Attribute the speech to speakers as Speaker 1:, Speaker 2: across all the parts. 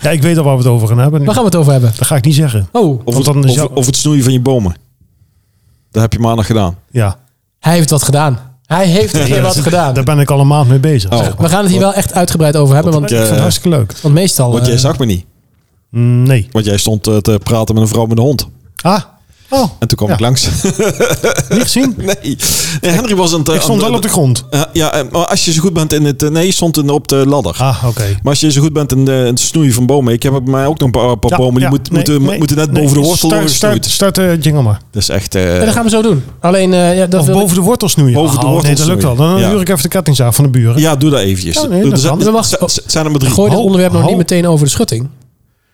Speaker 1: Ja, ik weet al waar we het over gaan hebben. Nu.
Speaker 2: Waar gaan we het over hebben?
Speaker 1: Dat ga ik niet zeggen.
Speaker 2: Oh,
Speaker 1: Want
Speaker 3: Of, het,
Speaker 1: dan is
Speaker 3: of,
Speaker 1: jou-
Speaker 3: of het snoeien van je bomen. Dat heb je maandag gedaan.
Speaker 1: Ja.
Speaker 2: hij heeft wat gedaan. Hij heeft een keer
Speaker 1: Ja,
Speaker 2: wat
Speaker 1: dat-
Speaker 2: gedaan.
Speaker 1: Daar ben ik al een maand mee bezig.
Speaker 3: Oh.
Speaker 1: zeg maar.
Speaker 2: We gaan het hier wel echt uitgebreid over hebben, want,
Speaker 3: ik,
Speaker 1: Ik vind het
Speaker 3: eh,
Speaker 1: hartstikke leuk.
Speaker 2: want meestal...
Speaker 1: Oh,
Speaker 3: Want
Speaker 2: eh,
Speaker 3: jij zag me niet.
Speaker 1: Mm, Nee.
Speaker 3: Want jij stond eh, te praten met een vrouw met een hond.
Speaker 1: Ah. Oh,
Speaker 3: En toen kwam
Speaker 1: Ja.
Speaker 3: ik langs.
Speaker 1: niet gezien?
Speaker 3: nee. nee, Henry was aan het... eh,
Speaker 1: Ik stond
Speaker 3: aan
Speaker 1: wel op de grond.
Speaker 3: Eh, ja, eh, maar als je zo goed bent in het... eh, Nee, je stond in, op de ladder.
Speaker 1: Ah, oké.
Speaker 3: Maar als je zo goed bent in, eh, het snoeien van bomen... Ik heb bij mij ook nog een paar, paar
Speaker 1: Ja,
Speaker 3: bomen. Die
Speaker 1: ja,
Speaker 3: moet-
Speaker 1: nee,
Speaker 3: moeten,
Speaker 1: nee,
Speaker 3: moeten net
Speaker 1: nee.
Speaker 3: boven de wortel worden
Speaker 1: Start,
Speaker 3: gesnoeid.
Speaker 1: start, start de jingle maar.
Speaker 3: Dat is echt... eh,
Speaker 2: ja, dat gaan we zo doen. Alleen, eh, ja, dat
Speaker 1: Of
Speaker 2: wil ik-
Speaker 1: boven de wortel snoeien.
Speaker 3: Boven de
Speaker 1: Oh,
Speaker 3: wortel
Speaker 1: Nee, dat lukt wel.
Speaker 3: snoeien.
Speaker 1: Dan
Speaker 3: Ja.
Speaker 1: huur ik even de kettingzaag van de buren.
Speaker 3: ja, doe dat eventjes.
Speaker 1: Ja, nee,
Speaker 3: Doe-
Speaker 1: dat
Speaker 3: er zijn-
Speaker 1: kan.
Speaker 2: Dan mag-
Speaker 3: z- z- zijn er maar drie. Oh,
Speaker 2: gooi dat
Speaker 1: Ho,
Speaker 2: onderwerp nog
Speaker 1: ho.
Speaker 2: niet meteen over de schutting.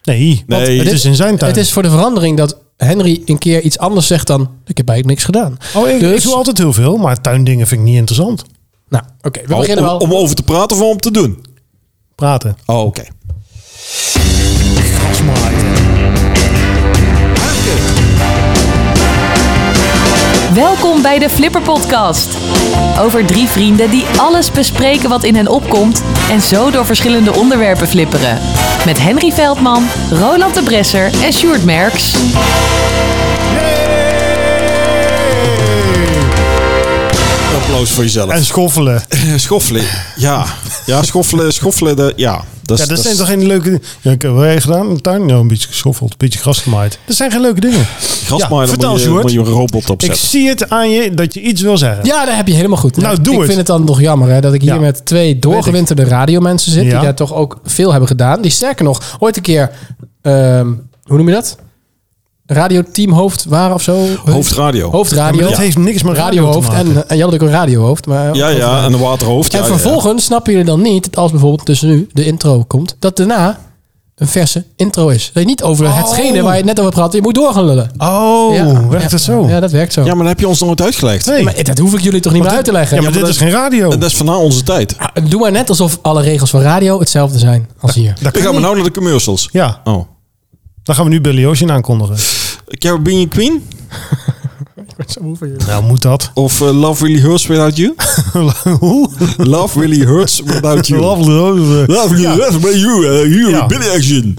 Speaker 1: Nee,
Speaker 3: Nee.
Speaker 1: want het
Speaker 3: Dit-
Speaker 1: is in zijn tuin.
Speaker 2: Het is voor de verandering dat Henry een keer iets anders zegt dan... Ik heb eigenlijk niks gedaan.
Speaker 1: Oh, ik,
Speaker 2: Dus-
Speaker 1: ik doe altijd heel veel, maar tuindingen vind ik niet interessant.
Speaker 2: Nou, oké. we
Speaker 3: Oh,
Speaker 2: beginnen wel.
Speaker 3: om, om over te praten of om te doen?
Speaker 1: Praten.
Speaker 3: Oh, oké.
Speaker 4: Welkom bij de Flipper Podcast. Over drie vrienden die alles bespreken wat in hen opkomt en zo door verschillende onderwerpen flipperen. Met Henry Veldman, Roland de Bresser en Sjoerd Merks.
Speaker 3: Applaus voor jezelf.
Speaker 1: En schoffelen.
Speaker 3: Eh, Schoffelen, ja. Ja, schoffelen, schoffelen, de, ja. Dat,
Speaker 1: Ja, dat
Speaker 3: is- dat
Speaker 1: zijn
Speaker 3: is-
Speaker 1: toch geen leuke dingen? Ja, ik heb wat heb jij gedaan in de tuin? Nou, een beetje geschoffeld, een beetje gras gemaaid. Dat zijn geen leuke dingen.
Speaker 3: Grasmaaier,
Speaker 1: Ja,
Speaker 3: dan
Speaker 1: vertel,
Speaker 3: moet je,
Speaker 1: Sjoerd.
Speaker 3: moet je een robot
Speaker 1: Ik
Speaker 3: opzetten.
Speaker 1: zie het aan je dat je iets wil zeggen.
Speaker 2: Ja, daar heb je helemaal goed.
Speaker 1: Nou, doe
Speaker 2: ik
Speaker 1: het.
Speaker 2: vind het dan toch jammer hè, dat ik hier
Speaker 1: Ja.
Speaker 2: met twee doorgewinterde radiomensen zit. Die
Speaker 1: Ja.
Speaker 2: daar toch ook veel hebben gedaan. Die sterker nog ooit een keer, ehm, hoe noem je dat? Radioteamhoofd waren of zo?
Speaker 3: Hoofdradio.
Speaker 1: Maar
Speaker 2: Hoofdradio.
Speaker 1: dat heeft niks met
Speaker 2: radiohoofd.
Speaker 1: radio te maken.
Speaker 2: En, en je had ook een radiohoofd. Maar
Speaker 3: ja, ja, en de waterhoofd.
Speaker 2: En
Speaker 3: ja, ja, ja.
Speaker 2: vervolgens snappen jullie dan niet, dat als bijvoorbeeld tussen nu de intro komt, dat daarna een verse intro is. Dat je niet over hetgene waar je het net over praat, je moet door gaan lullen.
Speaker 1: Oh, werkt het zo?
Speaker 2: Ja, dat werkt zo.
Speaker 3: Ja, maar dan heb je ons nooit uitgelegd.
Speaker 1: nee.
Speaker 2: Maar dat hoef ik jullie toch niet meer uit te leggen?
Speaker 1: ja, maar dit
Speaker 3: dat-
Speaker 1: is geen radio.
Speaker 3: En dat is van na onze tijd.
Speaker 2: Ah, Doe maar net alsof alle regels van radio hetzelfde zijn als hier.
Speaker 1: Dat
Speaker 3: Ik
Speaker 1: kan
Speaker 3: ga maar
Speaker 1: niet.
Speaker 3: nou naar de commercials.
Speaker 1: Ja,
Speaker 3: Oh.
Speaker 1: dan gaan we nu Billy Ocean aankondigen.
Speaker 3: Caribbean Queen?
Speaker 1: Nou, moet dat.
Speaker 3: Of eh, Love Really Hurts Without You?
Speaker 1: Hoe?
Speaker 3: Love Really Hurts Without You.
Speaker 1: Love the-
Speaker 3: Love Really Hurts Without You. eh, you,
Speaker 1: Ja.
Speaker 3: Billy Action.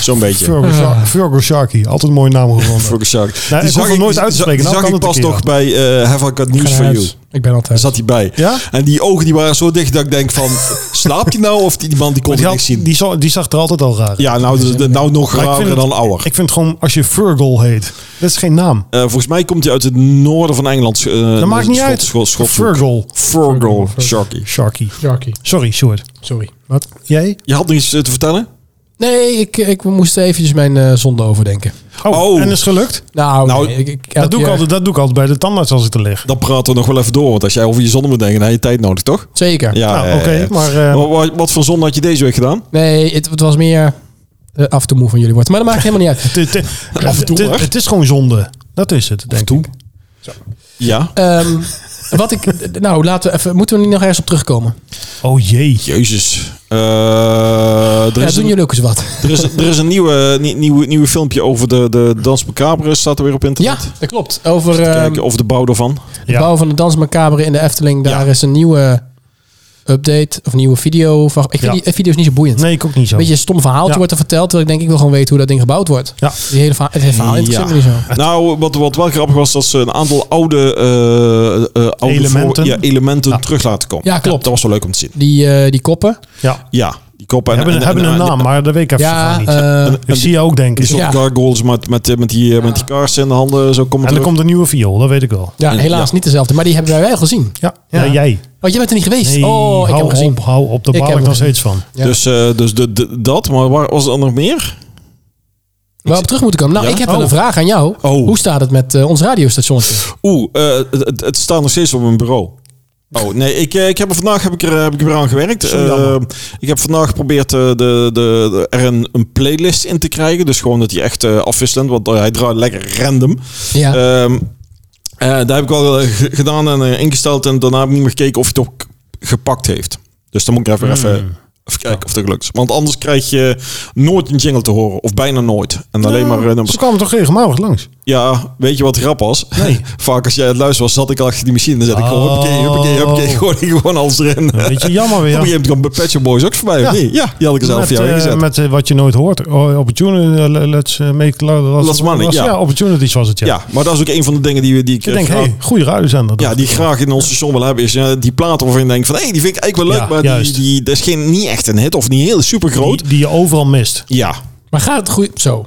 Speaker 3: Zo'n beetje.
Speaker 1: Fergus Shark- Fergus Sharkey. Altijd een mooie naam
Speaker 3: Voor
Speaker 1: gevonden.
Speaker 3: de Shark.
Speaker 1: ik hoef hem nooit uit te spreken,
Speaker 3: Die
Speaker 1: nou
Speaker 3: zag
Speaker 1: kan
Speaker 3: ik
Speaker 1: het een
Speaker 3: pas
Speaker 1: keer
Speaker 3: toch bij eh, Have I Got News For You.
Speaker 2: Ik ben
Speaker 3: Daar
Speaker 2: altijd.
Speaker 3: zat hij bij.
Speaker 1: Ja?
Speaker 3: En die ogen die waren zo dicht dat ik denk van... slaapt hij nou of die, die man die kon
Speaker 1: Die,
Speaker 3: het
Speaker 1: had-
Speaker 3: niks zien?
Speaker 1: die, zal- die zag er altijd al raar uit.
Speaker 3: Ja, nou, dus, nou nog
Speaker 1: Maar ik
Speaker 3: raarder
Speaker 1: vind het-
Speaker 3: dan ouder.
Speaker 1: Ik vind gewoon, als je Fergal heet, dat is geen naam.
Speaker 3: Eh, volgens mij komt hij uit het noorden van Engeland. eh,
Speaker 1: Dat maakt niet
Speaker 3: Schot-
Speaker 1: uit.
Speaker 3: Schot- Schot-
Speaker 1: Fergal
Speaker 3: Fergal Sharkey.
Speaker 1: Sharkey.
Speaker 2: Jarky.
Speaker 1: Sorry, Sjoerd.
Speaker 2: Sorry. Wat?
Speaker 1: Jij?
Speaker 3: Je had nog iets eh, te vertellen?
Speaker 2: Nee, ik, ik moest eventjes mijn eh, zonde overdenken.
Speaker 1: Oh,
Speaker 3: Oh.
Speaker 1: en is gelukt?
Speaker 2: Nou,
Speaker 3: Nou,
Speaker 2: nee, ik, ik, elk
Speaker 1: Dat doe, ik
Speaker 2: jaar-
Speaker 1: altijd, dat doe ik altijd bij de tandarts als ik er lig.
Speaker 3: Dan praten we nog wel even door. Want als jij over je zonde moet denken, dan heb je tijd nodig, toch?
Speaker 2: Zeker.
Speaker 3: Ja,
Speaker 1: nou,
Speaker 3: eh,
Speaker 1: oké, maar... eh,
Speaker 3: Wat, wat, wat voor zonde had je deze week gedaan?
Speaker 2: Nee, het, het was meer eh, af en toe moe van jullie wordt. Maar dat maakt helemaal niet uit.
Speaker 1: het- het-
Speaker 3: Af en toe,
Speaker 1: het-
Speaker 3: hoor.
Speaker 1: Het is gewoon zonde. Dat is het, denk ik.
Speaker 3: Ja.
Speaker 2: Ehm, wat ik, nou, laten we even, moeten we er niet nog ergens op terugkomen?
Speaker 1: Oh jee.
Speaker 3: Jezus. Eh, er,
Speaker 2: Ja,
Speaker 3: is
Speaker 2: doen
Speaker 3: een,
Speaker 2: jullie ook eens wat.
Speaker 3: er, is, er is een nieuwe, eh, nie- nieuwe, nieuwe filmpje over de, de Dans Macabre. Staat er weer op
Speaker 2: Ja,
Speaker 3: internet.
Speaker 2: dat klopt. Over ehm,
Speaker 3: Kijken of de bouw daarvan.
Speaker 2: de
Speaker 1: Ja.
Speaker 2: bouw van de dansmacabre in de Efteling. Daar
Speaker 3: Ja.
Speaker 2: is een nieuwe update of nieuwe video. van- Ik vind
Speaker 1: Ja.
Speaker 2: die eh, video's niet zo boeiend.
Speaker 1: Nee, ik ook niet zo.
Speaker 2: Een beetje een stom verhaal
Speaker 1: Ja.
Speaker 2: wordt er verteld. Terwijl ik denk, ik wil gewoon weten hoe dat ding gebouwd wordt.
Speaker 1: Ja.
Speaker 2: Die hele verhaal, het hele verhaal interesseert me niet zo.
Speaker 3: Nou, wat, wat wel grappig was, dat ze een aantal oude, eh, eh, oude
Speaker 1: Elementen.
Speaker 3: voor- ja, elementen terug laten komen.
Speaker 2: Ja, klopt.
Speaker 3: Dat was wel leuk om te zien.
Speaker 2: Die, eh, die koppen.
Speaker 1: Ja.
Speaker 3: Ja, die koppen. en-
Speaker 1: hebben
Speaker 3: en-
Speaker 1: hebben
Speaker 3: en-
Speaker 1: een
Speaker 3: en-
Speaker 1: naam, maar dat weet ik even
Speaker 2: ja,
Speaker 1: van niet.
Speaker 2: eh,
Speaker 1: ik zie je ook, denk
Speaker 3: Die
Speaker 1: ik.
Speaker 3: soort
Speaker 2: Ja.
Speaker 3: gargoyles met, met, met, die, eh, met die kaarsen in de handen. Zo komen
Speaker 1: En er
Speaker 3: terug.
Speaker 1: komt een nieuwe viool, dat weet ik wel.
Speaker 2: ja, helaas niet dezelfde. Maar die hebben wij wel gezien.
Speaker 1: Ja, ja. Oh, jij.
Speaker 2: Want jij bent er niet geweest.
Speaker 1: Nee,
Speaker 2: oh, ik heb
Speaker 1: hou,
Speaker 2: hem gezien.
Speaker 1: op, hou op, daar
Speaker 2: Ik
Speaker 1: baal
Speaker 2: heb
Speaker 1: ik
Speaker 2: hem
Speaker 1: nog steeds van.
Speaker 2: Ja.
Speaker 3: Dus, eh, dus de, de- dat, maar waar was er nog meer?
Speaker 2: Waarop terug moeten komen. Nou,
Speaker 3: Ja?
Speaker 2: ik heb wel
Speaker 3: Oh.
Speaker 2: een vraag aan jou.
Speaker 3: Oh.
Speaker 2: Hoe staat het met eh, ons radiostationnetje?
Speaker 3: Oeh, eh, het, het- het staat nog steeds op mijn bureau. Oh nee, ik, eh, ik heb er vandaag heb ik er, eh, heb ik er weer aan gewerkt.
Speaker 1: Zo jammer.
Speaker 3: Eh, ik heb vandaag geprobeerd eh, de, de, de- er een, een playlist in te krijgen. Dus gewoon dat hij echt eh, afwisselend, want eh, hij draait lekker random.
Speaker 2: Ja.
Speaker 3: Ehm, eh, daar heb ik wel eh, g-
Speaker 1: Hmm.
Speaker 3: gedaan en eh, ingesteld. En daarna heb ik niet meer gekeken of hij het ook gepakt heeft. Dus dan moet ik er even, even Even kijken of dat gelukt is. Want anders krijg je nooit een jingle te horen. Of bijna nooit. En alleen maar eh, nummers.
Speaker 1: Ze kwamen toch regelmatig langs?
Speaker 3: Ja, weet je wat grap was?
Speaker 1: Nee.
Speaker 3: Vaak als jij het luisteren was, zat ik al achter die machine. Dan zet ik gewoon,
Speaker 1: Oh.
Speaker 3: huppakee, huppakee, huppakee. Gooi ik gewoon alles erin.
Speaker 1: Weet je, jammer
Speaker 3: Op
Speaker 1: weer.
Speaker 3: een gegeven moment kwam bij Pet Shop Boys ook voorbij.
Speaker 1: Ja.
Speaker 3: Ja. Nee, ja, die had ik er zelf
Speaker 1: met,
Speaker 3: voor jou
Speaker 1: eh,
Speaker 3: ingezet.
Speaker 1: met eh, wat je nooit hoort. Oh, opportunity, eh, let's eh, make last,
Speaker 3: Lots of money, ja.
Speaker 1: opportunities was het, ja.
Speaker 3: ja. maar dat is ook een van de dingen die, we- die ik...
Speaker 1: Ik
Speaker 3: eh,
Speaker 1: denk, hé,
Speaker 3: graag-
Speaker 1: hey, goede radiozender.
Speaker 3: ja,
Speaker 1: dat.
Speaker 3: die ik graag in ons station wil hebben, is eh, die platen waarvan je denkt van... Hé, die vind ik eigenlijk wel leuk,
Speaker 1: Ja,
Speaker 3: maar die,
Speaker 1: juist.
Speaker 3: die, dat is geen, niet echt een hit of niet heel super groot.
Speaker 1: die, die je overal mist.
Speaker 3: Ja,
Speaker 2: Maar gaat het goed? Zo.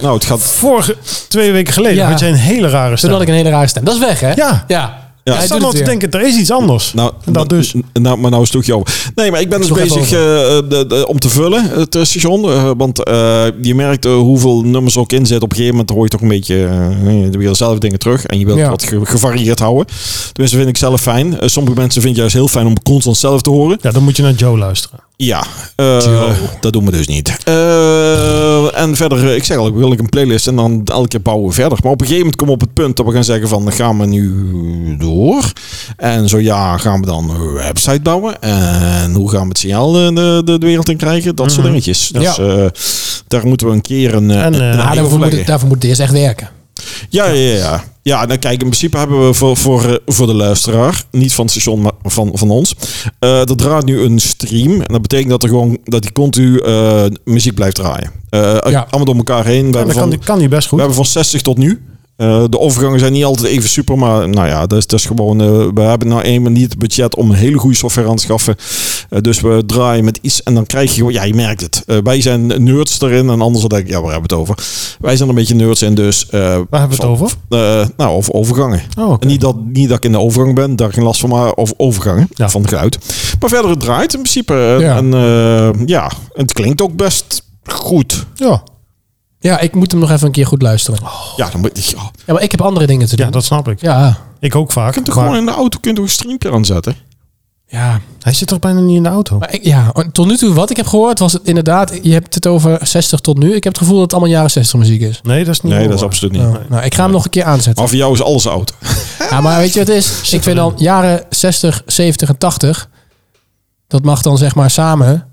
Speaker 3: nou het gaat...
Speaker 1: Vorige twee weken geleden
Speaker 2: Ja.
Speaker 1: had jij een hele rare stem.
Speaker 2: Zodat ik een hele rare stem. Dat is weg, hè?
Speaker 1: Ja.
Speaker 2: Ja.
Speaker 3: Ja.
Speaker 1: ik
Speaker 2: hij
Speaker 1: zat nog
Speaker 2: doet het
Speaker 1: te
Speaker 2: weer.
Speaker 1: denken, er is iets anders.
Speaker 3: Nou,
Speaker 1: dat dus.
Speaker 3: n- n- Nou, maar nou sloeg je over. Nee, maar ik ben
Speaker 2: Ik
Speaker 3: dus
Speaker 2: sloeg even
Speaker 3: bezig eh, de- de- om te vullen, het eh, station. eh, want eh, je merkt eh, hoeveel nummers er ook in zitten. Op een gegeven moment hoor je toch een beetje eh, weer zelf dingen terug. En je wilt
Speaker 2: Ja.
Speaker 3: wat ge- gevarieerd houden. Dus dat vind ik zelf fijn. Eh, sommige mensen vinden het juist heel fijn om constant zelf te horen.
Speaker 1: Ja, dan moet je naar Joe luisteren.
Speaker 3: Ja, eh, dat doen we dus niet. Eh, en verder, eh, ik zeg al, wil ik een playlist en dan elke keer bouwen we verder. Maar op een gegeven moment komen we op het punt dat we gaan zeggen van, gaan we nu door? En zo ja, gaan we dan een website bouwen? En hoe gaan we het signaal de, de, de wereld in krijgen? Dat soort dingetjes. Dus
Speaker 2: Ja.
Speaker 3: eh, daar moeten we een keer een... eh,
Speaker 1: Mhm. En, eh,
Speaker 3: een- een
Speaker 1: ah,
Speaker 2: Ah,
Speaker 3: eigen
Speaker 2: daarvoor, moet
Speaker 3: leggen.
Speaker 2: het, daarvoor moet het eerst echt werken.
Speaker 3: Ja, ja, ja, ja. Ja, nou kijk, in principe hebben we voor, voor, eh, voor de luisteraar, niet van het station, maar van, van ons, eh er draait nu een stream. En dat betekent dat er gewoon dat die continu eh, muziek blijft draaien. Eh,
Speaker 2: Ja.
Speaker 3: Allemaal door elkaar heen. We,
Speaker 1: En
Speaker 3: hebben
Speaker 1: dat
Speaker 3: van,
Speaker 1: kan, die- kan die best
Speaker 3: we
Speaker 1: goed.
Speaker 3: hebben van 60 tot nu. Eh, de overgangen zijn niet altijd even super, maar nou ja, dat is, dat is gewoon. eh, we hebben nou eenmaal niet het budget om een hele goede software aan te schaffen. Eh, dus we draaien met iets en dan krijg je gewoon. Ja, je merkt het. Eh, wij zijn nerds erin en anders denk ik, ja, waar hebben we het over? Wij zijn er een beetje nerds in, dus. eh,
Speaker 1: Waar hebben we het over?
Speaker 3: eh, nou, over overgangen.
Speaker 1: Oh, oké.
Speaker 3: En Niet, dat, niet dat ik in de overgang ben, daar geen last van, maar over overgangen
Speaker 1: Ja.
Speaker 3: van geluid. Maar verder, het draait in principe. eh,
Speaker 2: Ja.
Speaker 3: En eh, ja, het klinkt ook best goed.
Speaker 1: Ja. Oh.
Speaker 2: Ja, ik moet hem nog even een keer goed luisteren.
Speaker 3: Ja, dan moet je... Ja,
Speaker 2: Ja, maar ik heb andere dingen te doen.
Speaker 1: ja, dat snap ik.
Speaker 2: ja.
Speaker 1: Ik ook vaak.
Speaker 3: kunt er
Speaker 1: maar Oh.
Speaker 3: gewoon in de auto kunt er een streampje aanzetten.
Speaker 2: ja.
Speaker 1: Hij zit toch bijna niet in de auto?
Speaker 2: Maar ik, ja, tot nu toe wat ik heb gehoord was het inderdaad, je hebt het over 60 tot nu. Ik heb het gevoel dat het allemaal jaren 60 muziek is.
Speaker 1: Nee, dat is niet
Speaker 3: Nee, dat
Speaker 1: waar.
Speaker 3: is absoluut niet.
Speaker 2: Nou, nou, ik ga hem nog een keer aanzetten.
Speaker 3: Maar voor jou is alles oud.
Speaker 2: Ja, maar weet je wat het is? Ik vind dan jaren 60, 70 en 80, dat mag dan zeg maar samen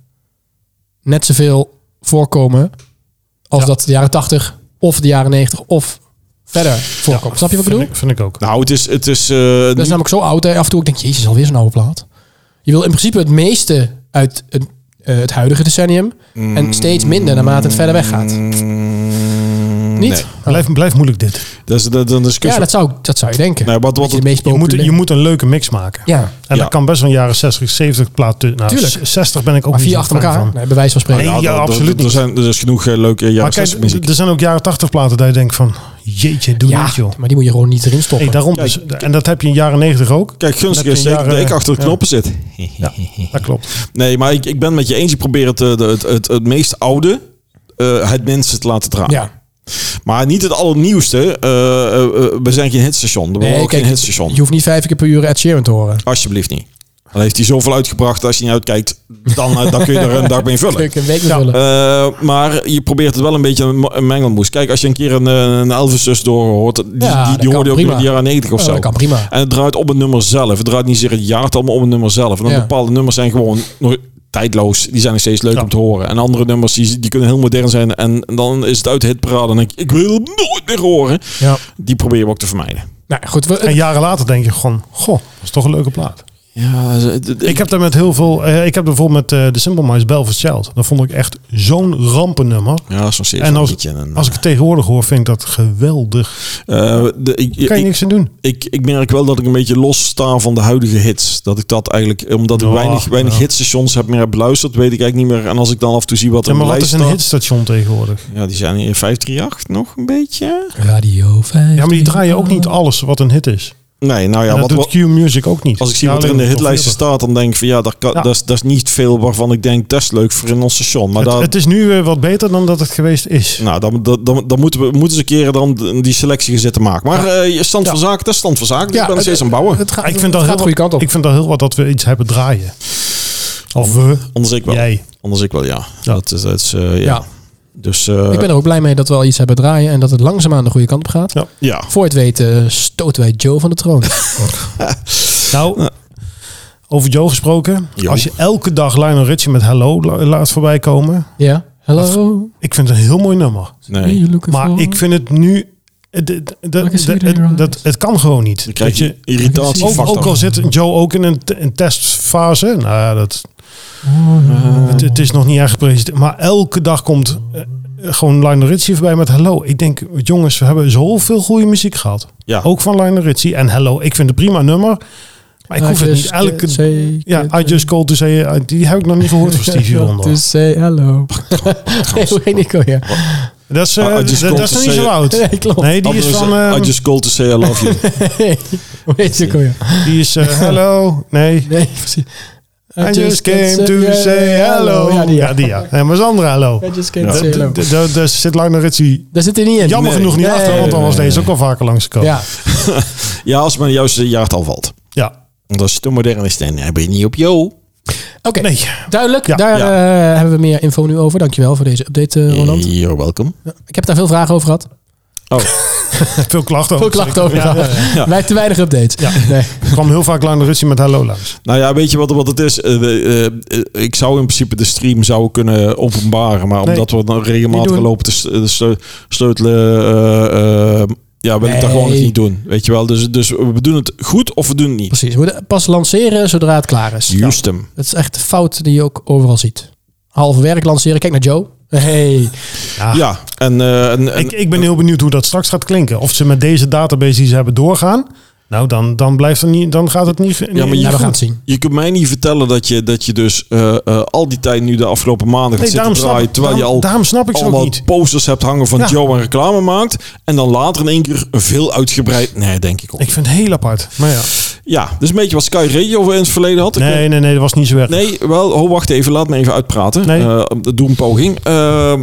Speaker 2: net zoveel voorkomen als dat de jaren 80 of de jaren 90 of verder voorkomt. Snap je wat ik
Speaker 1: Vind
Speaker 2: bedoel?
Speaker 1: Vind ik ook.
Speaker 3: Nou, het is... Het is eh,
Speaker 2: Dat is
Speaker 3: niet-
Speaker 2: namelijk zo oud. Hè? Af en toe ik denk, jezus, alweer zo'n oude plaat. Je wil in principe het meeste uit het, eh, het huidige decennium.
Speaker 1: Mm.
Speaker 2: En steeds minder naarmate het verder weggaat.
Speaker 3: Mm,
Speaker 2: Niet? Nou,
Speaker 3: nee.
Speaker 1: Blijf, blijf moeilijk dit.
Speaker 3: Dat is dat, dat is
Speaker 2: Ja, dat zou, dat zou je denken.
Speaker 3: Nee, wat, wat,
Speaker 2: Dat je de meest
Speaker 1: Nou, Je moet,
Speaker 2: populaire-
Speaker 1: je moet een leuke mix maken.
Speaker 2: Ja,
Speaker 1: En
Speaker 3: Ja.
Speaker 1: dat kan best wel een jaren 60, 70 plaat. tussen- Nou,
Speaker 2: Tuurlijk.
Speaker 1: z- 60 ben ik ook
Speaker 2: maar
Speaker 1: niet
Speaker 2: vier
Speaker 1: zo
Speaker 2: achter
Speaker 1: fan
Speaker 2: elkaar.
Speaker 1: van.
Speaker 2: Nee, bij wijze van spreken.
Speaker 1: Nee, ja,
Speaker 3: dat- dat-
Speaker 1: absoluut
Speaker 3: Er,
Speaker 1: niet.
Speaker 3: zijn, er is genoeg eh, leuke jaren
Speaker 1: Maar kijk,
Speaker 3: 60 muziek.
Speaker 1: d- er zijn ook jaren 80 platen dat je denkt van... Jeetje, doe
Speaker 2: ja,
Speaker 1: niet joh.
Speaker 2: maar die moet je gewoon niet erin stoppen.
Speaker 1: Hey, daarom dus. en dat heb je in jaren 90 ook.
Speaker 3: Kijk, gunstig
Speaker 1: Dan heb
Speaker 3: is
Speaker 1: je
Speaker 3: zeker dat
Speaker 1: jaren-
Speaker 3: ik achter de
Speaker 1: ja.
Speaker 3: knoppen zit.
Speaker 1: Dat klopt.
Speaker 3: Nee, maar ik, ik ben met je eens. Je probeert het, eh, het, het, het meest oude eh, het minste te laten draaien.
Speaker 2: ja.
Speaker 3: Maar niet het allernieuwste. Eh, eh, eh, we zijn geen hitstation. We
Speaker 2: Nee,
Speaker 3: zijn ook
Speaker 2: kijk,
Speaker 3: geen hitstation.
Speaker 2: Je hoeft niet vijf keer per uur Ed Sheeran te horen.
Speaker 3: Alsjeblieft niet. Dan heeft hij zoveel uitgebracht. Als je niet uitkijkt, dan, eh, dan kun je er een dag mee vullen.
Speaker 2: Kun je een week mee vullen.
Speaker 3: Eh, maar je probeert het wel een beetje een mo- een mengelmoes. Kijk, als je een keer een, eh, een Elvis zus doorhoort, die,
Speaker 2: Ja,
Speaker 3: die,
Speaker 2: dat
Speaker 3: die
Speaker 2: kan
Speaker 3: hoorde je ook
Speaker 2: prima.
Speaker 3: in de jaren 90 of
Speaker 2: Ja,
Speaker 3: zo.
Speaker 2: dat kan prima.
Speaker 3: En het draait op het nummer zelf. Het draait niet zeker het jaartal, maar op het nummer zelf. En dan
Speaker 2: Ja.
Speaker 3: bepaalde nummers zijn gewoon nog tijdloos. Die zijn nog steeds leuk
Speaker 1: Ja.
Speaker 3: om te horen. En andere nummers, die, die kunnen heel modern zijn. En dan is het uit de hitparade. En ik, ik wil het nooit meer horen.
Speaker 2: Ja.
Speaker 3: Die proberen we ook te vermijden.
Speaker 2: Nou goed, we,
Speaker 1: En jaren later denk je gewoon... Goh, dat is toch een leuke plaat.
Speaker 3: Ja,
Speaker 1: Ik heb daar met heel veel... eh, ik heb bijvoorbeeld met eh The Simple Minds Belfast Child. Dat vond ik echt zo'n rampennummer.
Speaker 3: ja, zo'n zeer
Speaker 1: En
Speaker 3: zo'n
Speaker 1: als,
Speaker 3: liedje. En,
Speaker 1: als ik het tegenwoordig hoor, vind ik dat geweldig.
Speaker 3: eh, de- ik-
Speaker 1: Daar kan je
Speaker 3: ik-
Speaker 1: niks aan doen.
Speaker 3: ik, ik merk wel dat ik een beetje los sta van de huidige hits. Dat ik dat eigenlijk, omdat ik
Speaker 1: Ja,
Speaker 3: weinig, weinig
Speaker 1: ja.
Speaker 3: hitstations heb meer beluisterd, weet ik eigenlijk niet meer. En als ik dan af en toe zie wat er
Speaker 1: Ja, maar
Speaker 3: in
Speaker 1: wat
Speaker 3: de lijst
Speaker 1: is een
Speaker 3: staat-
Speaker 1: hitstation tegenwoordig?
Speaker 3: Ja, die zijn hier 538 nog een beetje.
Speaker 2: Radio 5.
Speaker 1: Ja, maar die
Speaker 2: Dus
Speaker 1: draaien ook niet alles wat een hit is.
Speaker 3: Nee, nou ja,
Speaker 1: en dat
Speaker 3: wat,
Speaker 1: doet
Speaker 3: wat-
Speaker 1: Q-Music ook niet.
Speaker 3: als ik zie
Speaker 1: Ja,
Speaker 2: Nou,
Speaker 3: wat er in de
Speaker 1: alleen
Speaker 3: hitlijsten
Speaker 1: top
Speaker 3: staat, dan denk ik van ja, daar kan,
Speaker 1: Ja.
Speaker 3: Dat, is, dat is niet veel waarvan ik denk dat is leuk voor in ons station. Maar
Speaker 1: 40.
Speaker 3: daar,
Speaker 1: Het, het is nu weer wat beter dan dat het geweest is.
Speaker 3: nou, dan, dan, dan, dan moeten we moeten ze een keer dan die selectie gaan zitten maken. Maar eh, je stand van zaken, dat is stand van zaken. ik ben er steeds aan het bouwen.
Speaker 2: Het gaat,
Speaker 1: ik vind dat
Speaker 2: het gaat
Speaker 1: heel
Speaker 2: de goede
Speaker 1: wat-
Speaker 2: kant op.
Speaker 1: Ik vind dat heel wat dat we iets hebben draaien. Of we.
Speaker 3: Anders ik wel.
Speaker 1: Jij.
Speaker 3: Anders ik wel, ja.
Speaker 1: Ja.
Speaker 3: Dat, is- dat is, eh, ja.
Speaker 2: ja.
Speaker 3: Dus eh,
Speaker 2: ik ben er ook blij mee dat we al iets hebben draaien en dat het langzaamaan de goede kant op gaat.
Speaker 1: Ja.
Speaker 3: ja.
Speaker 2: Voor het weten stoten wij Joe van de troon.
Speaker 1: Nou, Over Joe gesproken.
Speaker 3: Jo.
Speaker 1: Als je elke dag Lionel Richie met Hello la- laat voorbij komen.
Speaker 2: Ja. Hello.
Speaker 1: Ik vind het een heel mooi nummer.
Speaker 3: Nee.
Speaker 2: You looking
Speaker 1: Maar
Speaker 2: for-
Speaker 1: ik vind het nu... Het, het, het-
Speaker 2: Like a seed
Speaker 1: het-
Speaker 2: in your
Speaker 1: het- dat-
Speaker 2: eyes.
Speaker 1: het kan gewoon niet.
Speaker 3: Dan krijg
Speaker 1: Dat
Speaker 3: je
Speaker 1: je,
Speaker 3: irritatie
Speaker 1: ook, ook al zit Joe ook in een, t- een testfase. Nou ja, dat, het, het is nog niet echt gepresenteerd. Maar elke dag komt eh, gewoon Lionel Richie voorbij met Hello. Ik denk, jongens, we hebben zoveel goede muziek gehad.
Speaker 3: Ja.
Speaker 1: Ook van Lionel Richie. En Hello, ik vind het een prima nummer. Maar ik hoef het niet
Speaker 2: just can't
Speaker 1: elke...
Speaker 2: say-
Speaker 1: dus Ja, I Just Called To Say... eh, Die heb ik nog niet gehoord van Stevie Wonder.
Speaker 2: To say hello. Nee, hoe heet Nico, ja.
Speaker 1: Dat is, eh,
Speaker 3: I Just
Speaker 1: dat is
Speaker 3: Called
Speaker 1: nog
Speaker 3: To
Speaker 1: niet
Speaker 3: Say- dus,
Speaker 1: zo oud.
Speaker 2: Nee, klopt.
Speaker 1: Nee, die is van...
Speaker 3: I
Speaker 1: eh,
Speaker 3: just called to say I love you.
Speaker 2: Hoe heet Nico, ja.
Speaker 1: Die is eh, Hello. Nee.
Speaker 2: Nee, precies. I
Speaker 1: I just came
Speaker 2: can't
Speaker 1: to say hello.
Speaker 2: Ja, die ja.
Speaker 1: Ja, die ja. Nee, maar Sandra, hello.
Speaker 2: I just can't
Speaker 3: Ja.
Speaker 2: say hello.
Speaker 1: D- d- d- Daar zit Lionel Richie
Speaker 2: Daar zit hij niet in.
Speaker 1: jammer
Speaker 3: Nee.
Speaker 1: genoeg niet
Speaker 2: Nee,
Speaker 1: achter,
Speaker 2: nee,
Speaker 1: want dan
Speaker 3: nee,
Speaker 1: was
Speaker 3: nee,
Speaker 1: deze ook al vaker langsgekomen.
Speaker 2: Ja.
Speaker 3: ja, als mijn juiste jaartal valt.
Speaker 1: ja.
Speaker 3: Want als je te modern is, dan eh, ben je niet op yo.
Speaker 2: Oké,
Speaker 1: Nee.
Speaker 2: duidelijk.
Speaker 1: Ja.
Speaker 2: Daar eh, hebben we meer info nu over. Dankjewel voor deze update, eh, Roland.
Speaker 3: You're welcome.
Speaker 2: Ik heb daar veel vragen over gehad.
Speaker 3: Oh.
Speaker 1: Veel klachten.
Speaker 2: Veel
Speaker 1: ook,
Speaker 2: klachten
Speaker 1: zeker.
Speaker 2: over
Speaker 1: Ja,
Speaker 2: gehad.
Speaker 1: ja, ja.
Speaker 2: Wij te weinig updates. Nee.
Speaker 1: Er kwam heel vaak Lionel Richie met hello langs.
Speaker 3: Nou ja, weet je wat, wat het is? Eh, we, eh, eh, ik zou in principe de stream zou kunnen openbaren. Maar
Speaker 1: Nee.
Speaker 3: omdat we dan regelmatig
Speaker 2: Niet doen.
Speaker 3: lopen te s- eh, sleu- sleutelen... eh, eh, ja, wil ik dat gewoon
Speaker 2: Nee.
Speaker 3: niet doen. Weet je wel? Dus, dus we doen het goed of we doen het niet.
Speaker 2: Precies. We moeten pas lanceren zodra het klaar is.
Speaker 3: Juist hem.
Speaker 2: Dat is echt de fout die je ook overal ziet. Halve werk lanceren. Kijk naar Joe. Hey.
Speaker 1: Ah.
Speaker 3: Ja, en... eh, en, en-
Speaker 1: Ik, ik ben heel benieuwd hoe dat straks gaat klinken. Of ze met deze database die ze hebben doorgaan. Nou, dan, dan, blijft er niet, dan gaat het niet. Ja,
Speaker 3: maar je
Speaker 2: Ja, we
Speaker 3: goed.
Speaker 2: gaan het zien.
Speaker 3: Je kunt mij niet vertellen dat je, dat je dus eh, eh, al die tijd nu de afgelopen maanden gaat
Speaker 1: Nee,
Speaker 3: zitten
Speaker 1: daarom snap,
Speaker 3: draaien.
Speaker 1: ik-
Speaker 3: Terwijl
Speaker 1: daarom,
Speaker 3: je al
Speaker 1: daarom snap ik ze ook
Speaker 3: allemaal
Speaker 1: niet.
Speaker 3: posters hebt hangen van
Speaker 1: Ja.
Speaker 3: Joe en reclame maakt. En dan later in één keer veel uitgebreid. Nee, denk ik ook.
Speaker 1: Ik vind het heel apart. Maar ja.
Speaker 3: Ja, dus een beetje wat Sky Radio in het verleden had. Ik
Speaker 1: Nee, nee, nee, dat was niet zo erg.
Speaker 3: Nee, wel, ho, wacht even, laat me even uitpraten.
Speaker 1: Nee.
Speaker 3: Eh, doe een poging. Eh,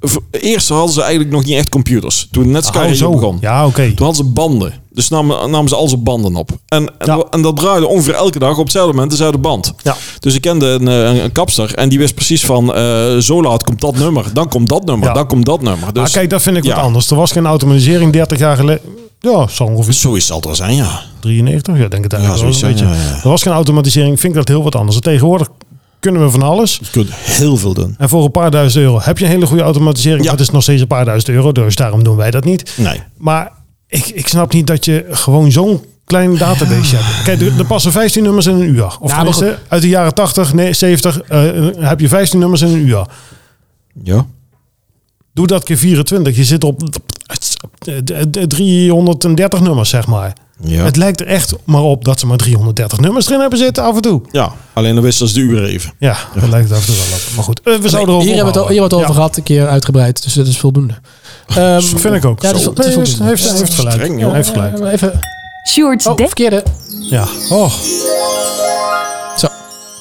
Speaker 3: v- eerst hadden ze eigenlijk nog niet echt computers. Toen net Sky
Speaker 1: Oh,
Speaker 3: Radio
Speaker 1: zo.
Speaker 3: begon.
Speaker 1: Ja, oké.
Speaker 3: Toen hadden ze banden. Dus namen, namen ze al zijn banden op. En, en,
Speaker 1: Ja.
Speaker 3: en dat draaide ongeveer elke dag op hetzelfde moment. Dus uit de band.
Speaker 1: Ja.
Speaker 3: Dus ik kende een, eh, een, een kapster. En die wist precies van... eh, zo laat komt dat nummer. Dan komt dat nummer.
Speaker 1: Ja.
Speaker 3: Dan komt dat nummer. Dus
Speaker 1: Maar Ah, kijk, dat vind ik
Speaker 3: ja.
Speaker 1: wat anders. Er was geen automatisering 30 jaar geleden. Ja, zo ongeveer
Speaker 3: zo is het al zijn, ja.
Speaker 1: 93. Ja, denk het eigenlijk
Speaker 3: Ja,
Speaker 1: wel
Speaker 3: zoiets,
Speaker 1: een beetje.
Speaker 3: ja, ja, ja.
Speaker 1: Er was geen automatisering. Vind ik dat heel wat anders. Tegenwoordig kunnen we van alles.
Speaker 3: Je kunt heel veel doen.
Speaker 1: En voor een paar duizend euro heb je een hele goede automatisering.
Speaker 3: Ja. Hm.
Speaker 1: Dat is nog steeds een paar duizend euro. Dus daarom doen wij dat niet.
Speaker 3: Nee.
Speaker 1: Maar ik, ik snap niet dat je gewoon zo'n klein database hebt. Kijk, er, er passen 15 nummers in een uur. Of
Speaker 2: maar
Speaker 1: tenminste, uit de jaren 80, nee, 70 eh, heb je 15 nummers in een uur.
Speaker 3: Ja.
Speaker 1: Doe dat keer 24. Je zit op eh, eh, 330 nummers, zeg maar.
Speaker 3: Ja.
Speaker 1: Het lijkt er echt maar op dat ze maar 330 nummers erin hebben zitten af en toe.
Speaker 3: ja. Alleen dan wisten ze de uren even.
Speaker 1: Ja, dat lijkt het af en toe wel op. Maar goed, eh, we zouden
Speaker 2: Nee,
Speaker 1: erover
Speaker 2: hier hebben we het,
Speaker 1: ophouden.
Speaker 2: hier hebben we het
Speaker 1: Ja,
Speaker 2: over gehad, een keer uitgebreid. Dus dat is voldoende. Ehm,
Speaker 1: Vind ik ook.
Speaker 2: Ja, dat is-
Speaker 1: Zo.
Speaker 2: dat is
Speaker 1: Nee,
Speaker 2: ook
Speaker 1: heeft,
Speaker 2: zo.
Speaker 1: heeft, heeft gelijk.
Speaker 3: Streng, joh.
Speaker 1: heeft gelijk.
Speaker 2: Eh, Even.
Speaker 4: Sjoerd's
Speaker 2: Oh,
Speaker 4: Dek-
Speaker 2: verkeerde.
Speaker 1: Ja. Oh,
Speaker 2: Zo.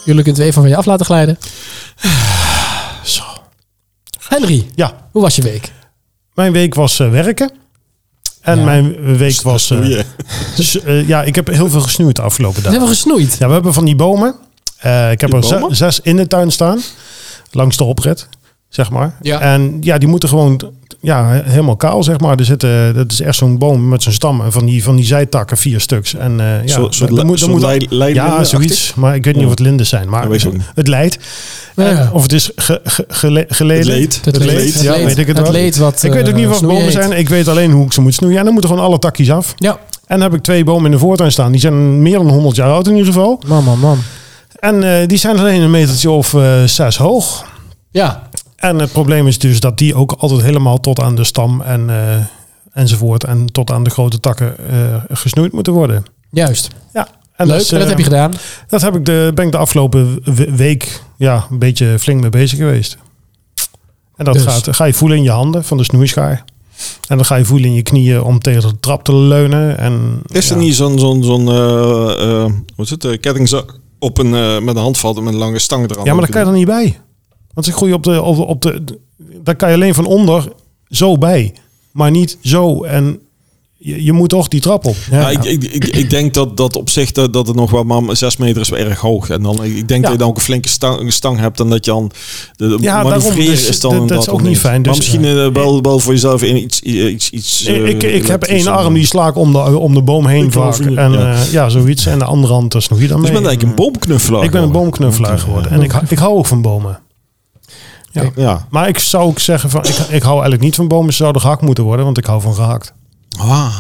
Speaker 2: Jullie kunnen het even van je af laten glijden.
Speaker 1: Zo.
Speaker 2: Henry,
Speaker 1: ja.
Speaker 2: hoe was je week?
Speaker 1: Mijn week was eh, werken. En
Speaker 2: Ja.
Speaker 1: mijn week was... eh,
Speaker 3: Ja.
Speaker 1: s- eh, ja, ik heb heel veel gesnoeid de afgelopen
Speaker 2: We
Speaker 1: dagen.
Speaker 2: hebben gesnoeid.
Speaker 1: Ja, we hebben van die bomen. Eh, ik heb
Speaker 3: Die
Speaker 1: er ze-
Speaker 3: bomen?
Speaker 1: zes in de tuin staan. Langs de oprit, zeg maar.
Speaker 2: Ja.
Speaker 1: En ja, die moeten gewoon ja, helemaal kaal, zeg maar. Er zitten, dat is echt zo'n boom met zijn stam. En van die, van die zijtakken, vier stuks. En eh, ja,
Speaker 3: Zo,
Speaker 1: dat-
Speaker 3: zo,
Speaker 1: dat moet- dat moet- ja, zoiets. Maar ik weet niet
Speaker 3: Ja.
Speaker 1: of het linden zijn. Maar
Speaker 3: Ja, weet ik ook niet.
Speaker 1: het leidt.
Speaker 2: Ja.
Speaker 1: En Of het is ge, ge- gele- geleden.
Speaker 3: Het leed.
Speaker 2: Het
Speaker 1: Het
Speaker 2: leed.
Speaker 1: leed,
Speaker 2: Het
Speaker 1: ja,
Speaker 2: leed.
Speaker 1: weet ik het
Speaker 2: Het
Speaker 1: wel.
Speaker 2: leed wat,
Speaker 1: ik weet ook
Speaker 2: eh,
Speaker 1: niet wat
Speaker 2: snoeien
Speaker 1: bomen
Speaker 2: heet.
Speaker 1: zijn. Ik weet alleen hoe ik ze moet snoeien. En dan moeten gewoon alle takjes af.
Speaker 2: Ja.
Speaker 1: En dan heb ik twee bomen in de voortuin staan. Die zijn meer dan 100 jaar oud in ieder geval.
Speaker 2: Man, man, man.
Speaker 1: En eh, die zijn alleen een metertje of eh, zes hoog.
Speaker 2: Ja.
Speaker 1: En het probleem is dus dat die ook altijd helemaal tot aan de stam en, eh, enzovoort en tot aan de grote takken eh, gesnoeid moeten worden.
Speaker 2: Juist.
Speaker 1: Ja, en
Speaker 2: Leuk.
Speaker 1: is,
Speaker 2: en dat
Speaker 1: eh,
Speaker 2: heb je gedaan.
Speaker 1: dat heb ik de, ben ik de afgelopen we- week ja, een beetje flink mee bezig geweest. En dat
Speaker 2: Dus.
Speaker 1: gaat, ga je voelen in je handen van de snoeischaar. En dan ga je voelen in je knieën om tegen de trap te leunen. En,
Speaker 3: Is er
Speaker 1: ja.
Speaker 3: niet zo'n zo'n zo'n eh, eh, hoe is het, eh, kettingzak op een, eh, met een handvat en met een lange stang eraan?
Speaker 1: Ja, maar daar kan je er niet bij. Want ze groeien op de, op, de- op de... Daar kan je alleen van onder zo bij. Maar niet zo en je, je moet toch die trap op. Ja,
Speaker 3: Nou, ik, ik, ik, ik denk dat, dat op zich dat, dat het nog wel maar 6 meter is wel erg hoog. En dan, ik denk
Speaker 1: Ja.
Speaker 3: dat je dan ook een flinke stang, stang hebt en dat je dan de
Speaker 1: Ja, daarom.
Speaker 3: manoeuvreren
Speaker 1: Dus
Speaker 3: is dan
Speaker 1: dat- dat
Speaker 3: inderdaad
Speaker 1: is ook
Speaker 3: wat
Speaker 1: niet
Speaker 3: meer.
Speaker 1: fijn.
Speaker 3: maar
Speaker 1: Dus-
Speaker 3: misschien eh, wel, wel voor jezelf in iets... iets, iets
Speaker 1: Ik-
Speaker 3: eh,
Speaker 1: ik, ik heb
Speaker 3: elektrisch
Speaker 1: één
Speaker 3: aan.
Speaker 1: arm die sla ik om de, om de boom heen
Speaker 3: Ik kan
Speaker 1: vaak.
Speaker 3: vliegen,
Speaker 1: En
Speaker 3: ja.
Speaker 1: eh, ja, zoiets. En de andere hand is nog hier dan
Speaker 3: Dus
Speaker 1: mee.
Speaker 3: ik ben eigenlijk een boomknuffelaar.
Speaker 1: Ik ben een
Speaker 3: geworden.
Speaker 1: boomknuffelaar
Speaker 3: eh,
Speaker 1: geworden. En ik, hou- ik hou ook van bomen.
Speaker 3: Ja.
Speaker 1: Maar ik zou ook zeggen, van, ik, ik hou eigenlijk niet van bomen. Ze zouden gehakt moeten worden, want ik hou van gehakt.
Speaker 3: Ah.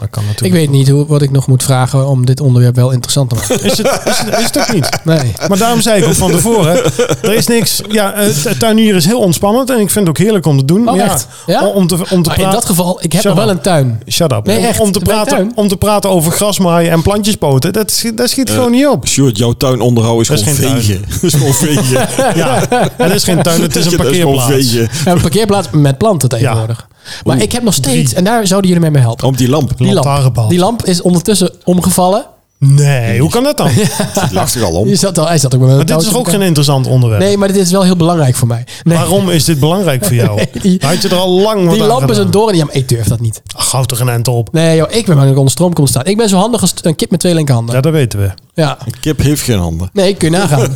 Speaker 1: Dat kan
Speaker 2: Ik
Speaker 1: natuurlijk.
Speaker 2: weet niet hoe, wat ik nog moet vragen om dit onderwerp wel interessant te maken.
Speaker 1: Is het, is, het, is het ook niet.
Speaker 2: Nee.
Speaker 1: Maar daarom zei ik ook van tevoren, er is niks. Ja, eh, het tuinier is heel ontspannend en ik vind het ook heerlijk om te doen.
Speaker 2: Oh,
Speaker 1: maar ja,
Speaker 2: echt? Ja?
Speaker 1: Om, om te, om te
Speaker 2: Maar in dat
Speaker 1: praten.
Speaker 2: geval, ik heb
Speaker 1: Shut
Speaker 2: nog wel
Speaker 1: up.
Speaker 2: een tuin.
Speaker 1: Shut up.
Speaker 2: Nee, echt.
Speaker 1: om, te
Speaker 2: Bij tuin?
Speaker 1: praten, om te praten over grasmaaien en plantjespoten, dat, schiet- dat schiet gewoon niet op.
Speaker 3: Sjoerd, jouw tuin onderhouden is
Speaker 1: Dat is
Speaker 3: gewoon
Speaker 1: geen tuin.
Speaker 3: vegen. Dat is gewoon vegen.
Speaker 1: Ja, het is geen tuin, het is een
Speaker 3: Dat gewoon
Speaker 1: parkeerplaats.
Speaker 3: vegen.
Speaker 2: Ja, een parkeerplaats met planten tegenwoordig. Maar ik heb nog steeds, en daar zouden jullie mee
Speaker 1: Oh,
Speaker 2: helpen.
Speaker 3: Om die lamp.
Speaker 2: Die lamp,
Speaker 1: Lantaarnpaal.
Speaker 2: die lamp is ondertussen omgevallen.
Speaker 1: Nee, hoe kan dat dan?
Speaker 3: Die lag zich al om.
Speaker 2: Je zat al, hij zat ook wel met een
Speaker 1: Maar dit is toch ook
Speaker 2: touwtje
Speaker 1: geen
Speaker 2: aan elkaar.
Speaker 1: interessant onderwerp?
Speaker 2: Nee, maar dit is wel heel belangrijk voor mij. Nee,
Speaker 1: Waarom is dit belangrijk voor jou?
Speaker 2: die-
Speaker 1: Had je er al lang wat
Speaker 2: die
Speaker 1: aan
Speaker 2: lamp is
Speaker 1: gedaan?
Speaker 2: een door en ja, maar ik durf dat niet.
Speaker 1: Ach, houd er een end op.
Speaker 2: Nee joh, ik ben maar onder stroom komt staan. Ik ben zo handig als een kip met twee linkerhanden.
Speaker 1: Ja, dat weten we.
Speaker 2: Ja.
Speaker 3: Kip heeft geen handen.
Speaker 2: Nee, kun je nagaan.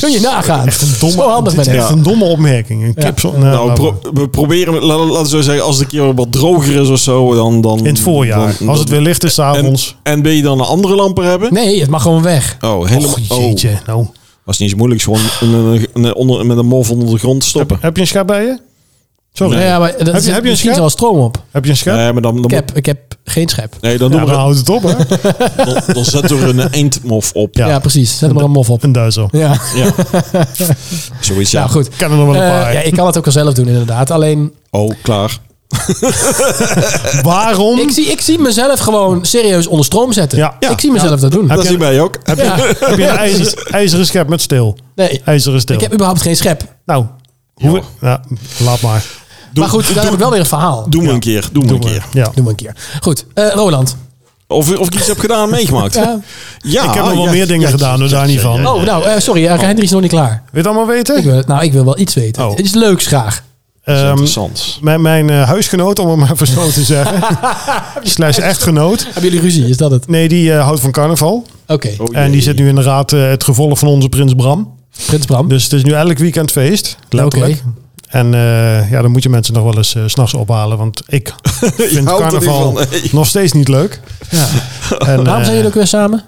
Speaker 2: kun je nagaan.
Speaker 1: Echt een domme,
Speaker 2: zo handig
Speaker 1: dit
Speaker 2: ben
Speaker 1: is
Speaker 2: ik.
Speaker 1: echt een domme opmerking. Een kip zo- nou,
Speaker 3: Nou,
Speaker 1: laten we-
Speaker 3: pro- we proberen, la- la- laten we zo zeggen, als het een keer wat droger is of zo, dan... dan
Speaker 1: in het voorjaar.
Speaker 3: dan-
Speaker 1: als het weer licht is,
Speaker 3: en,
Speaker 1: s'avonds.
Speaker 3: en wil je dan een andere lamper hebben?
Speaker 2: Nee, het mag gewoon weg.
Speaker 3: Oh,
Speaker 1: avonds.
Speaker 3: helemaal.
Speaker 1: Och, jeetje. Nou,
Speaker 3: was niet zo moeilijk. Gewoon een, een, een- onder, met een mof onder de grond stoppen.
Speaker 1: heb je een schep bij je? Sorry.
Speaker 2: Nee, ja, maar dat
Speaker 1: Heb je-
Speaker 2: zit
Speaker 1: heb je een
Speaker 2: misschien
Speaker 1: schep?
Speaker 2: wel stroom op.
Speaker 1: Heb je een schep?
Speaker 3: Nee, maar dan, dan,
Speaker 2: Ik
Speaker 3: moet-
Speaker 2: heb, ik heb geen schep.
Speaker 3: nee, dan, doen
Speaker 1: Ja,
Speaker 3: we
Speaker 1: dan
Speaker 3: dat-
Speaker 1: houdt het op, hè?
Speaker 3: dan, dan zetten we er een eindmof op.
Speaker 1: Ja.
Speaker 2: Ja, precies. Zet er maar een mof op.
Speaker 1: Een duizel.
Speaker 2: Ja,
Speaker 3: Ja. Zoiets, ja.
Speaker 2: nou goed.
Speaker 1: Ik ken er nog wel een
Speaker 2: Eh,
Speaker 1: paar. Mm.
Speaker 2: ja, ik kan het ook wel zelf doen inderdaad. Alleen,
Speaker 3: Oh, klaar.
Speaker 1: Waarom?
Speaker 2: ik zie, ik zie mezelf gewoon serieus onder stroom zetten.
Speaker 1: Ja. Ja.
Speaker 2: Ik zie mezelf dat doen.
Speaker 1: Heb
Speaker 3: Dat
Speaker 1: je-
Speaker 3: zien wij ook.
Speaker 2: Ja.
Speaker 1: Heb je een ijzer- ijzeren schep met stil?
Speaker 2: Nee,
Speaker 1: IJzeren stil.
Speaker 2: ik heb überhaupt geen schep.
Speaker 1: Nou, hoe... ja, laat maar.
Speaker 2: maar goed, daar heb ik wel weer een verhaal.
Speaker 3: Doe me een keer. Doe me een
Speaker 1: Doe
Speaker 3: keer.
Speaker 1: maar. Ja.
Speaker 2: Doe maar een keer. Goed, eh, Roland.
Speaker 3: Of, of ik iets heb gedaan en meegemaakt.
Speaker 2: Ja.
Speaker 3: Ja,
Speaker 1: Ik heb nog wel
Speaker 3: ja,
Speaker 1: meer dingen
Speaker 3: ja,
Speaker 1: gedaan, dus daar niet van.
Speaker 2: Oh, nou, eh, sorry, eh, Henry is nog niet klaar.
Speaker 1: Wil je het allemaal weten? Ehm,
Speaker 2: Ik wil, het- nou, ik wil wel iets weten.
Speaker 1: Oh.
Speaker 2: Het is leuks graag.
Speaker 3: dat is
Speaker 1: Ehm,
Speaker 3: Interessant.
Speaker 1: mijn mijn eh, huisgenoot, om het maar even zo te zeggen. slash echtgenoot.
Speaker 2: Hebben jullie ruzie? Is dat het?
Speaker 1: Nee, die eh, houdt van carnaval.
Speaker 2: Oké,
Speaker 3: Oh, jee.
Speaker 1: En die zit nu inderdaad eh, het gevolg van onze prins Bram.
Speaker 2: Prins Bram.
Speaker 1: Dus het is nu elk weekend feest. Letterlijk.
Speaker 2: Oké.
Speaker 1: En eh, ja, dan moet je mensen nog wel eens eh, 's s'nachts ophalen. Want ik
Speaker 3: Je
Speaker 1: vind
Speaker 3: houdt er niet
Speaker 1: carnaval
Speaker 3: van, nee.
Speaker 1: nog steeds niet leuk.
Speaker 2: Ja.
Speaker 1: En,
Speaker 2: Waarom zijn
Speaker 1: eh,
Speaker 2: jullie ook weer samen?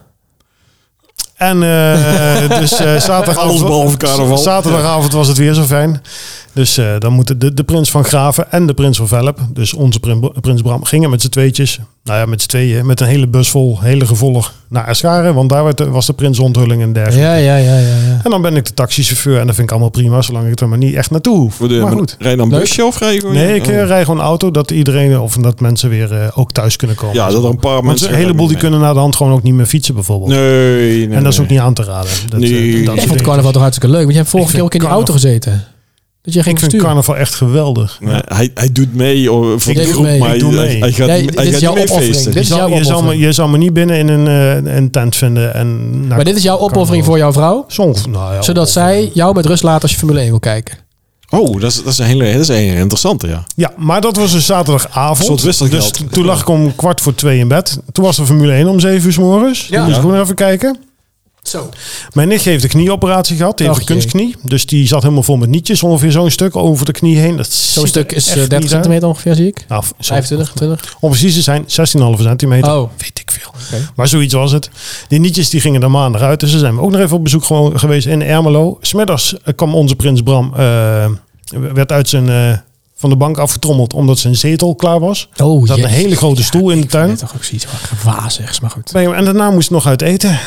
Speaker 1: En eh, dus eh,
Speaker 3: Alles behalve
Speaker 1: zaterdagavond,
Speaker 3: carnaval.
Speaker 1: zaterdagavond was het weer zo fijn. Dus eh, dan moeten de, de prins van Graven en de prins van Velp, dus onze prim- prins Bram, gingen met z'n tweetjes, nou ja, met z'n tweeën, met een hele bus vol, hele gevolg naar Escharen. Want daar werd de- was de prins onthulling en dergelijke.
Speaker 2: Ja, ja, ja, ja. ja.
Speaker 1: En dan ben ik de taxichauffeur en dat vind ik allemaal prima, zolang ik er maar niet echt naartoe hoef.
Speaker 3: Voor de,
Speaker 1: Maar goed.
Speaker 3: Rij je dan
Speaker 2: Leuk.
Speaker 3: busje of rij je gewoon-
Speaker 1: Nee, ik
Speaker 3: Oh.
Speaker 1: eh, rij gewoon auto, dat iedereen of dat mensen weer eh, ook thuis kunnen komen.
Speaker 3: Ja, dat er een paar
Speaker 1: Want
Speaker 3: mensen...
Speaker 1: een heleboel die kunnen naar de hand gewoon ook niet meer fietsen bijvoorbeeld.
Speaker 3: Nee, nee.
Speaker 1: En dat is ook
Speaker 3: nee.
Speaker 1: niet aan te raden. Dat, eh, dat
Speaker 3: Nee.
Speaker 2: Ik
Speaker 1: soort
Speaker 2: vond
Speaker 1: dingen.
Speaker 2: carnaval toch hartstikke leuk. Want je hebt vorige
Speaker 1: Ik
Speaker 2: keer
Speaker 1: vind
Speaker 2: ook in die auto
Speaker 1: carnaval-
Speaker 2: gezeten. Dat jij ging
Speaker 1: Ik vind
Speaker 2: sturen.
Speaker 1: carnaval echt geweldig.
Speaker 3: Nee, hij, hij doet mee oh, voor
Speaker 2: Ik
Speaker 3: de
Speaker 2: doe
Speaker 3: groep,
Speaker 2: mee.
Speaker 3: maar
Speaker 1: Ik doe
Speaker 3: hij,
Speaker 1: mee.
Speaker 3: hij
Speaker 2: Jij-
Speaker 3: gaat, hij
Speaker 2: dit
Speaker 3: gaat
Speaker 2: is
Speaker 3: niet
Speaker 2: jouw
Speaker 3: mee
Speaker 2: opoffering.
Speaker 3: feesten.
Speaker 2: Dit
Speaker 1: Je
Speaker 2: is jouw
Speaker 1: zou, je, zou me,
Speaker 2: opoffering.
Speaker 1: je zou me niet binnen in een, eh, een tent vinden. En naar-
Speaker 2: Maar dit is jouw opoffering voor jouw vrouw?
Speaker 1: Soms, nou ja,
Speaker 2: Zodat zij jou met rust laat als je Formule 1 wil kijken.
Speaker 3: Oh, dat is, dat is een hele dat is een hele interessante, ja.
Speaker 1: Ja, maar dat was een
Speaker 3: Een
Speaker 1: zaterdagavond.
Speaker 3: soort
Speaker 1: Dus
Speaker 3: wisselgeld.
Speaker 1: toen lag ik om kwart voor twee in bed. Toen was de Formule 1 om zeven uur s morgens.
Speaker 2: Ja.
Speaker 1: Ja. Moest ik gewoon even kijken.
Speaker 2: Zo.
Speaker 1: Mijn nicht heeft een knieoperatie gehad. Die heeft
Speaker 2: Och
Speaker 1: een
Speaker 2: Oh, jee.
Speaker 1: kunstknie. Dus die zat helemaal vol met nietjes. Ongeveer zo'n stuk over de knie heen. Dat ziet
Speaker 2: Zo'n
Speaker 1: er
Speaker 2: stuk is
Speaker 1: echt
Speaker 2: eh,
Speaker 1: niet
Speaker 2: 30
Speaker 1: uit.
Speaker 2: centimeter ongeveer, zie ik.
Speaker 1: Nou, zo-
Speaker 2: 25, 20.
Speaker 1: om precies te zijn, 16,5 centimeter.
Speaker 2: Oh.
Speaker 1: Weet ik veel. Maar zoiets was het. Die nietjes die gingen er maandag uit. Dus daar zijn we ook nog even op bezoek gewoon geweest in Ermelo. Smiddags eh, kwam onze prins Bram. eh, werd uit zijn, eh, van de bank afgetrommeld omdat zijn zetel klaar was.
Speaker 2: Oh,
Speaker 1: Er zat een
Speaker 2: jezus.
Speaker 1: hele grote stoel in de
Speaker 2: Ja,
Speaker 1: tuin.
Speaker 2: toch ook zoiets wat gewazigs, maar goed.
Speaker 1: En daarna moest hij nog uit eten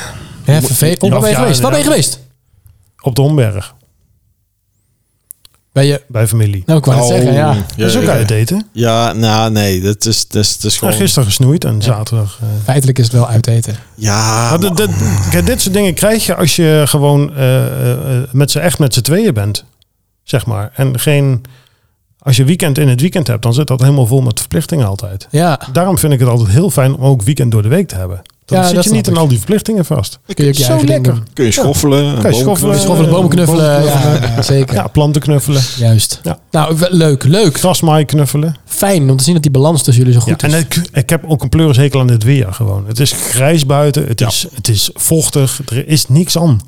Speaker 2: Hè, vervel- Oh, waar ben je
Speaker 1: Ja,
Speaker 2: geweest? Waar ben je
Speaker 1: ja.
Speaker 2: geweest?
Speaker 1: op de Homberg
Speaker 2: Ben je...
Speaker 1: bij familie.
Speaker 2: Nou, ik wou net zeggen, ja.
Speaker 1: Dat is ook uit eten.
Speaker 3: Oh. Ja, nou nee, dat is, dat is, dat is
Speaker 1: En
Speaker 3: gewoon...
Speaker 1: gisteren gesnoeid en zaterdag. eh.
Speaker 2: Feitelijk is het wel uit eten.
Speaker 3: Ja,
Speaker 1: Maar dit- dit- Ah, kijk, dit soort dingen krijg je als je gewoon eh, eh, eh, met z'n echt met z'n tweeën bent. Zeg maar. En geen. Als je weekend in het weekend hebt, dan zit dat helemaal vol met verplichtingen altijd.
Speaker 2: Ja.
Speaker 1: Daarom vind ik het altijd heel fijn om ook weekend door de week te hebben. Dan
Speaker 2: Ja,
Speaker 1: zit
Speaker 2: dat
Speaker 1: je
Speaker 2: snap
Speaker 1: niet aan
Speaker 2: ik.
Speaker 1: al die verplichtingen vast.
Speaker 2: Kun je ook je
Speaker 1: Zo
Speaker 2: eigen ding
Speaker 1: lekker.
Speaker 2: doen.
Speaker 3: Kun je schoffelen. en
Speaker 1: Kan je
Speaker 3: bomen
Speaker 1: schoffelen.
Speaker 3: knuffelen.
Speaker 2: Schoffelen, bomen knuffelen. Ja,
Speaker 1: bomen
Speaker 2: ja, zeker.
Speaker 1: Ja, planten knuffelen.
Speaker 2: Juist.
Speaker 1: Ja.
Speaker 2: Nou, we- leuk, leuk.
Speaker 1: Grasmaaien knuffelen.
Speaker 2: Fijn om te zien dat die balans tussen jullie zo goed
Speaker 1: Ja, en
Speaker 2: is.
Speaker 1: ik, ik heb ook een pleurishekel aan dit weer gewoon. Het is grijs buiten. Het, is, het is vochtig. Er is niks aan.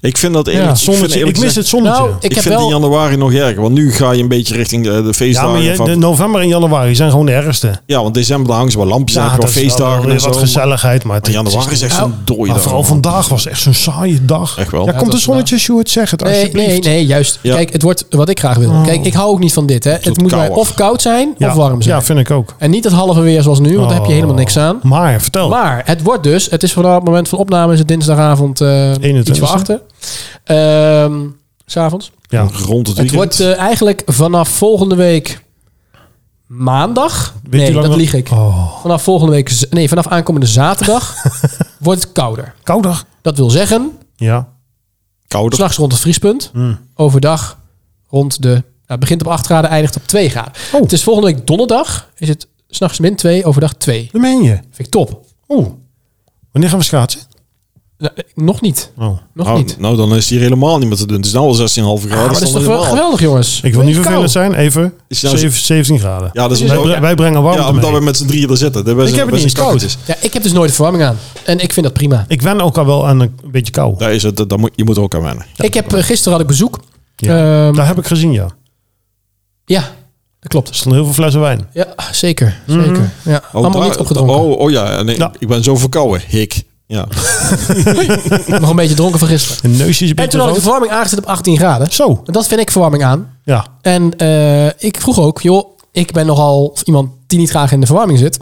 Speaker 3: Ik vind dat eerlijk.
Speaker 2: Ja,
Speaker 3: ik vind
Speaker 1: Zonnetje. Ik,
Speaker 3: eerlijk
Speaker 1: mis
Speaker 3: gezegd-
Speaker 1: het zonnetje.
Speaker 2: Nou,
Speaker 3: Ik,
Speaker 2: Ik heb
Speaker 3: vind
Speaker 2: wel-
Speaker 3: in januari nog erger. Want nu ga je een beetje richting eh, de
Speaker 1: ja,
Speaker 3: feestdagen.
Speaker 1: maar
Speaker 3: Ja,
Speaker 1: je, de november en januari zijn gewoon de ergste.
Speaker 3: ja want december daar hangen ze wel lampjes aan.
Speaker 1: Ja,
Speaker 3: Qua
Speaker 1: dat is wel
Speaker 3: feestdagen
Speaker 1: weer
Speaker 3: en zo.
Speaker 1: eh, wat gezelligheid. Maar, het
Speaker 3: Maar januari is echt zo'n dooi
Speaker 1: Maar
Speaker 3: dag.
Speaker 1: vooral vandaag was echt zo'n saaie dag.
Speaker 3: Echt
Speaker 1: Ja,
Speaker 3: wel. Ja,
Speaker 1: komt
Speaker 2: dat
Speaker 1: een
Speaker 2: is
Speaker 1: zonnetje, Sjoerd, zeg het
Speaker 2: Nee,
Speaker 1: alsjeblieft. Oh.
Speaker 2: nee, nee, juist.
Speaker 3: Ja.
Speaker 2: Kijk, het wordt wat ik graag wil. Kijk, ik hou ook niet van dit. Hè. Het,
Speaker 3: wordt
Speaker 2: moet mij
Speaker 3: kouder.
Speaker 2: of koud zijn
Speaker 1: Ja,
Speaker 2: of warm zijn.
Speaker 1: Ja, vind ik ook.
Speaker 2: En niet het halve weer zoals nu, want daar heb je
Speaker 1: Oh.
Speaker 2: helemaal niks aan.
Speaker 1: Maar, vertel.
Speaker 2: Maar het wordt dus, het is vanaf het moment van opname, is het dinsdagavond eh iets
Speaker 1: 21ste.
Speaker 2: voor achter. Ehm, S'avonds.
Speaker 1: ja,
Speaker 3: Rond het weekend.
Speaker 2: Het wordt eh, eigenlijk vanaf volgende week maandag.
Speaker 1: weet je
Speaker 2: nee,
Speaker 1: lang
Speaker 2: dat
Speaker 1: wel-
Speaker 2: lieg ik.
Speaker 1: Oh,
Speaker 2: Vanaf volgende week, z- nee, vanaf aankomende zaterdag wordt het kouder.
Speaker 1: kouder.
Speaker 2: Dat wil zeggen,
Speaker 1: Ja.
Speaker 3: kouder.
Speaker 2: s'nachts rond het vriespunt. Overdag rond de. nou, het begint op 8 graden, eindigt op 2 graden.
Speaker 1: Oh.
Speaker 2: Het is volgende week donderdag. Is het s'nachts min 2, overdag 2.
Speaker 1: Dat meen je.
Speaker 2: Vind ik top.
Speaker 1: Oeh. Wanneer gaan we schaatsen?
Speaker 2: Nou, eh, nog niet.
Speaker 1: Oh.
Speaker 2: Nog
Speaker 3: nou,
Speaker 2: niet.
Speaker 3: nou, dan is het hier helemaal niet meer te doen. Het is nou al 16,5 graden.
Speaker 2: Ah, maar dat is toch wel geweldig, jongens?
Speaker 1: Ik wil niet
Speaker 2: Koud.
Speaker 1: vervelend zijn. Even.
Speaker 3: Is het nou zo-
Speaker 1: Zeven- 17 graden.
Speaker 3: Ja, dat is
Speaker 1: wij,
Speaker 3: ook-
Speaker 1: bre- wij brengen warmte
Speaker 3: Ja, omdat
Speaker 1: mee.
Speaker 3: we met z'n drieën er zitten. Dat wij
Speaker 1: Ik
Speaker 3: zijn-
Speaker 1: heb het
Speaker 3: wij
Speaker 1: niet
Speaker 3: zijn
Speaker 1: koud.
Speaker 3: kakkertjes.
Speaker 2: Ja, ik heb dus nooit verwarming aan. En ik vind dat prima.
Speaker 1: Ik wen ook al wel aan een beetje kou.
Speaker 3: Daar is het. Dat, dat moet, je moet er ook aan wennen.
Speaker 2: Ik heb, eh, gisteren had ik bezoek.
Speaker 1: Ja.
Speaker 2: Ehm,
Speaker 1: Dat heb ik gezien, ja. Er
Speaker 2: ja, dat klopt.
Speaker 1: stonden heel veel flessen wijn.
Speaker 2: Ja, zeker. zeker. Ja, allemaal
Speaker 3: daar-
Speaker 2: niet opgedronken.
Speaker 3: Oh, oh ja, nee,
Speaker 1: Ja.
Speaker 3: ik ben zo verkouden. Hik. Ja.
Speaker 2: Nog een beetje dronken van gisteren.
Speaker 1: Een neusje is een beetje
Speaker 2: En toen had ik de
Speaker 1: rood.
Speaker 2: verwarming aangezet op 18 graden.
Speaker 1: Zo.
Speaker 2: Dat vind ik verwarming aan.
Speaker 1: Ja.
Speaker 2: En eh, ik vroeg ook, joh, ik ben nogal iemand die niet graag in de verwarming zit.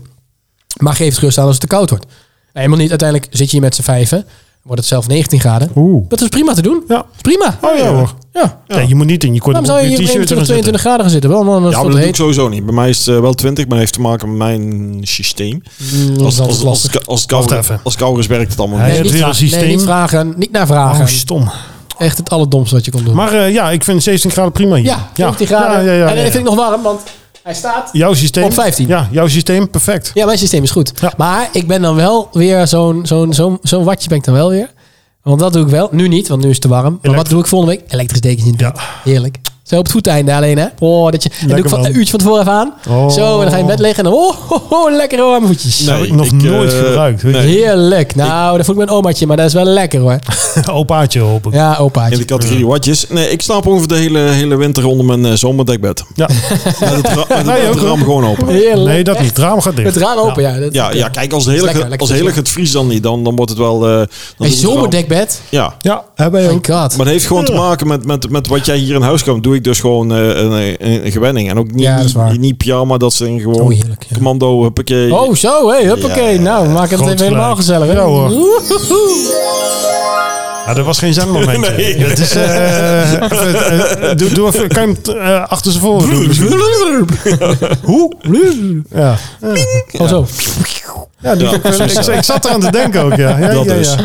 Speaker 2: Maar geef het gerust aan als het te koud wordt. Nee, helemaal niet. Uiteindelijk zit je hier met z'n vijven. Wordt het zelf 19 graden.
Speaker 1: Oeh.
Speaker 2: Dat is prima te doen.
Speaker 1: Ja.
Speaker 2: Prima.
Speaker 1: Oh ja hoor.
Speaker 2: Ja.
Speaker 1: Ja, je moet niet in je korte
Speaker 2: Waarom zou je
Speaker 1: broek
Speaker 2: hier
Speaker 1: je
Speaker 2: op
Speaker 1: t-shirt
Speaker 2: 21
Speaker 1: erin
Speaker 2: of
Speaker 1: zitten.
Speaker 2: 22 graden gaan zitten? Wel, man, dat
Speaker 3: Ja,
Speaker 2: is
Speaker 3: maar
Speaker 2: veel
Speaker 3: dat
Speaker 2: te
Speaker 3: doe ik
Speaker 2: heet.
Speaker 3: sowieso niet. Bij mij is het eh, wel 20, maar dat heeft te maken met mijn systeem.
Speaker 1: Mm,
Speaker 2: dat
Speaker 3: Als,
Speaker 2: is altijd
Speaker 3: als, als,
Speaker 2: lastig.
Speaker 3: het- als, het kouder-
Speaker 1: Wacht even.
Speaker 3: als het kouder is, werkt het allemaal
Speaker 1: Hij-
Speaker 3: niet.
Speaker 2: Nee,
Speaker 1: het weer een
Speaker 2: niet vragen. Nee,
Speaker 1: systeem.
Speaker 2: niet vragen. Niet naar vragen.
Speaker 1: Oh, stom.
Speaker 2: Echt het allerdomste wat je kon doen.
Speaker 1: Maar eh, ja, ik vind 17 graden prima hier.
Speaker 2: ja, 15 graden.
Speaker 1: Ja, ja, ja,
Speaker 2: en
Speaker 1: ja,
Speaker 2: dat
Speaker 1: ja.
Speaker 2: vind ik nog warm, want hij staat...
Speaker 1: Jouw systeem.
Speaker 2: Op 15.
Speaker 1: Ja, jouw systeem, perfect.
Speaker 2: Ja, mijn systeem is goed.
Speaker 1: Ja.
Speaker 2: Maar ik ben dan wel weer zo'n zo'n zo'n zo'n watje ben ik dan wel weer. Want dat doe ik wel. Nu niet, want nu is het te warm. Maar wat
Speaker 1: Elektri-
Speaker 2: doe ik volgende week? Elektrisch dekens in het
Speaker 1: Ja.
Speaker 2: bed. Heerlijk. Zo op het voeteinde alleen, hè? Oh, dat je, en doe ik van,
Speaker 1: man.
Speaker 2: een uurtje van tevoren even aan.
Speaker 1: Oh.
Speaker 2: Zo, en dan ga je in bed liggen. En dan, oh, ho, ho, lekker warme voetjes.
Speaker 1: Dat heb ik nog
Speaker 3: eh,
Speaker 1: nooit gebruikt, weet je.
Speaker 3: nee.
Speaker 2: Heerlijk. Nou, dat voel ik mijn omaatje, maar dat is wel lekker, hoor.
Speaker 1: Opaatje hoop ik.
Speaker 2: Ja,
Speaker 3: In
Speaker 2: opaatje.
Speaker 3: de categorie watjes. Nee, ik slaap over de hele, hele winter onder mijn eh, zomerdekbed.
Speaker 1: Ja.
Speaker 3: Met het, ra- met het,
Speaker 1: ook,
Speaker 3: het raam gewoon open.
Speaker 2: Heerlijk.
Speaker 1: Nee, dat niet. Het raam gaat
Speaker 2: Het
Speaker 1: dicht.
Speaker 2: raam open, ja. Dat-
Speaker 3: Ja, ja, kijk, als het
Speaker 2: is
Speaker 3: hele,
Speaker 2: lekker, lekker
Speaker 3: als het hele
Speaker 2: zo.
Speaker 3: gaat vries dan niet, dan, dan wordt het wel... eh, dan doet
Speaker 2: Een
Speaker 3: het raam-
Speaker 2: zomerdekbed.
Speaker 3: Ja.
Speaker 1: Ja, hebben wij
Speaker 2: Oh my
Speaker 1: ook.
Speaker 2: god.
Speaker 3: Maar het heeft gewoon te maken met, met, met wat jij hier in huis komt. Doe ik dus gewoon eh, een, een, een gewenning. En ook niet,
Speaker 2: Ja, dat is waar.
Speaker 3: niet, niet pyjama, dat ze in gewoon
Speaker 2: Oh, heerlijk, ja.
Speaker 3: commando, huppakee.
Speaker 2: Oh, zo, hé, huppakee.
Speaker 3: Ja,
Speaker 2: nou, we maken het
Speaker 1: groot
Speaker 2: even helemaal
Speaker 1: gelijk.
Speaker 2: gezellig. hè?
Speaker 1: Ja, hoor.
Speaker 2: Woehoehoe.
Speaker 1: Ja, dat was geen zendmomentje.
Speaker 3: Nee.
Speaker 1: Dat is, eh, even, eh, doe, doe even, kan je hem eh, achter zijn voren doen? misschien? Hoe? Ja,
Speaker 2: Oh, zo.
Speaker 1: ja, die-
Speaker 3: Ja,
Speaker 1: ik, ik, ik zat eraan te denken ook, ja. ja,
Speaker 3: Dat
Speaker 1: ja,
Speaker 3: dus.
Speaker 1: ja.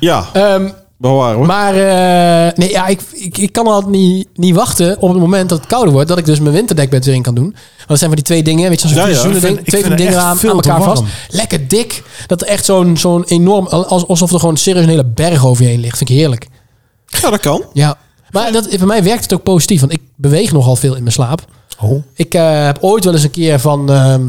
Speaker 3: Ja,
Speaker 2: Ehm,
Speaker 3: waar waren we?
Speaker 2: maar eh, nee, ja, ik, ik, ik kan al niet, niet wachten op het moment dat het kouder wordt, dat ik dus mijn winterdekbed weer in kan doen. Want dat zijn van die twee dingen, weet je, als
Speaker 3: Ja,
Speaker 2: je
Speaker 3: ja.
Speaker 2: seizoenen
Speaker 1: Ik vind-
Speaker 2: ding-
Speaker 1: ik
Speaker 2: twee van
Speaker 1: vind
Speaker 2: die dingen
Speaker 1: het
Speaker 2: aan,
Speaker 1: echt
Speaker 2: aan
Speaker 1: veel te
Speaker 2: elkaar vast.
Speaker 1: warm.
Speaker 2: Lekker dik, dat er echt zo'n zo'n enorm, als- alsof er gewoon serieus een hele berg over je heen ligt. Vind ik heerlijk.
Speaker 3: Ja, dat kan.
Speaker 2: Ja, maar dat, voor mij werkt het ook positief, want ik beweeg nogal veel in mijn slaap.
Speaker 1: Oh.
Speaker 2: Ik eh, heb ooit wel eens een keer van, ehm,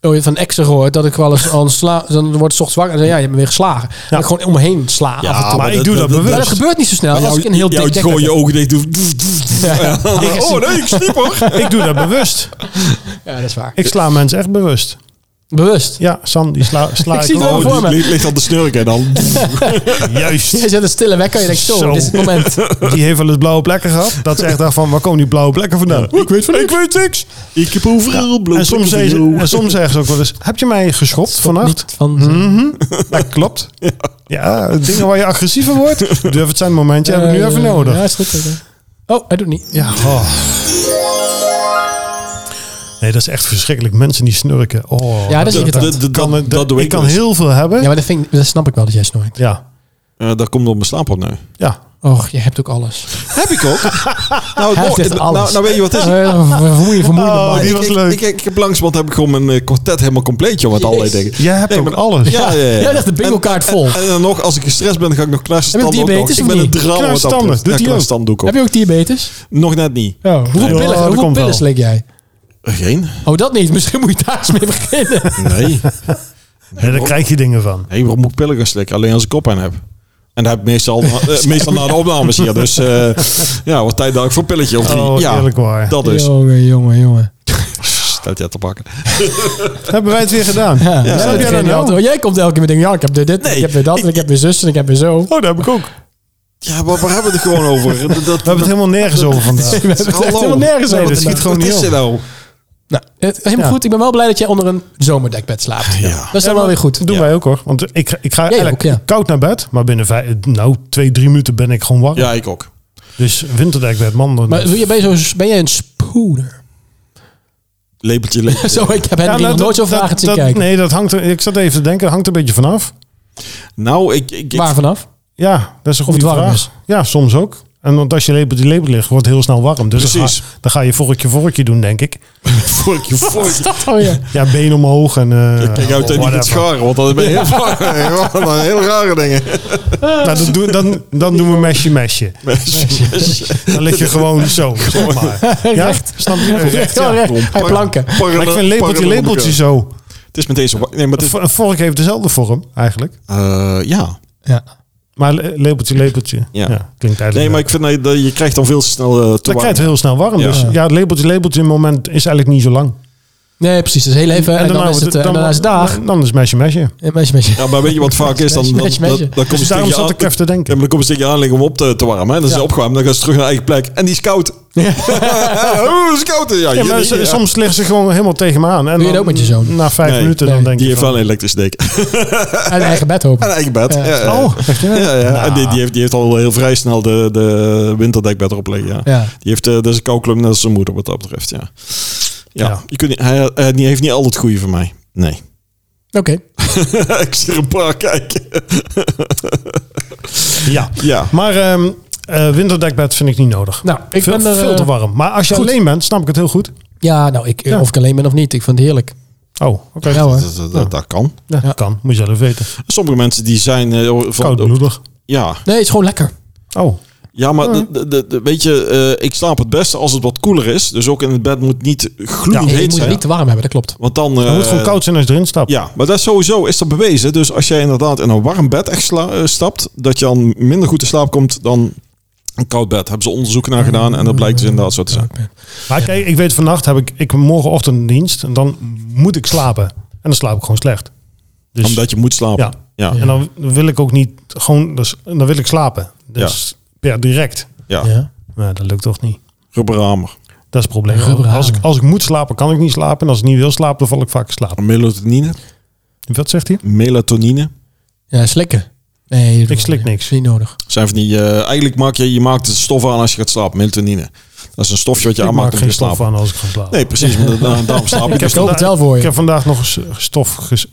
Speaker 2: ooit van exen gehoord dat ik wel eens aan sla, dan wordt het ochtends wakker en dan, ja, je hebt me weer geslagen. Dat ik gewoon om me heen sla. af en toe.
Speaker 1: maar
Speaker 3: maar
Speaker 1: ik
Speaker 3: dat-
Speaker 1: doe dat
Speaker 3: dat-
Speaker 2: Maar dat
Speaker 1: bewust.
Speaker 2: gebeurt niet zo snel.
Speaker 3: Maar
Speaker 2: als
Speaker 3: jou-
Speaker 2: ik een heel
Speaker 3: jou
Speaker 2: dik dek
Speaker 3: gooi je
Speaker 2: heb.
Speaker 3: ogen dicht. doe- doe- doe-
Speaker 2: Ja.
Speaker 3: doe. Oh nee, ik sliep hoor.
Speaker 1: Ik doe dat bewust.
Speaker 2: Ja, dat is waar.
Speaker 1: Ik sla mensen echt bewust.
Speaker 2: Bewust.
Speaker 1: Ja, San, die sla, sla
Speaker 2: Ik zie het
Speaker 1: ook.
Speaker 2: wel. voor
Speaker 3: Oh,
Speaker 2: me.
Speaker 3: die ligt- ligt aan de snurken dan.
Speaker 1: Juist.
Speaker 2: Je zet een stille wekker en je denkt zo,
Speaker 1: Zo.
Speaker 2: dit is het moment.
Speaker 1: Die heeft wel eens blauwe plekken gehad. Dat ze echt dacht van, waar komen die blauwe plekken vandaan?
Speaker 3: Ik weet van Ik weet niks. Ik heb overal ja.
Speaker 1: En soms, zeggen ze, en soms zeggen ze ook wel eens, heb je mij geschopt vannacht?
Speaker 2: Niet van,
Speaker 1: Dat klopt. Ja, dingen waar je agressiever wordt. Durf het zijn momentje, heb ik nu
Speaker 2: Eh,
Speaker 1: even nodig.
Speaker 2: Ja, is goed. Oh, hij doet niet.
Speaker 1: Ja. oh. Nee, dat is echt verschrikkelijk. Mensen die snurken. Oh,
Speaker 2: Ja, dat is irritant.
Speaker 3: Dat- dat-
Speaker 1: kan,
Speaker 3: dat- dat doe
Speaker 1: ik
Speaker 3: ik
Speaker 1: kan
Speaker 3: dus.
Speaker 1: heel veel hebben.
Speaker 2: Ja,
Speaker 1: Ja.
Speaker 2: maar dat, vind ik, dat snap ik wel dat jij snoeit.
Speaker 1: Ja.
Speaker 3: Eh, Dat komt op mijn slaap op nu.
Speaker 1: ja.
Speaker 2: Och, je hebt ook alles.
Speaker 3: Heb ik ook. nou,
Speaker 2: Hij
Speaker 3: nou,
Speaker 2: heeft echt
Speaker 3: nou,
Speaker 2: alles.
Speaker 3: nou, weet je wat het is?
Speaker 2: Eh, Vermoeien, vermoeien.
Speaker 1: Oh,
Speaker 2: man.
Speaker 1: die
Speaker 3: ik,
Speaker 1: was
Speaker 3: ik-
Speaker 1: leuk.
Speaker 3: Ik, ik, ik heb langzamerhand heb ik gewoon mijn eh, kwartet helemaal compleet, joh, met allerlei dingen.
Speaker 1: Jij hebt
Speaker 3: Nee,
Speaker 1: ook
Speaker 3: maar-
Speaker 1: alles.
Speaker 3: Ja, ja, ja.
Speaker 2: Jij legt de bingo-kaart vol.
Speaker 3: En dan nog, als ik gestrest ben, dan ga ik nog knarsen.
Speaker 2: Heb je diabetes
Speaker 3: Ik
Speaker 2: of
Speaker 3: ben een
Speaker 2: niet?
Speaker 3: drama. wat dat
Speaker 1: Knarstanden,
Speaker 3: betreft.
Speaker 1: doet
Speaker 3: Ja,
Speaker 1: hij ook.
Speaker 3: knarstanden doe ik ook.
Speaker 2: Heb je ook diabetes?
Speaker 3: Nog net niet.
Speaker 2: Ja, hoeveel
Speaker 1: Nee.
Speaker 2: pillen,
Speaker 1: Oh, dat
Speaker 2: hoeveel
Speaker 1: komt
Speaker 2: pillen
Speaker 1: wel.
Speaker 2: slik jij?
Speaker 3: Geen?
Speaker 2: Oh, dat niet. Misschien moet je daar eens mee beginnen.
Speaker 3: Nee.
Speaker 1: Ja, daar krijg je dingen van.
Speaker 3: Nee, waarom moet ik pillen gaan slikken? Alleen als ik kop aan heb. En dat heb ik meestal, eh, meestal na de opnames hier. Dus eh, ja, wat tijd dat ik voor een pilletje of drie.
Speaker 1: Oh,
Speaker 3: ja,
Speaker 1: eerlijk waar.
Speaker 3: dat dus.
Speaker 2: Jongen, jongen, jongen.
Speaker 3: Staat jij te pakken.
Speaker 1: Hebben wij het weer gedaan?
Speaker 2: Ja,
Speaker 1: Wat heb jij
Speaker 2: jij,
Speaker 1: dat nou?
Speaker 2: Oh, jij komt elke keer met dingen. Ja, ik heb dit, dit
Speaker 3: Nee,
Speaker 2: ik heb weer dat,
Speaker 3: ik-
Speaker 2: ik, heb weer zus en ik heb weer zo.
Speaker 1: Oh, daar heb ik ook. We
Speaker 3: Ja, maar waar hebben we het gewoon over? Dat, dat,
Speaker 1: hebben het helemaal nergens over vandaag.
Speaker 2: We hebben het echt
Speaker 3: Hallo.
Speaker 2: helemaal nergens
Speaker 1: Nee,
Speaker 2: over.
Speaker 1: dat schiet
Speaker 2: gedaan.
Speaker 1: gewoon
Speaker 3: wat
Speaker 1: niet
Speaker 3: is er
Speaker 1: op.
Speaker 3: nou?
Speaker 2: Nou, het, helemaal
Speaker 1: Ja.
Speaker 2: goed. Ik ben wel blij dat jij onder een zomerdekbed slaapt.
Speaker 3: Ja.
Speaker 2: Dat is dan wel weer goed.
Speaker 1: Dat doen
Speaker 3: Ja.
Speaker 1: wij ook hoor. Want ik, ga- ik ga eigenlijk
Speaker 2: ook, ja.
Speaker 1: koud naar bed. Maar binnen vijf, nou, twee, drie minuten ben ik gewoon warm.
Speaker 3: Ja, ik ook.
Speaker 1: Dus winterdek werd man. dan-
Speaker 2: Maar doe je, ben, je zo, ben jij een spoeder?
Speaker 3: Lepeltje, lepeltje.
Speaker 2: Zo, ik heb
Speaker 1: Ja, nou,
Speaker 2: er nog nooit zo
Speaker 1: dat-
Speaker 2: vragen zien
Speaker 1: dat-
Speaker 2: kijken.
Speaker 1: Nee, dat hangt er, ik zat even te denken, dat hangt er een beetje vanaf.
Speaker 3: Nou, ik... ik, ik
Speaker 2: Waar vanaf?
Speaker 1: Ja, dat is een
Speaker 2: Of
Speaker 1: goede
Speaker 2: het warm
Speaker 1: vraag.
Speaker 2: is.
Speaker 1: Ja, soms ook. En want als je lepel die lepel ligt, wordt het heel snel warm. Dus Dan,
Speaker 3: Precies.
Speaker 1: ga, dan ga je vorkje vorkje doen, denk ik.
Speaker 3: Vorkje,
Speaker 1: Oh,
Speaker 3: vorkje.
Speaker 2: Dat alweer.
Speaker 1: Ja, been omhoog en... eh,
Speaker 3: Kijk uit oh, dat je niet
Speaker 1: whatever.
Speaker 3: gaat scharen, want dat ben je heel raar. Dat zijn heel rare dingen.
Speaker 1: Nou, dat doen- dan, dan doen we mesje mesje. Dan lig je gewoon zo, zeg maar. Ja,
Speaker 2: Recht.
Speaker 1: Snap je? Recht, Oh, ja.
Speaker 2: Ja, recht. Hij planken.
Speaker 1: Maar ik vind lepeltje lepeltje zo.
Speaker 3: Het is met deze... Nee, maar het is...
Speaker 1: Een vork heeft dezelfde vorm, eigenlijk.
Speaker 3: eh, ja.
Speaker 2: Ja.
Speaker 1: Maar le- lepeltje lepeltje.
Speaker 3: Ja.
Speaker 1: Ja, klinkt eigenlijk...
Speaker 3: Nee, maar ik vind dat je- dat je krijgt dan veel te snel eh, te
Speaker 1: Dan krijg
Speaker 3: warm.
Speaker 1: je het heel snel warm.
Speaker 3: Ja.
Speaker 1: Dus ja, het lepeltje lepeltje moment is eigenlijk niet zo lang.
Speaker 2: Nee, precies. Dus heel even. En, dan,
Speaker 1: daarna
Speaker 2: is het,
Speaker 1: wordt
Speaker 2: eh, en dan is het dag.
Speaker 1: nou,
Speaker 2: Eh,
Speaker 1: Dan is het mesje mesje.
Speaker 2: En Meisje, meisje.
Speaker 3: Ja, maar weet je wat vaak is? Dan, dan, dan,
Speaker 2: Beetje,
Speaker 3: dan,
Speaker 2: beetje.
Speaker 3: dan komt
Speaker 1: Dus
Speaker 3: ze tegen
Speaker 1: daarom
Speaker 3: je
Speaker 1: zat
Speaker 3: aan,
Speaker 1: ik even te
Speaker 3: ja, maar
Speaker 1: denken.
Speaker 3: dan komen ze tegen je aan liggen om op te, te warmen. Hè? Dan is ze
Speaker 2: Ja.
Speaker 3: opgewarmd. Dan gaan ze terug naar eigen plek. En die is koud. oh, is koud. Ja,
Speaker 1: Ja,
Speaker 3: hier
Speaker 1: maar
Speaker 3: niet,
Speaker 1: s-
Speaker 3: ja.
Speaker 1: soms liggen ze gewoon helemaal tegen me aan. En
Speaker 2: Doe je dat
Speaker 1: dan
Speaker 2: ook met je zoon?
Speaker 1: Na vijf
Speaker 3: Nee,
Speaker 1: minuten
Speaker 2: nee.
Speaker 1: dan denk
Speaker 3: Die
Speaker 1: je
Speaker 3: heeft wel
Speaker 1: van,
Speaker 3: een elektrisch deken.
Speaker 2: En eigen bed
Speaker 3: en
Speaker 2: open.
Speaker 3: eigen bed. Ja,
Speaker 2: Ja.
Speaker 3: ja.
Speaker 1: Oh, echt
Speaker 3: Ja,
Speaker 1: waar?
Speaker 3: ja. En die, die, heeft, die heeft al heel vrij snel de, de winterdekbed erop liggen. Ja.
Speaker 2: Ja.
Speaker 3: Die heeft, eh, dat is een kouklum net als zijn moeder wat dat betreft. Ja. Ja,
Speaker 1: Ja.
Speaker 3: Je kunt niet, hij, hij die heeft niet altijd het goede van mij. Nee.
Speaker 2: Oké.
Speaker 3: ik zie er een paar kijken.
Speaker 1: ja.
Speaker 3: Ja.
Speaker 1: Maar ehm, eh, winterdekbed vind ik niet nodig.
Speaker 2: Nou, ik
Speaker 1: veel,
Speaker 2: ben er,
Speaker 1: veel
Speaker 2: eh,
Speaker 1: te warm. Maar als je
Speaker 2: goed.
Speaker 1: alleen bent, snap ik het heel goed.
Speaker 2: Ja, nou, ik,
Speaker 1: Ja.
Speaker 2: of ik alleen ben of niet. Ik vind het heerlijk.
Speaker 1: Oh, oké.
Speaker 2: Ja hoor.
Speaker 3: Dat, dat, dat, dat kan.
Speaker 1: Ja,
Speaker 2: Ja.
Speaker 1: Kan, moet je zelf weten.
Speaker 3: Sommige mensen die zijn... eh, van,
Speaker 1: Koudbloedig.
Speaker 3: Ja,
Speaker 2: Nee, het is gewoon lekker.
Speaker 1: Oh,
Speaker 3: ja maar de- de- de- de- weet je, eh, ik slaap het beste als het wat koeler is. Dus ook in het bed moet niet gloedend
Speaker 2: Nee, je
Speaker 3: heet
Speaker 2: moet het
Speaker 3: zijn.
Speaker 2: niet te warm hebben, dat klopt.
Speaker 3: Want dan... eh,
Speaker 1: het moet gewoon koud zijn als je erin stapt.
Speaker 3: Ja, maar dat is sowieso is dat bewezen. Dus als jij inderdaad in een warm bed echt sla- eh, stapt, dat je dan minder goed te slaap komt dan een koud bed. Hebben ze onderzoeken naar gedaan en dat blijkt dus inderdaad zo te zijn.
Speaker 1: Maar kijk, ik weet vannacht heb ik, ik heb morgenochtend een dienst. En dan moet ik slapen. En dan slaap ik gewoon slecht. Dus,
Speaker 3: Omdat je moet slapen.
Speaker 1: ja.
Speaker 3: Ja,
Speaker 1: En dan wil ik ook niet gewoon... Dus, dan wil ik slapen. Dus per direct.
Speaker 3: ja.
Speaker 2: Ja.
Speaker 1: Maar dat lukt toch niet.
Speaker 3: Rubberhamer.
Speaker 1: Dat is het probleem.
Speaker 2: Rubberhamer.
Speaker 1: Als ik, als ik moet slapen, kan ik niet slapen. En als ik niet wil slapen, dan val ik vaak slapen.
Speaker 3: Melatonine.
Speaker 1: Wat zegt hij?
Speaker 3: Melatonine.
Speaker 2: Ja, slikken. Nee,
Speaker 1: Ik slik niks.
Speaker 2: Niet nodig.
Speaker 3: Zijn van die, eh, eigenlijk maak je, je maakt het stof aan als je gaat slapen. Melatonine. Dat is een stofje wat je
Speaker 1: ik maak
Speaker 3: aanmaakt om te
Speaker 1: geen stof
Speaker 3: slapen.
Speaker 1: aan als ik ga slapen.
Speaker 3: Nee, precies. Maar dan, daarom slaap je.
Speaker 2: Ik
Speaker 3: dus
Speaker 2: koop
Speaker 1: vandaag-
Speaker 2: het wel voor
Speaker 1: Ik
Speaker 2: je.
Speaker 1: heb vandaag nog eens stof ges,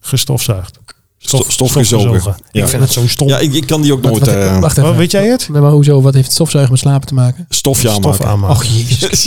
Speaker 1: gestofzaagd.
Speaker 3: Stof- stofgezogen. Ja.
Speaker 1: Ik vind het zo stom.
Speaker 3: Ja, ik, ik kan die ook nooit
Speaker 2: Wacht,
Speaker 3: eh,
Speaker 2: wacht, wacht even.
Speaker 1: Wat, weet jij het?
Speaker 2: Nee, maar hoezo? Wat heeft stofzuigen met slapen te maken?
Speaker 3: stofje
Speaker 1: Stof
Speaker 3: aanmaken.
Speaker 1: aanmaken.
Speaker 2: Och jezus.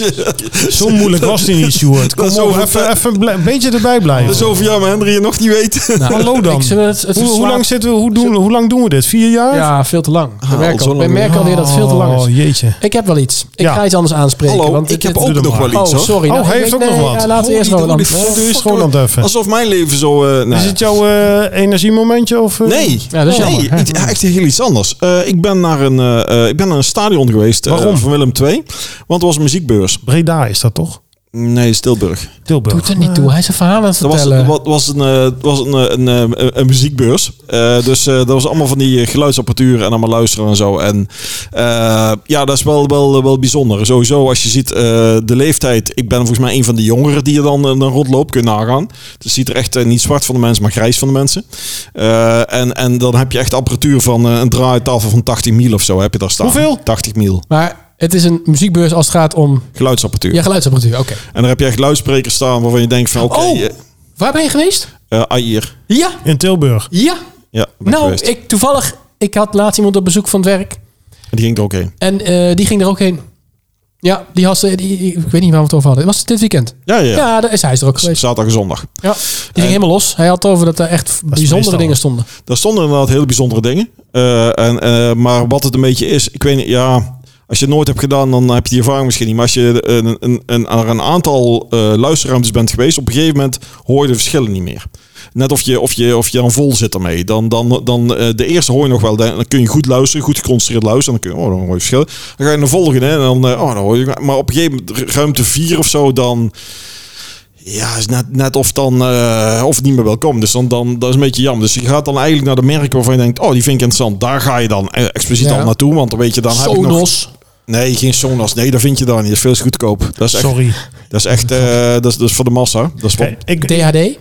Speaker 1: zo moeilijk was die niet, Stuart. Kom
Speaker 3: Dat is
Speaker 1: op,
Speaker 3: over-
Speaker 1: even, even een ble- een beetje erbij blijven.
Speaker 3: Dat is over jou, maar Henry, je nog niet weet.
Speaker 2: Nou,
Speaker 1: Hallo dan.
Speaker 2: ik zit het- het
Speaker 1: hoe, hoe
Speaker 2: slaap-
Speaker 1: lang zitten we, hoe, doen, hoe lang doen we dit? Vier jaar?
Speaker 2: Ja, veel te lang.
Speaker 3: al
Speaker 2: We merken
Speaker 3: zo
Speaker 2: al,
Speaker 3: lang
Speaker 2: we
Speaker 3: niet.
Speaker 2: merken alweer dat het veel te lang
Speaker 1: Oh,
Speaker 2: is.
Speaker 1: jeetje.
Speaker 2: Ik heb wel iets. Ik
Speaker 1: Ja.
Speaker 2: ga iets anders aanspreken.
Speaker 3: Hallo,
Speaker 2: want
Speaker 3: ik
Speaker 2: dit-
Speaker 3: heb
Speaker 2: dit-
Speaker 3: ook
Speaker 1: doe
Speaker 3: nog
Speaker 1: er
Speaker 3: wel
Speaker 1: maar.
Speaker 3: iets
Speaker 2: Oh,
Speaker 3: hoor.
Speaker 2: sorry.
Speaker 1: Oh,
Speaker 2: Nou,
Speaker 1: hij
Speaker 2: ik
Speaker 1: heeft
Speaker 2: weet-
Speaker 1: ook nog
Speaker 2: nee,
Speaker 1: wat.
Speaker 2: ja, Laten we eerst wel wat
Speaker 3: Holy
Speaker 2: anders.
Speaker 3: moly,
Speaker 1: doe eens
Speaker 3: fuck,
Speaker 1: gewoon
Speaker 3: joh.
Speaker 1: op even.
Speaker 3: Alsof mijn leven zo... eh, nou
Speaker 1: Is
Speaker 3: ja.
Speaker 1: het jouw eh, energiemomentje? Of, eh?
Speaker 3: Nee,
Speaker 2: Ja, dat is
Speaker 3: nee
Speaker 2: jammer, hè?
Speaker 3: iets- echt heel iets anders. Eh, ik, ben naar een, eh, eh, ik ben naar een stadion geweest eh,
Speaker 1: Waarom?
Speaker 3: van Willem II. Want er was een muziekbeurs.
Speaker 1: Breda is dat toch?
Speaker 3: Nee, Stilburg.
Speaker 1: Tilburg.
Speaker 2: Doet er niet toe. Hij is een verhaal aan het
Speaker 3: Er was, er
Speaker 2: vertellen.
Speaker 3: wa- was, een, eh, was een, eh, een, eh, een, een muziekbeurs. Eh, dus eh dat was allemaal van die eh, geluidsapparatuur en allemaal luisteren en zo. En eh, ja, dat is wel, wel, wel bijzonder. Sowieso, als je ziet eh, de leeftijd. Ik ben volgens mij een van de jongeren die er dan, eh, dan rondloopt. Kun je nagaan. Dus het ziet er echt eh, niet zwart van de mensen, maar grijs van de mensen. Eh, en, en dan heb je echt apparatuur van eh, een draaitafel van 80 mil of zo. Heb je daar staan.
Speaker 1: Hoeveel?
Speaker 3: 80 mil.
Speaker 2: Maar het is een muziekbeurs als het gaat om...
Speaker 3: Geluidsapparatuur.
Speaker 2: Ja, geluidsapparatuur. Oké.
Speaker 3: En daar heb je echt luidsprekers staan waarvan je denkt van... Oké,
Speaker 2: Oh!
Speaker 3: eh,
Speaker 2: Waar ben je geweest?
Speaker 3: eh, Ayer.
Speaker 2: Ja.
Speaker 1: In Tilburg.
Speaker 2: Ja.
Speaker 3: Ja, ben ik
Speaker 2: Nou,
Speaker 3: geweest.
Speaker 2: ik toevallig... Ik had laatst iemand op bezoek van het werk.
Speaker 3: En die ging er ook heen.
Speaker 2: En eh, die ging er ook heen. Ja, die had ze, die, ik weet niet waar we het over hadden. Was het dit weekend?
Speaker 3: Ja, ja.
Speaker 2: Ja,
Speaker 3: ja.
Speaker 2: daar is hij is er ook geweest.
Speaker 3: Zaterdag en zondag.
Speaker 2: Ja, die ging helemaal los. Hij had het over dat er echt bijzondere
Speaker 1: meestal.
Speaker 2: dingen stonden.
Speaker 3: Daar stonden inderdaad hele bijzondere dingen. Eh, en, eh, maar wat het een beetje is, ik weet niet, ja. Als je het nooit hebt gedaan, dan heb je die ervaring misschien niet. Maar als je eh, een, een, een, naar een aantal eh, luisterruimtes bent geweest, op een gegeven moment hoor je de verschillen niet meer. Net of je, of je, of je dan vol zit ermee. Dan, dan, dan, eh, de eerste hoor je nog wel, dan dan kun je goed luisteren, goed geconcentreerd luisteren. Dan kun je, oh, dan hoor je verschillen. Dan ga je naar de volgende en dan, eh, oh, dan hoor je. Maar op een gegeven moment, ruimte 4 of zo, dan, ja, is net, net of dan eh, of het niet meer wil komen. Dus dan, dan dat is een beetje jammer. Dus je gaat dan eigenlijk naar de merken waarvan je denkt, oh, die vind ik interessant. Daar ga je dan eh, expliciet
Speaker 2: Ja.
Speaker 3: al naartoe, want dan weet je dan heb ik nog.
Speaker 2: Sonos.
Speaker 3: Nee, geen Sonos. Nee, dat vind je daar niet. Dat is veel te goedkoop. Dat is echt,
Speaker 1: Sorry.
Speaker 3: dat is echt, eh, dat is, dat is voor de massa. Dat is wat.
Speaker 1: Hey, ik,
Speaker 2: DHD.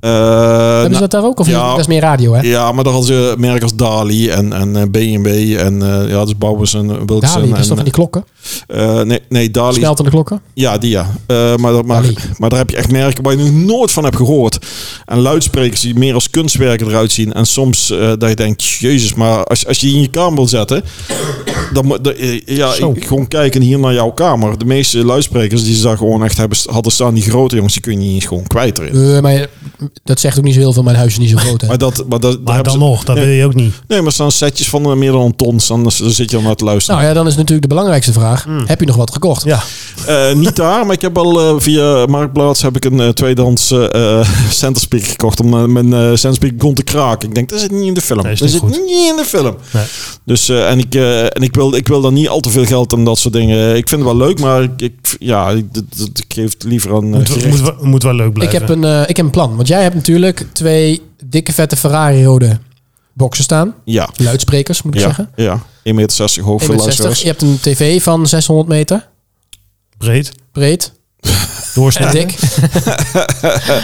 Speaker 2: Hebben
Speaker 3: eh,
Speaker 2: ze
Speaker 3: nou,
Speaker 2: dat daar ook? Of
Speaker 3: ja.
Speaker 2: niet? dat is meer radio, hè?
Speaker 3: ja, maar daar hadden ze merken als Dali en, en eh, B&B en eh, ja, dus Bouwers en Wilkson.
Speaker 2: Dali, dat is
Speaker 3: en,
Speaker 2: toch van die klokken?
Speaker 3: eh, nee, nee, Dali is
Speaker 2: Smeltende klokken?
Speaker 3: Ja, die ja. Eh, maar, dat- maar,
Speaker 2: Ali.
Speaker 3: maar daar heb je echt merken waar je nog nooit van hebt gehoord. En luidsprekers die meer als kunstwerken eruit zien. En soms eh, dat je denkt, jezus, maar als, als je die in je kamer wil zetten... Dan, moet- dan- eh, ja,
Speaker 1: Zo.
Speaker 3: ik- gewoon kijken hier naar jouw kamer. De meeste luidsprekers die ze daar gewoon echt hebben, hadden staan, die grote jongens, die kun je niet eens gewoon kwijt erin.
Speaker 2: Eh, maar je- dat zegt ook niet zo heel veel. Mijn huis is niet zo groot, hè?
Speaker 3: Maar, dat, maar, dat, daar
Speaker 1: maar
Speaker 3: hebben
Speaker 1: dan
Speaker 3: ze-
Speaker 1: nog, dat wil je ook niet.
Speaker 3: Nee, maar er staan setjes van eh, meer dan een ton. Dan, dan zit je al naar te luisteren.
Speaker 2: Nou ja, dan is natuurlijk de belangrijkste vraag.
Speaker 3: Hmm.
Speaker 2: Heb je nog wat gekocht?
Speaker 1: Ja,
Speaker 3: Eh, niet daar, maar ik heb al eh, via Marktplaats heb ik een eh, tweedehands eh eh, center speaker gekocht. Om eh, mijn eh center speaker kon te kraken. Ik denk, dat zit niet in de film.
Speaker 1: Nee, is
Speaker 3: dat
Speaker 1: niet
Speaker 3: zit
Speaker 1: goed.
Speaker 3: niet in de film.
Speaker 1: Nee.
Speaker 3: Dus, eh, en ik, eh, en ik, wil, ik wil dan niet al te veel geld aan dat soort dingen. Ik vind het wel leuk, maar ik, ik- ja, ik, dat- dat- ik geef het liever aan eh,
Speaker 1: moet,
Speaker 3: gericht.
Speaker 1: moet, wel- moet wel leuk
Speaker 2: Ik
Speaker 1: blijven.
Speaker 2: heb, een, eh, ik heb een plan. Want jij hebt natuurlijk twee dikke vette Ferrari-rode boxen staan.
Speaker 3: Ja,
Speaker 2: Luidsprekers, moet ik
Speaker 3: ja,
Speaker 2: zeggen.
Speaker 3: ja. 1,60 meter hoog
Speaker 2: 160.
Speaker 3: voor luisteraars.
Speaker 2: Je hebt een tv van 600 meter
Speaker 1: Breed,
Speaker 2: breed en
Speaker 1: doorsnijden.
Speaker 2: dik.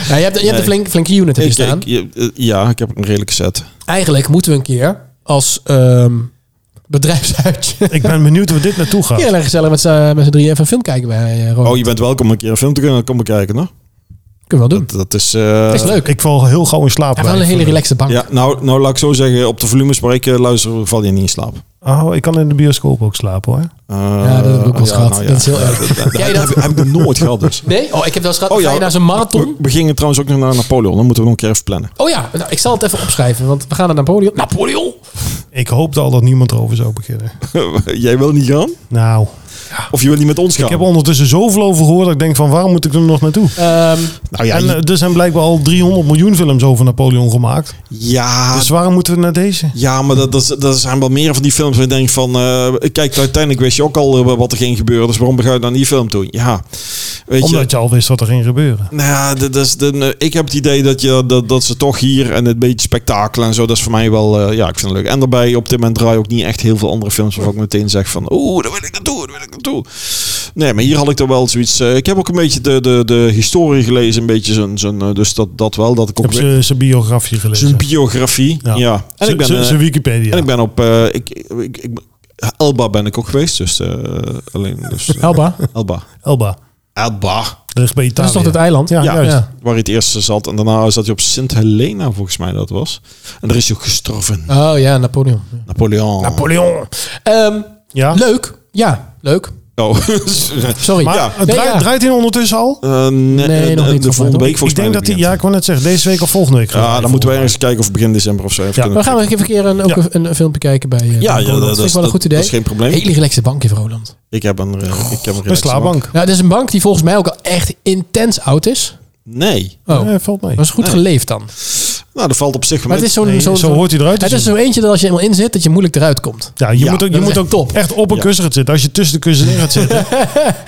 Speaker 2: ja, je hebt, je hebt een
Speaker 3: Nee.
Speaker 2: flink, flinke unit heb je
Speaker 3: Ik,
Speaker 2: staan.
Speaker 3: ik- je- eh, ja, ik heb een redelijke set.
Speaker 2: Eigenlijk moeten we een keer als ehm bedrijfsuitje...
Speaker 1: Ik ben benieuwd hoe dit naartoe gaat.
Speaker 2: Ja, dan gezellig met z'n met z'n drieën even een film kijken bij eh, Ronald.
Speaker 3: Oh, je bent welkom om een keer een film te kunnen komen kijken. hoor.
Speaker 2: Kunnen we wel doen.
Speaker 3: Dat, dat is... eh,
Speaker 2: Dat is leuk.
Speaker 1: Ik val heel gauw in slaap.
Speaker 2: En wel
Speaker 1: bij.
Speaker 2: een hele relaxte bank.
Speaker 3: Ja, nou, nou laat ik zo zeggen, op de volumes waar ik eh, luister, val je niet in slaap.
Speaker 1: Oh, ik kan in de bioscoop ook slapen hoor.
Speaker 3: Eh,
Speaker 2: Ja, dat heb ik ook wel eens
Speaker 3: ja,
Speaker 2: gehad.
Speaker 3: nou ja.
Speaker 2: Dat is eh, heel erg.
Speaker 3: Dat- dat-
Speaker 2: Jij
Speaker 3: dat
Speaker 2: dat?
Speaker 3: heb, heb ik nog nooit gehad dus.
Speaker 2: Nee? Oh, ik heb wel eens gehad.
Speaker 3: Oh ja.
Speaker 2: Ga je naar zo'n marathon?
Speaker 3: We, we gingen trouwens ook nog naar Napoleon. Dan moeten we nog een keer even plannen.
Speaker 2: Oh ja, nou, ik zal het even opschrijven, want we gaan naar Napoleon. Napoleon!
Speaker 1: Ik hoopte al dat niemand erover zou beginnen.
Speaker 3: Jij wil niet gaan?
Speaker 1: Nou,
Speaker 3: Of je wil niet met ons gaan?
Speaker 1: ik heb ondertussen zoveel over gehoord dat ik denk van waarom moet ik er nog naartoe?
Speaker 2: Ehm,
Speaker 3: Nou ja,
Speaker 1: en
Speaker 3: je-
Speaker 1: eh, er zijn blijkbaar al 300 miljoen films over Napoleon gemaakt.
Speaker 3: ja,
Speaker 1: Dus waarom moeten we naar deze?
Speaker 3: ja, maar dat, dat, is- dat zijn wel meer van die films waar je denkt van... eh, kijk, uiteindelijk wist je ook al eh, wat er ging gebeuren. Dus waarom ga je dan die film toe? Ja, weet je...
Speaker 1: Omdat je al wist wat er ging gebeuren.
Speaker 3: Nou ja, dat, dat is de, ik heb het idee dat, je, dat, dat ze toch hier en het beetje spektakel en zo, dat is voor mij wel, eh, ja, ik vind het leuk. En daarbij op dit moment draai ik ook niet echt heel veel andere films waarvan ik meteen zeg van, oeh, daar wil ik naartoe, daar wil ik naartoe. Nee, maar hier had ik er wel zoiets, eh, ik heb ook een beetje de, de, de historie gelezen, een beetje zo'n, zo'n eh, dus dat, dat wel, dat ik
Speaker 1: Ik
Speaker 3: ook
Speaker 1: heb
Speaker 3: weer-
Speaker 1: ze- zijn biografie
Speaker 3: zijn
Speaker 1: gelezen.
Speaker 3: biografie, ja.
Speaker 1: Ja.
Speaker 3: En ik ben, eh,
Speaker 1: zijn Wikipedia.
Speaker 3: en ik ben op, eh, ik, ik, ik- Elba ben ik ook geweest, dus eh, alleen, dus eh,
Speaker 2: Elba,
Speaker 3: Elba.
Speaker 1: Elba.
Speaker 3: Elba.
Speaker 1: Dat ligt bij Italië.
Speaker 2: dat is toch dat eiland?
Speaker 1: Ja,
Speaker 3: Ja,
Speaker 1: juist.
Speaker 2: Ja.
Speaker 3: waar hij het eerst zat. En daarna zat hij op Sint Helena, volgens mij dat was. En daar is hij ook gestorven.
Speaker 2: Oh ja, Napoleon.
Speaker 3: Napoleon.
Speaker 2: Napoleon. Ehm,
Speaker 1: Ja.
Speaker 2: Leuk. Ja, leuk.
Speaker 3: Oh.
Speaker 2: Sorry.
Speaker 1: Maar
Speaker 3: Ja.
Speaker 1: het
Speaker 2: Nee,
Speaker 1: draait,
Speaker 2: ja.
Speaker 1: draait hij ondertussen al?
Speaker 3: Eh, nee,
Speaker 2: Nee,
Speaker 3: eh,
Speaker 2: nog niet,
Speaker 3: De
Speaker 2: volgens mij,
Speaker 3: volgende
Speaker 2: toch?
Speaker 3: week volgens
Speaker 1: ik denk
Speaker 3: mij
Speaker 1: dat hij,
Speaker 3: begint.
Speaker 1: ja, ik wou net zeggen, deze week of volgende week.
Speaker 3: Ja, dan moeten we ergens kijken of begin december of zo. Even
Speaker 1: Ja.
Speaker 3: kunnen
Speaker 2: We gaan even een keer een, ook
Speaker 1: Ja.
Speaker 2: een, een filmpje kijken bij eh,
Speaker 3: ja,
Speaker 2: bij
Speaker 3: ja,
Speaker 2: Roland.
Speaker 3: dat,
Speaker 2: vind ik
Speaker 3: is-
Speaker 2: wel een goed
Speaker 3: dat-
Speaker 2: idee.
Speaker 3: dat is geen probleem.
Speaker 2: Hele relaxte bankje voor Roland.
Speaker 3: Ik heb een, eh, ik heb een,
Speaker 1: Een
Speaker 3: relaxed bank.
Speaker 1: slaapbank.
Speaker 2: Nou, dit is een bank die volgens mij ook al echt intens oud is.
Speaker 3: Nee.
Speaker 2: Oh,
Speaker 1: Nee, Eh, valt mee.
Speaker 2: dat is goed
Speaker 3: Nee.
Speaker 2: geleefd dan.
Speaker 3: Nou, dat valt op zich
Speaker 2: Maar
Speaker 3: wel
Speaker 2: het
Speaker 3: mee.
Speaker 2: is zo'n...
Speaker 1: Nee,
Speaker 2: zo'n-
Speaker 1: zo hoort hij eruit te
Speaker 2: Het
Speaker 3: dus
Speaker 2: is
Speaker 1: zien.
Speaker 2: zo eentje dat als je eenmaal in zit, dat je moeilijk eruit komt.
Speaker 1: Ja, je
Speaker 3: Ja,
Speaker 1: moet ook, je
Speaker 2: dat is
Speaker 1: moet
Speaker 2: echt
Speaker 1: ook
Speaker 2: top.
Speaker 1: echt op een
Speaker 3: Ja.
Speaker 1: kussen gaan zitten. Als je tussen de kussen in gaat zitten,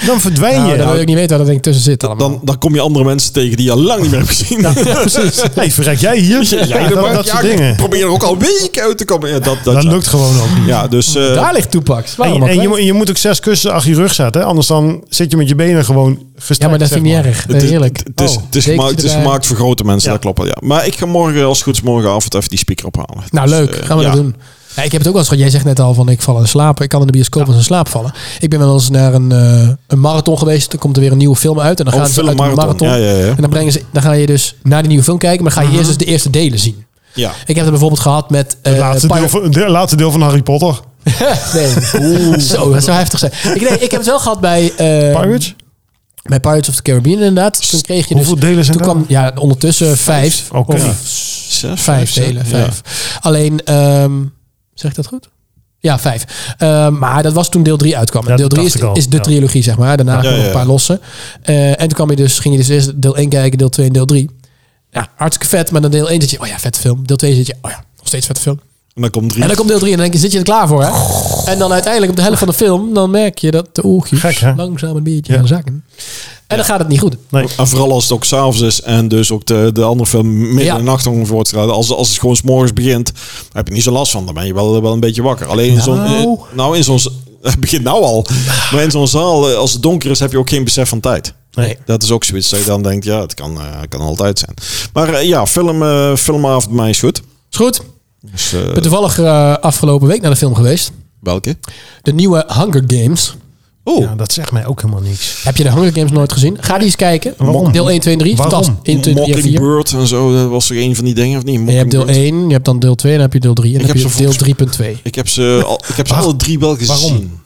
Speaker 1: dan verdwijn
Speaker 2: Nou,
Speaker 1: je.
Speaker 2: dan wil je ook niet weten waar dat ding tussen zit allemaal.
Speaker 3: Dan, dan kom je andere mensen tegen die je al lang niet meer hebt gezien.
Speaker 2: precies.
Speaker 1: hey, verrek jij hier?
Speaker 3: Ja,
Speaker 1: dat,
Speaker 3: maar-
Speaker 1: dat
Speaker 3: ja,
Speaker 1: soort
Speaker 3: ik
Speaker 1: dingen.
Speaker 3: probeer er ook al weken uit te komen. Ja, dat, dat,
Speaker 1: Dat
Speaker 3: ja.
Speaker 1: lukt gewoon ook niet.
Speaker 3: Ja, dus... eh,
Speaker 2: Daar ligt Toepax.
Speaker 1: En,
Speaker 2: Waarom
Speaker 1: je-
Speaker 2: ook
Speaker 1: en je,
Speaker 2: niet?
Speaker 1: moet- je moet ook zes kussen achter je rug zetten. hè? Anders dan zit je met je benen gewoon gestrekt.
Speaker 2: Ja, maar dat
Speaker 1: zeg
Speaker 2: vind ik niet erg. Dat
Speaker 3: Het
Speaker 2: is
Speaker 3: is,
Speaker 2: heerlijk.
Speaker 3: het is,
Speaker 2: Oh,
Speaker 3: het is,
Speaker 2: dekentje
Speaker 3: gemaakt, het is
Speaker 2: erbij.
Speaker 3: gemaakt voor grote mensen,
Speaker 1: Ja.
Speaker 3: dat klopt wel. Ja. Maar ik ga morgen, als het goed is, morgenavond even die speaker ophalen.
Speaker 2: Nou,
Speaker 3: Dus,
Speaker 2: leuk.
Speaker 3: eh,
Speaker 2: Gaan we
Speaker 3: ja.
Speaker 2: dat doen. Ja, ik heb het ook wel eens gehad. Jij zegt net al van ik val in slaap. Ik kan in de bioscoop als in slaap vallen. Ik ben wel eens naar een, eh, een marathon geweest. Dan komt er weer een nieuwe film uit. En dan
Speaker 3: Oh,
Speaker 2: gaan ze
Speaker 3: film
Speaker 2: uit een
Speaker 3: marathon.
Speaker 2: marathon.
Speaker 3: Ja, ja, Mhm. ja.
Speaker 2: En dan, brengen ze, dan ga je dus naar die nieuwe film kijken. Maar ga je eerst dus de eerste delen zien.
Speaker 3: Ja.
Speaker 2: Ik heb het bijvoorbeeld gehad met... eh,
Speaker 1: Het laatste,
Speaker 2: Pirate-
Speaker 1: deel van, de laatste deel van Harry Potter.
Speaker 2: nee. Zo, dat zou heftig zijn. Ik, nee, ik heb het wel gehad bij... eh,
Speaker 1: Pirates?
Speaker 2: Bij Pirates of the Caribbean inderdaad. Toen kreeg je dus...
Speaker 1: Hoeveel delen zijn
Speaker 2: Toen
Speaker 1: er?
Speaker 2: kwam, ja, ondertussen vijf.
Speaker 1: Oké.
Speaker 2: Of
Speaker 1: Ja.
Speaker 3: Zes,
Speaker 2: Vijf
Speaker 3: zes,
Speaker 2: delen,
Speaker 3: ja.
Speaker 2: vijf. Alleen, ehm, zeg ik dat goed? Ja, vijf. Ehm, maar dat was toen deel 3 uitkwam. En
Speaker 1: Ja,
Speaker 2: deel
Speaker 1: dat
Speaker 2: 3 is,
Speaker 1: dacht ik al,
Speaker 2: is de
Speaker 1: ja.
Speaker 2: trilogie, zeg maar. Daarna nog
Speaker 3: ja,
Speaker 2: een
Speaker 3: ja.
Speaker 2: paar losse. Eh, en toen kwam je dus, ging je dus eerst deel 1 kijken, deel 2 en deel 3. Ja, hartstikke vet. Maar dan deel 1 zit je, oh ja, vette film. Deel 2 zit je, oh ja, nog steeds vette film.
Speaker 3: En dan komt drie.
Speaker 2: En dan komt deel 3 en dan denk je, zit je er klaar voor, hè? En dan uiteindelijk op de helft van de film, dan merk je dat de oogjes
Speaker 1: Gek, hè?
Speaker 2: langzaam een beetje
Speaker 1: Ja.
Speaker 2: gaan zakken. En dan gaat het niet goed.
Speaker 1: Nee.
Speaker 3: En vooral als het ook s'avonds is en dus ook de, de andere film midden
Speaker 2: Ja.
Speaker 3: in de nacht om voor te gaan. Als, als het gewoon s'morgens begint, dan heb je niet zo last van. Dan ben je wel, wel een beetje wakker. Alleen in zo'n... eh,
Speaker 2: Nou.
Speaker 3: Nou, in zo'n... Het begint nou al. Maar in zo'n zaal, eh, als het donker is, heb je ook geen besef van tijd.
Speaker 1: Nee.
Speaker 3: Dat is ook zoiets dat je dan denkt, ja, het kan, eh, kan altijd zijn. Maar eh, ja, film, eh, filmavond bij mij is goed.
Speaker 2: Is goed.
Speaker 3: Dus, eh,
Speaker 2: Ik ben toevallig eh, afgelopen week naar de film geweest.
Speaker 3: welke?
Speaker 2: De nieuwe Hunger Games.
Speaker 3: Oh,
Speaker 1: Ja, dat zegt mij ook helemaal niks.
Speaker 2: Heb je de Hunger Games nooit gezien? Ga die eens kijken.
Speaker 1: Waarom?
Speaker 2: Deel 1, 2 en 3.
Speaker 1: Waarom?
Speaker 2: Fantastisch. 1, 2, 3 en 4.
Speaker 3: Mockingbird en zo, dat was er een van die dingen, of niet?
Speaker 2: Je hebt deel
Speaker 3: Mockingbird.
Speaker 2: 1, je hebt dan deel 2 en dan heb je deel 3. En dan
Speaker 3: Ik
Speaker 2: heb
Speaker 3: heb
Speaker 2: je
Speaker 3: ze
Speaker 2: deel
Speaker 3: volgens-
Speaker 2: 3.2.
Speaker 3: Ik heb ze, al, ik
Speaker 2: Ah,
Speaker 3: heb ze alle drie wel gezien.
Speaker 1: Waarom?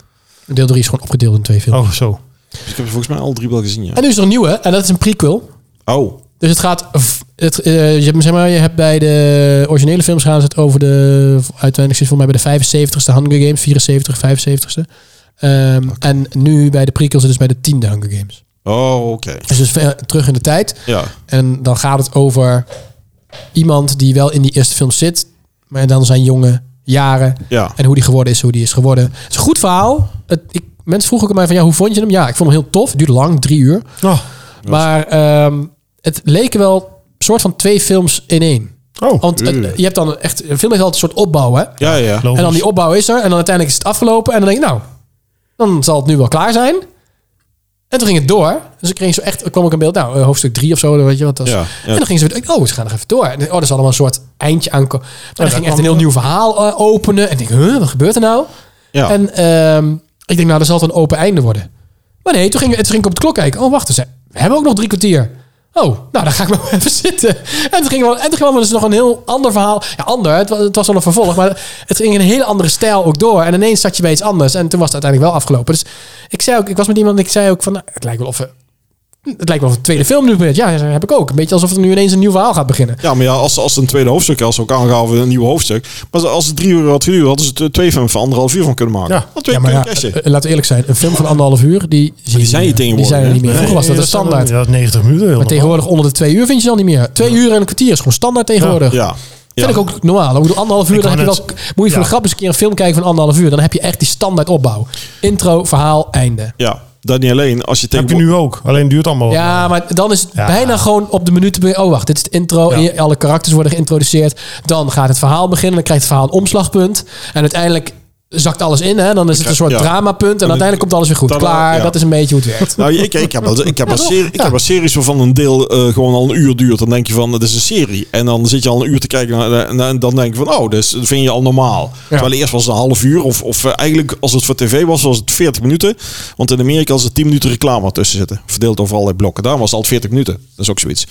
Speaker 2: Deel 3 is gewoon opgedeeld in twee films.
Speaker 1: Oh, zo.
Speaker 3: Dus ik heb ze volgens mij alle drie wel gezien, ja.
Speaker 2: En nu is er een nieuwe en dat is een prequel.
Speaker 3: Oh,
Speaker 2: Dus het gaat... v- Het, eh, je, hebt, zeg maar, je hebt bij de originele films gaan ze het over de... Uiteindelijk zit volgens mij bij de 75ste Hunger Games. 74, 75ste. Ehm, En nu bij de prequels dus bij de tiende Hunger Games.
Speaker 3: oh oké.
Speaker 2: Dus, dus ver- terug in de tijd.
Speaker 3: Ja.
Speaker 2: En dan gaat het over iemand die wel in die eerste film zit, maar dan zijn jonge jaren.
Speaker 3: Ja.
Speaker 2: En hoe die geworden is, hoe die is geworden. Het is een goed verhaal. Het, ik, mensen vroegen ook aan mij van, ja, hoe vond je hem? Ja, ik vond hem heel tof. Het duurde lang, drie uur.
Speaker 1: Oh,
Speaker 2: Maar ehm, het leken wel een soort van twee films in één.
Speaker 1: oh.
Speaker 2: Want het-
Speaker 3: Oeh.
Speaker 2: je hebt dan echt, een film heeft altijd een soort opbouw, hè?
Speaker 3: Ja, ja.
Speaker 1: logisch.
Speaker 2: En dan die opbouw is er. En dan uiteindelijk is het afgelopen. En dan denk je, nou, dan zal het nu wel klaar zijn. En toen ging het door. Dus ik kreeg zo echt, er kwam ook een beeld, nou, eh, hoofdstuk 3 of zo, weet je wat dat is.
Speaker 3: Ja, ja.
Speaker 2: En dan gingen ze weer, oh, ze gaan nog even door. En, oh, er zal allemaal een soort eindje aankomen. En dan ging echt een heel nieuw verhaal eh, openen. En ik denk, huh, wat gebeurt er nou?
Speaker 3: ja.
Speaker 2: En ehm, ik denk, nou, er zal het een open einde worden. Maar nee, toen ging, toen ging ik op de klok kijken. Oh, wacht eens. hè. We hebben ook nog drie kwartier. Oh, nou, dan ga ik maar even zitten. En toen ging wel, en toen kwam er dus nog een heel ander verhaal. Ja, ander. Het was, het was al een vervolg. Maar het ging in een hele andere stijl ook door. En ineens zat je bij iets anders. En toen was het uiteindelijk wel afgelopen. Dus ik zei ook, ik was met iemand en ik zei ook van... nou, het lijkt wel of... we- Het lijkt wel of een tweede film nu begint. Ja, dat heb ik ook. Een beetje alsof er nu ineens een nieuw verhaal gaat beginnen.
Speaker 3: ja, maar ja, als, als het een tweede hoofdstuk als ze ook aangaven een nieuw hoofdstuk. Maar als het drie uur had geduurd, hadden ze er twee van, van anderhalf uur van kunnen maken.
Speaker 1: Ja.
Speaker 3: Want twee
Speaker 2: ja, maar ja,
Speaker 3: kunnen cashen.
Speaker 2: eh, eh, laten we eerlijk zijn. Een film van anderhalf uur, die, zie je
Speaker 3: zijn
Speaker 2: niet
Speaker 3: je
Speaker 2: meer. die
Speaker 3: tegenwoordig,
Speaker 2: zijn er
Speaker 3: hè?
Speaker 2: niet meer.
Speaker 3: Nee,
Speaker 2: Vroeger was dat
Speaker 1: Ja,
Speaker 2: een standaard.
Speaker 1: Ja, dat is 90 minuten.
Speaker 2: Maar
Speaker 1: helemaal.
Speaker 2: tegenwoordig onder de twee uur vind je ze al niet meer. Twee uur en een kwartier is gewoon standaard tegenwoordig.
Speaker 3: Ja. ja.
Speaker 2: Vind ik ook normaal. Ik bedoel, anderhalf uur,
Speaker 1: Ik
Speaker 2: dan heb
Speaker 1: wou
Speaker 2: je wel,
Speaker 1: net-
Speaker 2: moet je voor
Speaker 1: ja.
Speaker 2: de grap eens een keer een film kijken van anderhalf uur. Dan heb je echt die standaard opbouw. Intro, verhaal, einde.
Speaker 3: Ja, dat niet alleen. Als je
Speaker 1: Heb je
Speaker 3: tegenwoordig...
Speaker 1: nu ook. Alleen duurt allemaal.
Speaker 2: Ja, maar dan is het
Speaker 1: Ja.
Speaker 2: bijna gewoon op de minuut. be- Oh, wacht, dit is het intro.
Speaker 1: Ja.
Speaker 2: Alle karakters worden geïntroduceerd. Dan gaat het verhaal beginnen. Dan krijgt het verhaal een omslagpunt. En uiteindelijk zakt alles in. Hè? Dan is het een soort
Speaker 3: Ja.
Speaker 2: dramapunt. En
Speaker 3: Dan-
Speaker 2: uiteindelijk komt alles weer goed.
Speaker 3: dan-
Speaker 2: Klaar,
Speaker 3: ja.
Speaker 2: dat is een beetje hoe het werkt.
Speaker 3: Nou, ik, ik heb wel, ik heb wel,
Speaker 2: toch?
Speaker 3: serie, ik
Speaker 2: Ja.
Speaker 3: heb wel series waarvan een deel eh, gewoon al een uur duurt. Dan denk je van, het is een serie. En dan zit je al een uur te kijken naar- en dan- dan denk je van, oh, dus dat vind je al normaal. Terwijl eerst was het een half uur. Of, of eh, eigenlijk, als het voor tv was, was het 40 minuten. Want in Amerika was er 10 minuten reclame tussen zitten. Verdeeld over allerlei blokken. Daar was het al 40 minuten. Dat is ook zoiets.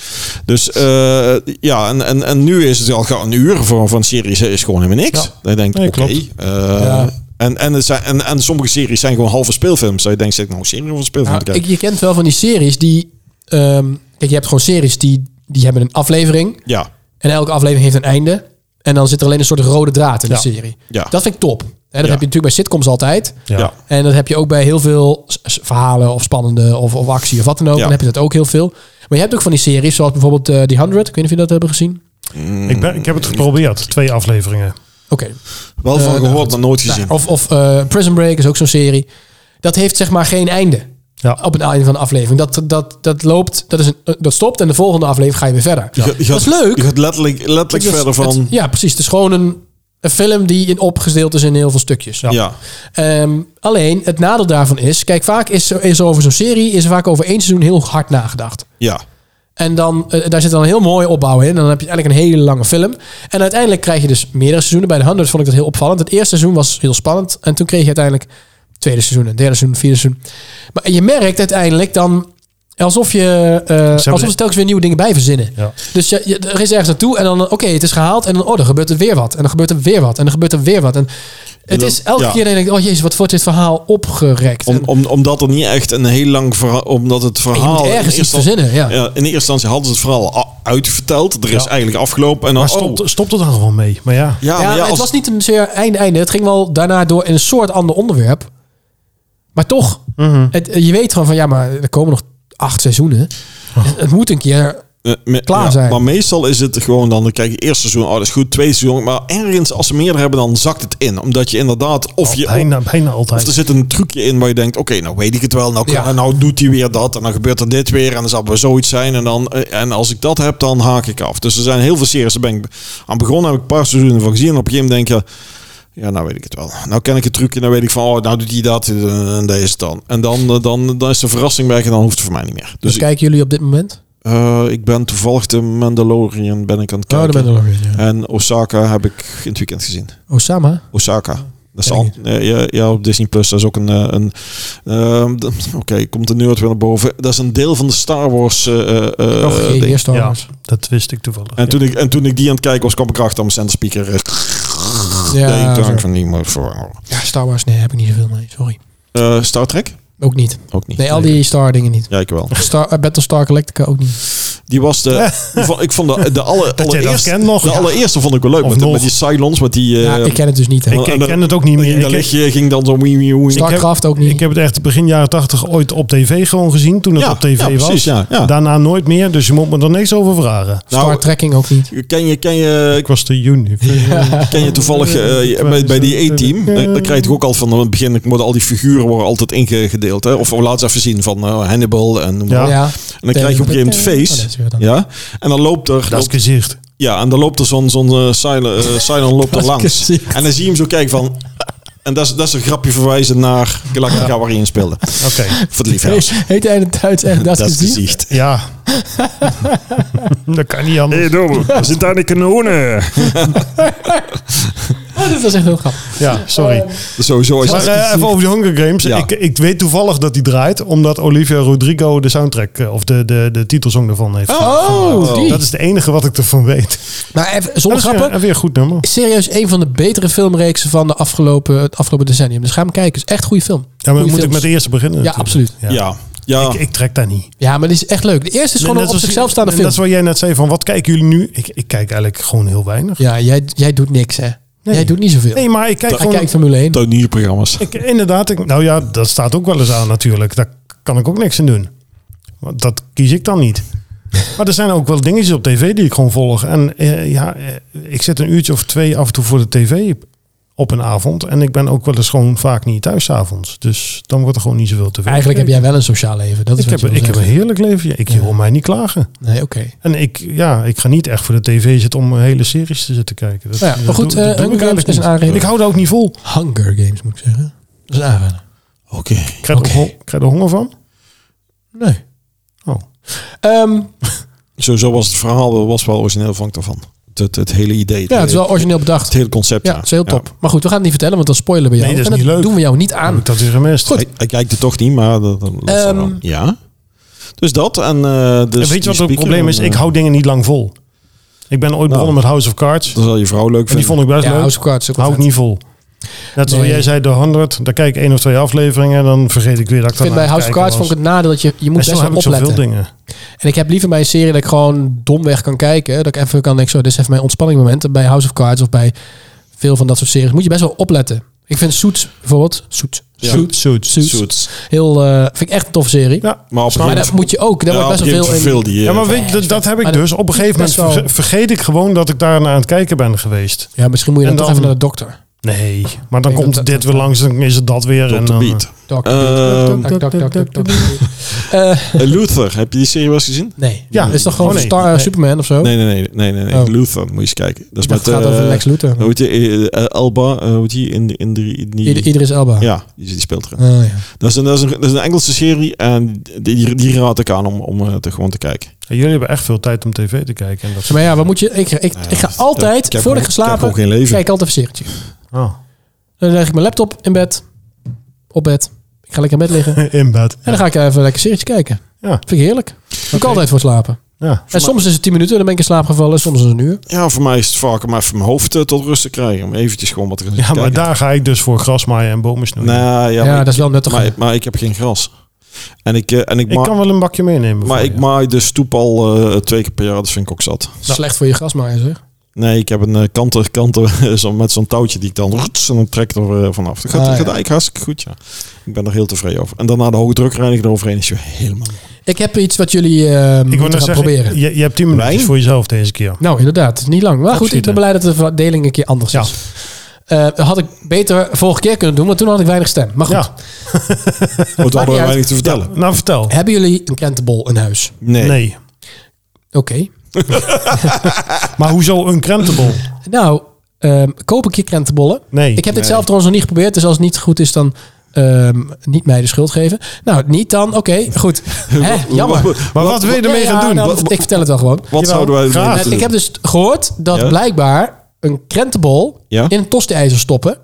Speaker 3: Dus eh, ja, en, en, en nu is het al gauw een uur. Voor, voor een serie is- is gewoon helemaal niks.
Speaker 2: Ja.
Speaker 3: Dan denk je,
Speaker 1: Nee,
Speaker 3: oké.
Speaker 1: klopt.
Speaker 3: eh,
Speaker 2: Ja.
Speaker 3: en, en, het zijn, en, en sommige series zijn gewoon halve speelfilms. Dat je denkt, zit ik nou een serie of een speelfilm te
Speaker 2: Ja,
Speaker 3: kijken?
Speaker 2: ik, je kent wel van die series die. ehm, kijk, je hebt gewoon series die, die hebben een aflevering.
Speaker 3: Ja,
Speaker 2: En elke aflevering heeft een einde. En dan zit er alleen een soort rode draad in
Speaker 1: Ja.
Speaker 2: de serie.
Speaker 3: Ja.
Speaker 2: Dat vind ik top. Hè, dat
Speaker 3: Ja.
Speaker 2: heb je natuurlijk bij sitcoms altijd.
Speaker 1: Ja.
Speaker 3: Ja.
Speaker 2: En dat heb je ook bij heel veel s- s- verhalen of spannende of, of actie of wat dan ook.
Speaker 3: Ja.
Speaker 2: Dan heb je dat ook heel veel. Maar je hebt ook van die series zoals bijvoorbeeld eh The 100. Ik weet niet of jullie dat hebben gezien.
Speaker 1: Ik, ben, ik heb het
Speaker 3: Mm,
Speaker 1: geprobeerd. Twee afleveringen.
Speaker 2: Oké.
Speaker 3: Wel van
Speaker 2: Eh, nou,
Speaker 3: gehoord, maar nooit gezien.
Speaker 2: Nou, of of eh, Prison Break is ook zo'n serie. Dat heeft zeg maar geen einde.
Speaker 3: Oh.
Speaker 1: Ja.
Speaker 2: op het einde van de aflevering. Dat, dat, dat loopt, dat, is een, eh, dat stopt en de volgende aflevering ga je weer verder.
Speaker 3: Je gaat- je
Speaker 2: Dat is
Speaker 3: gaat-
Speaker 2: leuk.
Speaker 3: Je gaat letterlijk, letterlijk
Speaker 2: Het is-
Speaker 3: verder
Speaker 2: het-
Speaker 3: van...
Speaker 2: ja, precies. Het is gewoon een, een film die in opgedeeld is in heel veel stukjes.
Speaker 1: Ja.
Speaker 3: ja.
Speaker 2: Ehm, alleen, het nadeel daarvan is... Kijk, vaak is, er- is er over zo'n serie... is er vaak over één seizoen heel hard nagedacht.
Speaker 3: ja.
Speaker 2: En dan, eh, daar zit dan een heel mooi opbouw in. En dan heb je eigenlijk een hele lange film. En uiteindelijk krijg je dus meerdere seizoenen. Bij de 100 vond ik dat heel opvallend. Het eerste seizoen was heel spannend. En toen kreeg je uiteindelijk het tweede seizoen, het derde seizoen, vierde seizoen. Maar je merkt uiteindelijk dan alsof je eh, alsof ze
Speaker 1: de-
Speaker 2: telkens weer nieuwe dingen bij verzinnen.
Speaker 1: Ja.
Speaker 2: Dus je, je- er is ergens naartoe en dan oké, het is gehaald. En dan oh, er gebeurt er weer wat. En dan gebeurt er weer wat. En dan gebeurt er weer wat. En Het
Speaker 3: dan-
Speaker 2: is elke
Speaker 3: ja.
Speaker 2: keer dat ik denk, oh jezus, wat wordt dit verhaal opgerekt.
Speaker 3: Om,
Speaker 2: En
Speaker 3: om, omdat er niet echt een heel lang verhaal... Omdat het
Speaker 2: je
Speaker 3: verhaal...
Speaker 2: moet
Speaker 3: in
Speaker 2: ergens
Speaker 3: eerste
Speaker 2: iets
Speaker 3: instan-
Speaker 2: verzinnen. Ja.
Speaker 3: Ja, in eerste instantie hadden ze het verhaal a- uitverteld. Er is
Speaker 1: Ja.
Speaker 3: eigenlijk afgelopen. En dan,
Speaker 1: Maar stopt,
Speaker 3: oh,
Speaker 1: stopt het dan gewoon mee. Maar ja,
Speaker 3: ja,
Speaker 2: Ja,
Speaker 3: maar ja,
Speaker 2: maar
Speaker 3: als-
Speaker 2: het was niet een zeer einde-einde. Het ging wel daarna door in een soort ander onderwerp. Maar toch,
Speaker 1: Mhm.
Speaker 2: het, je weet gewoon van, ja, maar er komen nog acht seizoenen.
Speaker 3: Oh.
Speaker 2: Het, het moet een keer...
Speaker 3: Eh, me-
Speaker 2: klaar zijn.
Speaker 3: Maar meestal is het gewoon dan, dan krijg je eerste seizoen, oh dat is goed, tweede seizoen. Maar ergens, als ze meer hebben, dan zakt het in. Omdat je inderdaad, of, je,
Speaker 1: bijna, bijna
Speaker 3: of Dus er
Speaker 1: altijd.
Speaker 3: zit een trucje in waar je denkt, oké, nou weet ik het wel. Nou, kan-
Speaker 2: Ja.
Speaker 3: nou doet hij weer dat en dan gebeurt er dit weer en dan zal er zoiets zijn. En, dan, eh, en als ik dat heb, dan haak ik af. Dus er zijn heel veel series, daar ben ik aan begonnen, heb ik een paar seizoenen van gezien. En op een gegeven moment denk je, ja, nou weet ik het wel. Nou ken ik het trucje, nou weet ik van, oh, nou doet hij dat eh, en deze dan. En dan, eh, dan, dan is de verrassing weg en dan hoeft het voor mij niet meer. Dus
Speaker 2: Dus
Speaker 3: ik,
Speaker 2: kijken jullie op dit moment?
Speaker 3: eh, ik ben toevallig de Mandalorian ben ik aan het
Speaker 2: Oh,
Speaker 3: kijken.
Speaker 2: daar ben ik nog weer. ja.
Speaker 3: En Osaka heb ik in het weekend gezien.
Speaker 2: Osama?
Speaker 3: Osaka. Dat is
Speaker 2: Ken
Speaker 3: al,
Speaker 2: ik
Speaker 3: eh, ja, ja, op Disney Plus. Dat is ook een. eh, een ehm, d- Oké, komt de nerd weer naar boven. Dat is een deel van de Star Wars. eh, eh, eh,
Speaker 2: oh, geen
Speaker 3: ding.
Speaker 2: eerste Star
Speaker 1: Ja,
Speaker 2: Wars.
Speaker 1: dat wist ik toevallig.
Speaker 3: En toen, ik, en toen ik die aan het kijken was, kwam ik achter om center speaker. eh,
Speaker 2: Ja,
Speaker 3: nee, toen dacht ik
Speaker 2: sorry.
Speaker 3: van die moet voor.
Speaker 2: ja, Star Wars, nee, heb ik niet zoveel mee. Sorry.
Speaker 3: Eh, Star Trek?
Speaker 2: Ook niet.
Speaker 3: Ook niet.
Speaker 2: Nee, al die Star dingen niet.
Speaker 3: Ja, ik wel.
Speaker 2: Star, eh, Battlestar Galactica ook niet.
Speaker 3: Die was de. die vond- ik vond de, de alle,
Speaker 1: dat
Speaker 3: allereerste.
Speaker 1: kent nog,
Speaker 3: De
Speaker 1: ja.
Speaker 3: allereerste vond ik wel leuk.
Speaker 1: Of
Speaker 3: Met,
Speaker 1: nog.
Speaker 3: met die Cylons, met die. eh,
Speaker 2: ja, ik ken het dus niet. Hè.
Speaker 1: ik,
Speaker 3: en
Speaker 1: ik
Speaker 3: dat-
Speaker 1: ken het ook niet
Speaker 3: dat
Speaker 1: meer.
Speaker 3: ging
Speaker 1: Ik-
Speaker 3: dat lichtje, ging dan zo. Wee, wee, wee.
Speaker 2: Starcraft ook niet.
Speaker 1: Ik heb het echt begin jaren tachtig ooit op tv gewoon gezien. Toen het
Speaker 3: Ja,
Speaker 1: op tv
Speaker 3: ja,
Speaker 1: was.
Speaker 3: precies, ja, ja.
Speaker 1: Daarna nooit meer. Dus je moet me er niks over vragen.
Speaker 3: nou,
Speaker 2: Star Trekking ook niet.
Speaker 3: Ken je, ken je,
Speaker 1: Ik was de juni.
Speaker 3: ken je toevallig eh, bij, bij die E-team? eh, Daar krijg je toch ook al van aan het begin. Worden al die figuren worden altijd ingedeeld. Hè? Of laat eens even zien van eh, Hannibal. En, noem maar
Speaker 1: Ja.
Speaker 3: op.
Speaker 2: Ja.
Speaker 3: en dan krijg je op een gegeven moment
Speaker 2: Oh, dat
Speaker 3: face.
Speaker 2: is weer dan.
Speaker 3: Ja? En dan loopt er,
Speaker 1: Dat is
Speaker 3: loopt-
Speaker 1: gezicht.
Speaker 3: ja, en dan loopt er zo'n zo'n eh, Cylon, eh, Cylon loopt er
Speaker 2: Dat
Speaker 3: langs.
Speaker 2: gezicht.
Speaker 3: En dan zie je hem zo kijken van... En dat is, dat is een grapje verwijzen naar Galactica waar hij in speelde.
Speaker 1: Oké.
Speaker 3: Voor de liefhebbers.
Speaker 2: Heet- Heet hij in het Duits echt dat,
Speaker 3: Dat is
Speaker 2: gezien?
Speaker 3: gezicht.
Speaker 1: Ja. dat kan niet anders.
Speaker 5: we sind eine Kanone.
Speaker 2: Oh, dat was echt heel grappig.
Speaker 1: Ja, sorry.
Speaker 3: eh, Sowieso is
Speaker 1: Maar
Speaker 3: dat...
Speaker 1: eh, even over de Hunger Games.
Speaker 3: Ja.
Speaker 1: Ik, ik weet toevallig dat die draait, omdat Olivia Rodrigo de soundtrack eh, of de, de, de titelsong ervan heeft.
Speaker 2: Oh, die.
Speaker 1: Dat is de enige wat ik ervan weet.
Speaker 2: Maar even,
Speaker 1: Dat
Speaker 2: zonder
Speaker 1: is
Speaker 2: grappen.
Speaker 1: weer, weer een goed nummer.
Speaker 2: Serieus, een van de betere filmreeksen van de afgelopen, het afgelopen decennium. Dus ga hem kijken. Het is echt een goede film.
Speaker 1: Ja, maar
Speaker 2: Goeie
Speaker 1: moet ik
Speaker 2: films.
Speaker 1: met de eerste beginnen?
Speaker 2: Ja,
Speaker 1: natuurlijk.
Speaker 2: absoluut.
Speaker 1: Ja.
Speaker 3: Ja. ja.
Speaker 1: Ik, ik trek daar niet.
Speaker 2: Ja, maar die is echt leuk. De eerste is gewoon
Speaker 1: Net
Speaker 2: een op
Speaker 1: als-
Speaker 2: zichzelf staande
Speaker 1: net
Speaker 2: film.
Speaker 1: als wat jij net zei van wat kijken jullie nu? Ik, ik kijk eigenlijk gewoon heel weinig.
Speaker 2: Ja, jij, jij doet niks, hè? Jij doet niet zoveel.
Speaker 1: Nee, maar ik kijk
Speaker 2: Hij
Speaker 1: gewoon.
Speaker 2: kijkt Formule 1.
Speaker 3: Tuinierprogramma's.
Speaker 1: Ik, inderdaad, ik, nou ja, dat staat ook wel eens aan natuurlijk. Daar kan ik ook niks aan doen. Want dat kies ik dan niet. Maar er zijn ook wel dingetjes op tv die ik gewoon volg. En eh, ja, eh, ik zit een uurtje of twee af en toe voor de tv op een avond. En ik ben ook wel eens gewoon vaak niet thuis 's avonds. Dus dan wordt er gewoon niet zoveel te veel.
Speaker 2: Eigenlijk heb jij wel een sociaal leven. Dat is
Speaker 1: Ik
Speaker 2: wat
Speaker 1: heb,
Speaker 2: je wil
Speaker 1: ik heb een
Speaker 2: zeggen.
Speaker 1: heerlijk leven. Ja, ik hoor mij niet klagen.
Speaker 2: Nee, oké.
Speaker 1: En ik, ja, ik ga niet echt voor de tv zitten om hele series te zitten kijken. Dat,
Speaker 2: Ja, maar
Speaker 1: dat
Speaker 2: goed,
Speaker 1: doe- dat
Speaker 2: eh,
Speaker 1: doe ik
Speaker 2: Hunger Games
Speaker 1: eigenlijk
Speaker 2: is een
Speaker 1: niet.
Speaker 2: aanrader.
Speaker 1: Ik hou daar ook niet vol.
Speaker 2: Hunger Games, moet ik zeggen. Dat is een aanrader.
Speaker 3: Oké.
Speaker 1: Ik krijg, er,
Speaker 2: Oké.
Speaker 1: hon- ik krijg er honger van.
Speaker 2: Nee.
Speaker 1: Oh.
Speaker 2: Ehm,
Speaker 3: Sowieso was het verhaal was wel origineel, vond ik daarvan. Het, het hele idee.
Speaker 2: ja, het is wel origineel bedacht.
Speaker 3: het hele concept.
Speaker 2: Ja, dat is heel top. Maar goed, we gaan het niet vertellen, want dan spoilen we jou.
Speaker 1: Nee, dat is
Speaker 2: en dat
Speaker 1: niet leuk.
Speaker 2: doen we jou niet aan.
Speaker 1: Heb ik dat weer gemist.
Speaker 3: Hij, hij kijkt het toch niet, maar dat, dat- dat-
Speaker 2: Ehm.
Speaker 3: ja. Dus dat en eh, dus
Speaker 1: en weet je
Speaker 3: die
Speaker 1: wat het
Speaker 3: speaker,
Speaker 1: probleem is?
Speaker 3: eh, Nou.
Speaker 1: Ik hou dingen niet lang vol. Ik ben ooit begonnen met House of Cards.
Speaker 3: Dat zal je vrouw leuk
Speaker 1: En die
Speaker 3: vinden.
Speaker 1: vond ik best
Speaker 2: Ja,
Speaker 1: leuk.
Speaker 2: House of Cards is ook wel
Speaker 1: Hou ik
Speaker 2: vet.
Speaker 1: niet vol. Net zoals
Speaker 2: Nee.
Speaker 1: jij zei, de 100. Daar kijk ik één of twee afleveringen. En dan vergeet ik weer dat ik
Speaker 2: Ik vind
Speaker 1: daarna
Speaker 2: bij
Speaker 1: aan
Speaker 2: House
Speaker 1: het kijken
Speaker 2: of Cards vond
Speaker 1: was.
Speaker 2: ik het nadeel dat je,
Speaker 1: En
Speaker 2: je moet best
Speaker 1: zo
Speaker 2: wel
Speaker 1: heb ik zoveel
Speaker 2: opletten.
Speaker 1: dingen.
Speaker 2: En ik heb liever bij een serie dat ik gewoon domweg kan kijken. Dat ik even kan denken, zo, dit is even mijn ontspanningmoment. En Bij House of Cards of bij veel van dat soort series moet je best wel opletten. Ik vind Suits bijvoorbeeld, Suits,
Speaker 3: Ja.
Speaker 2: Suits,
Speaker 1: Suits.
Speaker 2: Suits.
Speaker 3: Suits.
Speaker 2: heel, eh, vind ik echt een toffe serie.
Speaker 1: Ja.
Speaker 3: Maar op een
Speaker 2: Maar
Speaker 3: gegeven
Speaker 2: dat moet je ook, daar
Speaker 3: ja,
Speaker 2: wordt
Speaker 3: op
Speaker 2: best
Speaker 3: een
Speaker 2: wel
Speaker 3: gegeven
Speaker 2: veel in.
Speaker 3: moment veel die. eh,
Speaker 1: Ja, maar weet je, dat, dat heb ik
Speaker 2: Maar
Speaker 1: dus. Op een gegeven moment
Speaker 2: best wel-
Speaker 1: verge- vergeet ik gewoon dat ik daarna aan het kijken ben geweest.
Speaker 2: Ja, misschien moet je dan,
Speaker 1: En
Speaker 2: toch even
Speaker 1: dan-
Speaker 2: naar de dokter.
Speaker 1: Nee, maar dan
Speaker 2: Ik
Speaker 1: komt
Speaker 2: dat-
Speaker 1: dit weer langs en is het dat weer. En
Speaker 3: Dr.
Speaker 1: dan,
Speaker 3: Beat.
Speaker 2: Dokter.
Speaker 3: Ehm.
Speaker 2: Dok, dok, dok, dok, dok. Eh,
Speaker 3: Eh, Luther, heb je die serie wel eens gezien?
Speaker 2: nee,
Speaker 1: Ja.
Speaker 2: ja, is toch gewoon
Speaker 1: Oh, nee.
Speaker 2: Star,
Speaker 1: Nee.
Speaker 2: Superman of zo?
Speaker 3: Nee, nee, nee. nee, nee, nee.
Speaker 2: Oh.
Speaker 3: Luther, moet je eens kijken. Dat is
Speaker 2: Ik dacht,
Speaker 3: met...
Speaker 2: het gaat over
Speaker 3: eh,
Speaker 2: Lex Luthor.
Speaker 3: Hoe heet die? Eh, eh, Elba, eh, hoe heet die? In, die- in, die- in die...
Speaker 2: Ieder, ieder is Elba.
Speaker 3: ja, die, die speelt erin.
Speaker 2: Ah, ja.
Speaker 3: Dat, is een, dat, is een, dat is een Engelse serie en die, die, die raad ik aan om, om eh, te, gewoon te kijken.
Speaker 1: Ja, jullie hebben echt veel tijd om tv te kijken. En dat
Speaker 2: Maar ja, wat moet je... Ik, ik, ik ga altijd,
Speaker 3: ik
Speaker 2: voordat ik
Speaker 3: heb gewoon- ik heb
Speaker 2: geslapen,
Speaker 3: gewoon geen leven.
Speaker 2: kijk ik altijd een serietje.
Speaker 1: Oh.
Speaker 2: Dan leg ik mijn laptop in bed. Op bed. Ik ga lekker in bed liggen.
Speaker 1: In bed.
Speaker 2: En dan ga ik even lekker serietje kijken.
Speaker 1: Ja.
Speaker 2: Vind ik heerlijk. Doe ik altijd voor slapen.
Speaker 1: Ja.
Speaker 2: En soms is het 10 minuten, dan ben ik in slaap gevallen. en Soms is het een uur.
Speaker 3: Ja, voor mij is het vaak om even mijn hoofd eh, tot rust te krijgen. Om eventjes gewoon wat te gaan
Speaker 1: Ja, maar
Speaker 3: kijken.
Speaker 1: daar ga ik dus voor grasmaaien en bomen snoeien.
Speaker 3: Nou, ja,
Speaker 2: Ja,
Speaker 3: maar ik-
Speaker 2: dat is wel nuttig.
Speaker 3: maar, maar ik heb geen gras. En ik, eh, en ik,
Speaker 1: ik
Speaker 3: maai-
Speaker 1: kan wel een bakje meenemen.
Speaker 3: maar
Speaker 1: voor
Speaker 3: ik
Speaker 1: je.
Speaker 3: maai de stoep al eh, twee keer per jaar. Dat vind ik ook zat.
Speaker 2: Slecht voor je grasmaaier, zeg.
Speaker 3: Nee, ik heb een eh, kanter, kanter zo, met zo'n touwtje die ik dan roets en dan trek ik er eh, vanaf. Dat gaat,
Speaker 2: Ah,
Speaker 3: dat gaat
Speaker 2: ja.
Speaker 3: eigenlijk hartstikke goed, ja. Ik ben er heel tevreden over. En daarna de hoge drukreiniger eroverheen is je helemaal... mooi.
Speaker 2: Ik heb iets wat jullie eh,
Speaker 1: ik wil
Speaker 2: moeten
Speaker 1: net
Speaker 2: gaan
Speaker 1: zeggen,
Speaker 2: proberen.
Speaker 1: Je, je hebt 10 minuutjes
Speaker 3: Wijn?
Speaker 1: voor jezelf deze keer.
Speaker 2: Nou, inderdaad. Niet lang. Maar goed, ik
Speaker 1: Opschieten.
Speaker 2: ben blij dat de verdeling een keer anders
Speaker 1: Ja.
Speaker 2: is. Eh, dat had ik beter vorige keer kunnen doen, want toen had ik weinig stem. Maar goed,
Speaker 1: Ja.
Speaker 3: Want we hadden
Speaker 2: niet
Speaker 3: we
Speaker 2: uit.
Speaker 3: weinig te vertellen.
Speaker 1: Nou, vertel.
Speaker 2: hebben jullie een krentenbol in huis?
Speaker 3: Nee.
Speaker 1: Nee.
Speaker 2: Oké.
Speaker 1: Maar hoezo een krentenbol?
Speaker 2: Nou, ehm, koop een keer krentenbollen.
Speaker 1: Nee.
Speaker 2: Ik heb dit
Speaker 3: Nee.
Speaker 2: zelf trouwens nog niet geprobeerd, dus als het niet goed is, dan ehm, niet mij de schuld geven. Nou, niet dan, oké, goed. Hè, jammer.
Speaker 1: maar wat wil je
Speaker 2: Nee,
Speaker 1: ermee
Speaker 2: ja,
Speaker 1: gaan doen?
Speaker 2: nou,
Speaker 1: Wat-
Speaker 2: ik vertel het wel gewoon.
Speaker 3: Wat
Speaker 1: Jawel,
Speaker 3: zouden wij ermee
Speaker 1: graag.
Speaker 3: moeten
Speaker 2: ik heb
Speaker 3: doen?
Speaker 2: dus gehoord dat
Speaker 3: Ja?
Speaker 2: blijkbaar een krentenbol
Speaker 3: Ja?
Speaker 2: in een tostijzer stoppen.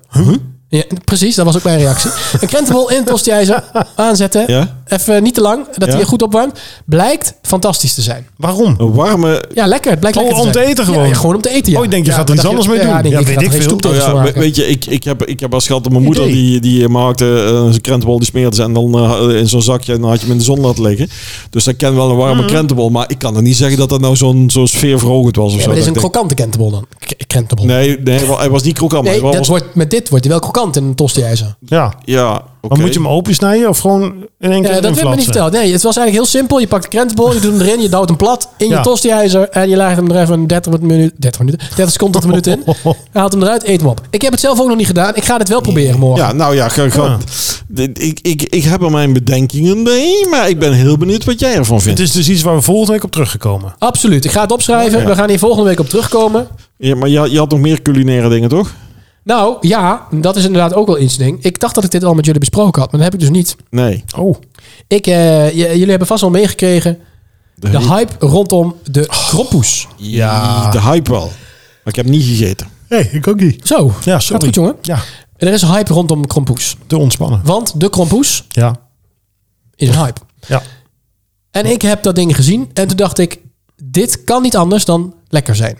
Speaker 2: Ja, precies, dat was ook mijn reactie. Een krentenbol in een tostijzer aanzetten.
Speaker 3: Ja?
Speaker 2: Even niet te lang, dat
Speaker 3: Ja?
Speaker 2: hij goed opwarmt. Blijkt fantastisch te zijn.
Speaker 1: Waarom?
Speaker 3: Een warme...
Speaker 2: Ja, lekker. Het blijkt
Speaker 1: Oh,
Speaker 2: lekker
Speaker 1: om te
Speaker 2: zijn.
Speaker 1: eten
Speaker 2: Ja,
Speaker 1: gewoon?
Speaker 2: Ja, gewoon om te eten, ja.
Speaker 1: Oh, ik denk, je
Speaker 2: Ja,
Speaker 1: gaat er
Speaker 2: wat
Speaker 1: iets
Speaker 2: dacht je?
Speaker 1: anders mee doen.
Speaker 2: Ja, denk
Speaker 1: Ja,
Speaker 2: ik,
Speaker 1: weet
Speaker 2: ik ga
Speaker 1: ik
Speaker 2: er geen
Speaker 1: veel.
Speaker 2: stoeptegels
Speaker 3: Oh ja,
Speaker 2: van
Speaker 3: we-
Speaker 2: maken.
Speaker 3: weet je, ik, ik, heb, ik heb als gehad dat mijn moeder
Speaker 1: Idee.
Speaker 3: die, die maakte eh, een krentenbol, die smeerde ze en dan eh, in zo'n zakje en dan had je hem in de zon laten liggen. Dus ik ken wel een warme krentenbol, maar ik kan er niet zeggen dat dat nou zo'n zo'n sfeerverhogend was of
Speaker 2: Ja,
Speaker 3: zo.
Speaker 2: maar dit is een
Speaker 3: Dat ik denk-
Speaker 2: krokante krentenbol dan. K- Krentenbol. Nee,
Speaker 3: Nee, nee, hij was niet krokant, maar hij was-
Speaker 2: dat wordt, met dit wordt hij wel krokant in een tostijzer.
Speaker 1: Ja.
Speaker 3: Ja, oké.
Speaker 1: Maar moet je hem opensnijden of gewoon in één keer
Speaker 2: Ja, dat werd me niet
Speaker 1: inflatsen?
Speaker 2: verteld. Nee, het was eigenlijk heel simpel. Je pakt de krentenbol, je doet hem erin, je duwt hem plat in je
Speaker 1: Ja.
Speaker 2: tostijzer en je laagt hem er even 30 minuten, 30 minuten, 30 seconden tot een minuut in. Je haalt hem eruit, eet hem op. Ik heb het zelf ook nog niet gedaan. Ik ga dit wel proberen morgen.
Speaker 3: Ja, nou ja, ga, ga-
Speaker 1: Ja.
Speaker 3: Dit- Ik, ik, ik heb er mijn bedenkingen mee, maar ik ben heel benieuwd wat jij ervan
Speaker 1: Het
Speaker 3: vindt.
Speaker 1: is dus iets waar we volgende week op teruggekomen.
Speaker 2: Absoluut. Ik ga het opschrijven.
Speaker 3: Ja.
Speaker 2: We gaan hier volgende week op terugkomen.
Speaker 3: Ja, maar je, je had nog meer culinaire dingen, toch?
Speaker 2: Nou, ja, dat is inderdaad ook wel iets ding. Ik dacht dat ik dit al met jullie besproken had, maar dat heb ik dus niet.
Speaker 3: Nee.
Speaker 1: Oh,
Speaker 2: Ik, eh, j- jullie hebben vast wel meegekregen de,
Speaker 3: hype.
Speaker 2: hype rondom de kroppoes.
Speaker 3: Ja. De hype wel. Maar ik heb niet gegeten.
Speaker 1: hey, ik ook niet.
Speaker 2: Zo,
Speaker 1: Ja, sorry.
Speaker 2: gaat goed jongen.
Speaker 1: Ja,
Speaker 2: En er is een hype rondom krompoes.
Speaker 1: te ontspannen.
Speaker 2: Want de krompoes
Speaker 1: Ja,
Speaker 2: is een hype.
Speaker 1: ja.
Speaker 2: En ik heb dat ding gezien en toen dacht ik, dit kan niet anders dan lekker zijn.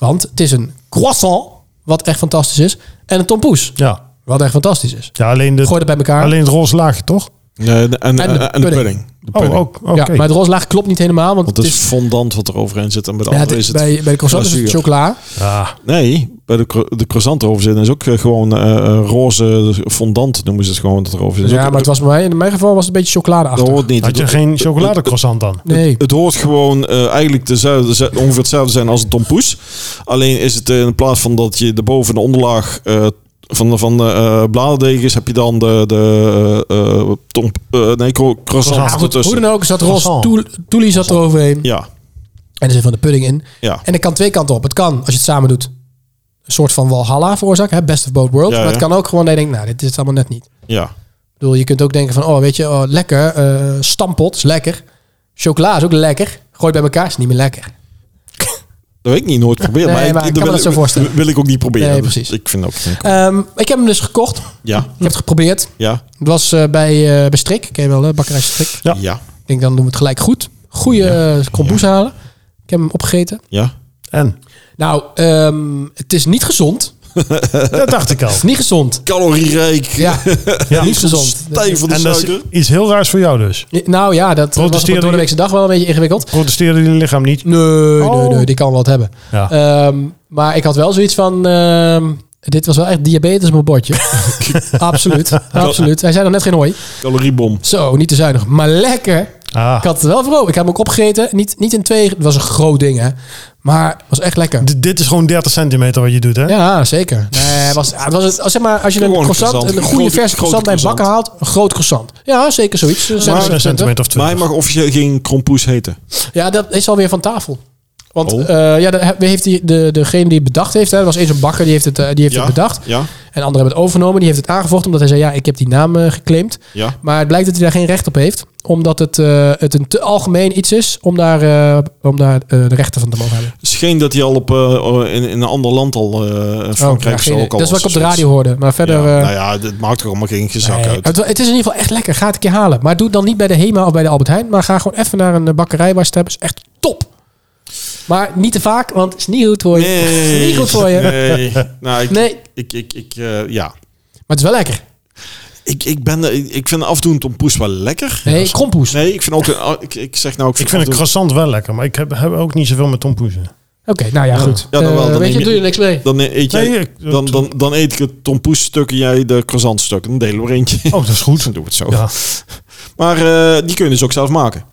Speaker 2: Want het is een croissant, wat echt fantastisch is, en een tompoes,
Speaker 1: ja.
Speaker 2: wat echt fantastisch is.
Speaker 1: ja alleen, de,
Speaker 2: Gooi dat bij elkaar.
Speaker 1: alleen het roze laagje, toch?
Speaker 3: Nee, de- en, eh,
Speaker 2: En de
Speaker 3: en de
Speaker 2: pudding.
Speaker 3: pudding. De
Speaker 1: Oh,
Speaker 3: pudding.
Speaker 1: ook. Oké.
Speaker 2: Ja, maar het roze laag klopt niet helemaal, want,
Speaker 3: Want het
Speaker 2: het
Speaker 3: is fondant wat er overheen zit. En bij de
Speaker 2: ja, het
Speaker 3: andere
Speaker 2: is
Speaker 3: is het...
Speaker 2: bij, bij de croissant is het
Speaker 3: glazuur.
Speaker 2: chocola.
Speaker 1: Ja.
Speaker 3: Nee, bij de, cro- de croissant erover zit is ook eh, gewoon eh, eh, roze fondant noemen ze het gewoon dat erover zit. Is
Speaker 2: Ja,
Speaker 3: ook-
Speaker 2: maar het was bij mij, in mijn geval was het een beetje
Speaker 3: dat
Speaker 2: chocoladeachtig.
Speaker 3: hoort niet.
Speaker 1: Had je
Speaker 3: Het-
Speaker 1: geen
Speaker 3: het-
Speaker 1: chocoladecroissant dan?
Speaker 2: Nee.
Speaker 3: Het hoort gewoon eh, eigenlijk dezelfde, ze- ongeveer hetzelfde zijn als een tompoes. Alleen is het eh, in plaats van dat je de boven- en onderlaag eh, van de, van de eh, bladerdeeg is, heb je dan de, de eh tom, eh, nee, cro-
Speaker 1: Ja,
Speaker 3: croissant
Speaker 1: goed,
Speaker 2: Goed, hoe
Speaker 3: ertussen.
Speaker 2: dan ook, er zat roze
Speaker 1: Croissant.
Speaker 2: toel- toelie zat er overheen.
Speaker 3: Ja,
Speaker 2: En er zit van de pudding in.
Speaker 3: ja.
Speaker 2: En dat kan twee kanten op. Het kan, als je het samen doet, een soort van walhalla veroorzaken. Hè? Best of both worlds.
Speaker 3: Ja,
Speaker 2: maar het
Speaker 3: ja.
Speaker 2: kan ook gewoon dat je denkt, nou, dit is het allemaal net niet.
Speaker 3: ja.
Speaker 2: Ik bedoel, je kunt ook denken van, oh, weet je, oh, lekker. eh stampot is lekker. Chocola is ook lekker. Gooi bij elkaar, is niet meer lekker.
Speaker 3: Dat weet ik niet, nooit proberen.
Speaker 2: Nee, maar ik kan me
Speaker 3: wil,
Speaker 2: dat zo voorstellen.
Speaker 3: wil ik ook niet proberen. dus
Speaker 2: Nee, precies.
Speaker 3: Ik vind ook geen-
Speaker 2: Ehm, ik heb hem dus gekocht. Ik
Speaker 3: Ja,
Speaker 2: heb het geprobeerd.
Speaker 3: ja,
Speaker 2: Het was eh, bij, eh, bij Strik. Ken je wel, hè? bakkerij Strik.
Speaker 1: Ja.
Speaker 3: ja,
Speaker 2: Ik denk, dan doen we het gelijk goed. Goede eh komboes halen. Ik heb hem opgegeten.
Speaker 3: ja.
Speaker 1: En?
Speaker 2: Nou, ehm, het is niet gezond.
Speaker 1: Dat dacht ik al.
Speaker 2: Het is niet gezond.
Speaker 3: Calorierijk.
Speaker 2: Ja,
Speaker 1: Ja.
Speaker 2: niet gezond.
Speaker 3: Stijf van de
Speaker 1: En dat
Speaker 3: suiker.
Speaker 1: is iets heel raars voor jou dus.
Speaker 2: Nou ja, dat was
Speaker 1: Protesteerde
Speaker 2: door de
Speaker 1: je?
Speaker 2: weekse dag wel een beetje ingewikkeld.
Speaker 1: Protesteerde je lichaam niet?
Speaker 2: Nee, nee,
Speaker 1: Oh.
Speaker 2: nee, die kan wat hebben.
Speaker 1: Ja.
Speaker 2: Ehm, maar ik had wel zoiets van... ehm, dit was wel echt diabetes op mijn bordje. absoluut, absoluut. Hij zei nog net geen hooi.
Speaker 3: Caloriebom.
Speaker 2: Zo, niet te zuinig. Maar lekker.
Speaker 1: Ah.
Speaker 2: Ik had het wel vrolijk. Ik heb hem ook opgegeten. Niet, niet in twee... Het was een groot ding, hè. Maar het was echt lekker.
Speaker 1: D- dit is gewoon 30 centimeter wat je doet, hè?
Speaker 2: Ja, zeker. Nee, het was, het was het, als, zeg maar, als je een,
Speaker 3: Gewoon een
Speaker 2: croissant,
Speaker 3: croissant.
Speaker 2: een
Speaker 3: Een
Speaker 2: goede
Speaker 3: grote-
Speaker 2: verse croissant
Speaker 3: grote
Speaker 2: bij bakken haalt, een groot croissant. Ja, zeker zoiets. Eh,
Speaker 1: Maar
Speaker 2: 26
Speaker 1: een centimeter
Speaker 2: centimeter.
Speaker 1: of
Speaker 3: Maar hij
Speaker 1: 20.
Speaker 3: mag officieel geen krompoes heten.
Speaker 2: Ja, dat is alweer van tafel. Want
Speaker 3: Oh.
Speaker 2: eh, ja, dat he- heeft die, de, degene die het bedacht heeft, hè, er was eens een bakker die heeft het, eh, die heeft
Speaker 3: ja,
Speaker 2: het bedacht.
Speaker 3: Ja,
Speaker 2: En anderen hebben het overgenomen. Die heeft het aangevochten omdat hij zei, ja, ik heb die naam eh, geclaimd.
Speaker 3: ja.
Speaker 2: Maar het blijkt dat hij daar geen recht op heeft. Omdat het, eh, het een te algemeen iets is om daar, eh, om daar eh, de rechten van te mogen hebben.
Speaker 3: Scheen dat hij al op, eh, in, in een ander land al eh
Speaker 2: Oh, ja,
Speaker 3: Frankrijk zo
Speaker 2: geen-
Speaker 3: ook al
Speaker 2: dat is wat ik
Speaker 3: was,
Speaker 2: op de
Speaker 3: of
Speaker 2: radio
Speaker 3: zoiets.
Speaker 2: hoorde. Maar verder...
Speaker 3: Ja,
Speaker 2: eh,
Speaker 3: nou ja, dat maakt er allemaal geen gezak
Speaker 2: nee.
Speaker 3: uit.
Speaker 2: het, het is in ieder geval echt lekker. Ga het een keer halen. Maar doe het dan niet bij de HEMA of bij de Albert Heijn. Maar ga gewoon even naar een eh, bakkerij waar ze het hebben. Is echt top. Maar niet te vaak, want het is niet goed voor je. Het is niet goed voor je.
Speaker 3: Nee. Nou, ik,
Speaker 2: Nee.
Speaker 3: Ik, ik, ik, eh, ja.
Speaker 2: Maar het is wel lekker.
Speaker 3: Ik, ik, ben, de- ik, ik vind af en toe een tompoes wel lekker.
Speaker 2: Nee, krompoes.
Speaker 3: Nee, ik vind ook... een- ik, ik zeg nou,
Speaker 1: Ik
Speaker 3: ik
Speaker 1: vind
Speaker 3: vind, af
Speaker 1: het
Speaker 3: en toe-
Speaker 1: croissant wel lekker, maar ik heb, heb ook niet zoveel met tompoezen.
Speaker 2: Oké, nou ja, goed.
Speaker 3: Ja, dan wel,
Speaker 2: Eh,
Speaker 3: dan
Speaker 2: weet je,
Speaker 3: neem je-
Speaker 2: doe je niks mee.
Speaker 3: Dan eet jij...
Speaker 1: Nee, ik-
Speaker 3: dan, dan, dan eet ik het tompoesstuk en jij de croissantstukken. Dan delen we er eentje.
Speaker 1: Oh, dat is goed.
Speaker 3: Dan doen we het zo.
Speaker 1: Ja.
Speaker 3: Maar eh, die kun je dus ook zelf maken.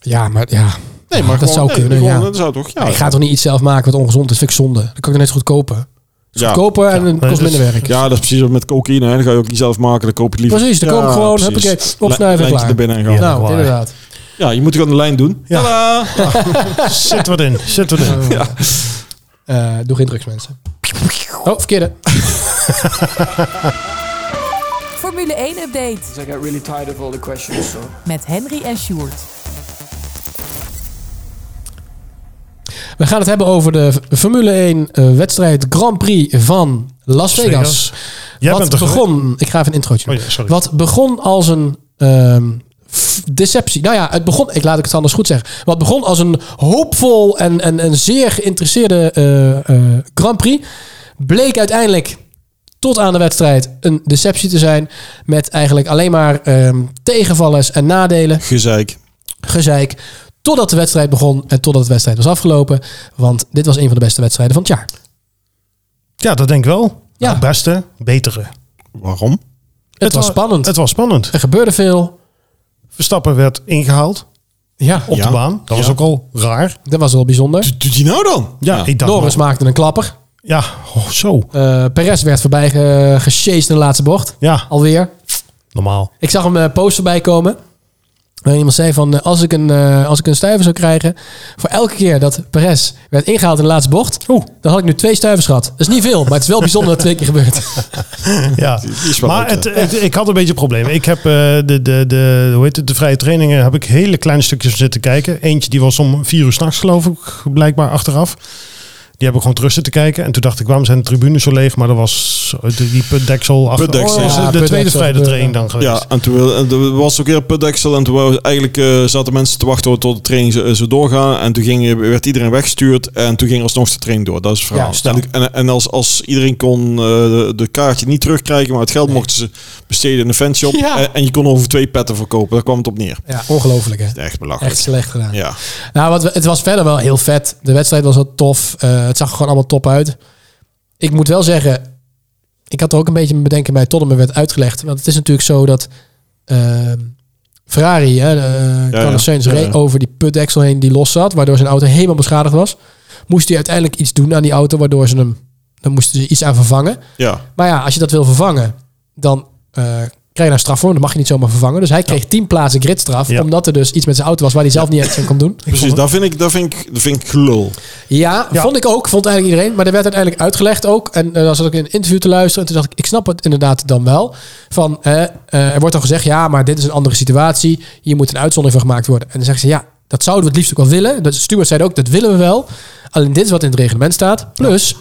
Speaker 2: Ja, maar ja.
Speaker 3: Nee, maar
Speaker 2: dat
Speaker 3: gewoon,
Speaker 2: zou
Speaker 3: nee,
Speaker 2: kunnen,
Speaker 3: gewoon,
Speaker 2: ja.
Speaker 3: Dat zou toch? Ja.
Speaker 2: Ik ga toch niet iets zelf maken wat ongezond is? Vind ik zonde. Dan kan ik het net zo goed kopen.
Speaker 3: ja.
Speaker 2: Kopen en het
Speaker 1: Nee,
Speaker 2: kost
Speaker 1: dus-
Speaker 2: minder werk.
Speaker 3: Ja, dat is precies wat met cocaïne. Hè. Dan ga je ook niet zelf maken, dan koop je het liever.
Speaker 2: Precies, dan
Speaker 3: ja,
Speaker 2: koop ik gewoon,
Speaker 3: precies.
Speaker 2: huppakee, opsnuiven en
Speaker 3: Lijn- lijntje
Speaker 2: klaar.
Speaker 3: naar binnen en gaan.
Speaker 1: Ja.
Speaker 2: nou,
Speaker 1: waar.
Speaker 2: inderdaad.
Speaker 3: Ja, je moet het aan de lijn doen.
Speaker 1: Ja.
Speaker 3: Tadaa!
Speaker 1: Zit wat in, zit wat in.
Speaker 2: Eh, doe geen drugs, mensen. Oh, verkeerde.
Speaker 4: Formule 1 update
Speaker 6: I got really tired of all the questions, so
Speaker 4: met Henry en Sjoerd.
Speaker 2: We gaan het hebben over de Formule 1 eh, wedstrijd Grand Prix van Las Vegas.
Speaker 1: Vegas. Jij
Speaker 2: Wat
Speaker 1: bent er geweest.
Speaker 2: begon, ik ga even een introotje doen.
Speaker 1: Oh ja, sorry.
Speaker 2: Wat begon als een ehm, f- deceptie. Nou ja, het begon, ik laat ik het anders goed zeggen. Wat begon als een hoopvol en, en, en zeer geïnteresseerde eh, eh, Grand Prix, bleek uiteindelijk tot aan de wedstrijd een deceptie te zijn. Met eigenlijk alleen maar ehm, tegenvallers en nadelen
Speaker 3: Gezeik.
Speaker 2: gezeik. Totdat de wedstrijd begon en totdat de wedstrijd was afgelopen. Want dit was een van de beste wedstrijden van het jaar.
Speaker 1: Ja, dat denk ik wel.
Speaker 2: Ja.
Speaker 1: Ja. Beste, betere.
Speaker 3: Waarom?
Speaker 2: Het, was
Speaker 1: wa-
Speaker 2: spannend.
Speaker 1: Het was spannend.
Speaker 2: er gebeurde veel.
Speaker 1: Verstappen werd ingehaald
Speaker 2: Ja,
Speaker 1: op
Speaker 3: Ja.
Speaker 1: de baan. Dat was
Speaker 3: Ja.
Speaker 1: ook al raar.
Speaker 2: dat was wel bijzonder.
Speaker 3: Doet hij nou dan?
Speaker 1: Ja, ik dacht
Speaker 2: Norris
Speaker 1: wel-
Speaker 2: maakte een klapper.
Speaker 1: Ja, oh, zo.
Speaker 2: Eh Perez werd voorbij ge gechased in de laatste bocht.
Speaker 1: Ja,
Speaker 2: Alweer.
Speaker 1: normaal.
Speaker 2: Ik zag hem eh, post voorbij komen. Waarin iemand zei van, eh, als ik, een, eh, als ik een stuiver zou krijgen... voor elke keer dat Perez werd ingehaald in de laatste bocht... dan had ik nu twee stuivers gehad. Dat is niet veel, maar het is wel bijzonder dat het twee keer gebeurt.
Speaker 1: Ja.
Speaker 3: is wel
Speaker 1: Maar
Speaker 3: leuk,
Speaker 1: het, het- ik had een beetje problemen. Ik heb eh, de, de, de, hoe heet het, de vrije trainingen heb ik hele kleine stukjes zitten kijken. Eentje die was om vier uur s'nachts geloof ik, blijkbaar achteraf. Die heb ik gewoon terug zitten kijken. En toen dacht ik, waarom zijn de tribunes zo leeg? Maar dat was eh, die- die putdeksel achter.
Speaker 3: Putdeksel.
Speaker 1: Oh, dat was
Speaker 2: Ja,
Speaker 1: de
Speaker 2: putdeksel
Speaker 1: tweede vrije
Speaker 2: gebeurde.
Speaker 1: training dan geweest.
Speaker 2: dus-
Speaker 3: Ja, en toen wil- en er was ook weer een putdeksel. En toen wou- eigenlijk eh, zaten mensen te wachten tot de training zo- zo doorgaan. En toen ging, werd iedereen weggestuurd. En toen ging alsnog de training door. Dat is het verhaal.
Speaker 2: Juist.
Speaker 3: en en, en als, als iedereen kon eh, de, de kaartje niet terugkrijgen, maar het geld mochten ze besteden in een fanshop.
Speaker 2: Ja.
Speaker 3: En, en je kon over twee petten verkopen. Daar kwam het op neer.
Speaker 2: Ja, ongelooflijk hè.
Speaker 3: Echt belachelijk.
Speaker 2: Echt slecht gedaan.
Speaker 3: Ja.
Speaker 2: Nou, wat, we- het was verder wel heel vet. De wedstrijd was wel tof. Eh, het zag er gewoon allemaal top uit. Ik moet wel zeggen, ik had er ook een beetje mijn bedenken bij tot het me werd uitgelegd. Want het is natuurlijk zo dat ehm, Ferrari, hè, eh
Speaker 3: Ja,
Speaker 2: Carlos
Speaker 3: ja.
Speaker 2: Sainz,
Speaker 3: Ja,
Speaker 2: reed
Speaker 3: ja.
Speaker 2: over die putdeksel heen die los zat, waardoor zijn auto helemaal beschadigd was. Moest hij uiteindelijk iets doen aan die auto, waardoor ze hem, dan moesten ze iets aan vervangen.
Speaker 3: ja.
Speaker 2: Maar ja, als je dat wil vervangen, dan eh, krijg je daar straf voor. want Dat mag je niet zomaar vervangen. Dus hij kreeg 10 plaatsen gridstraf,
Speaker 1: Ja.
Speaker 2: omdat er dus iets met zijn auto was waar hij zelf niet echt aan kon doen.
Speaker 3: Precies, daar vind ik, daar vind ik, daar vind ik gelul.
Speaker 2: Ja,
Speaker 1: Ja.
Speaker 2: vond ik ook. Vond eigenlijk iedereen. Maar er werd uiteindelijk uitgelegd ook. En eh, dan zat ik in een interview te luisteren. En toen dacht ik, ik snap het inderdaad dan wel. Van, eh, eh, er wordt dan gezegd, ja, maar dit is een andere situatie. Hier moet een uitzondering van gemaakt worden. En dan zeggen ze, ja, dat zouden we het liefst ook wel willen. De steward zei ook, dat willen we wel. Alleen dit is wat in het reglement staat. Plus,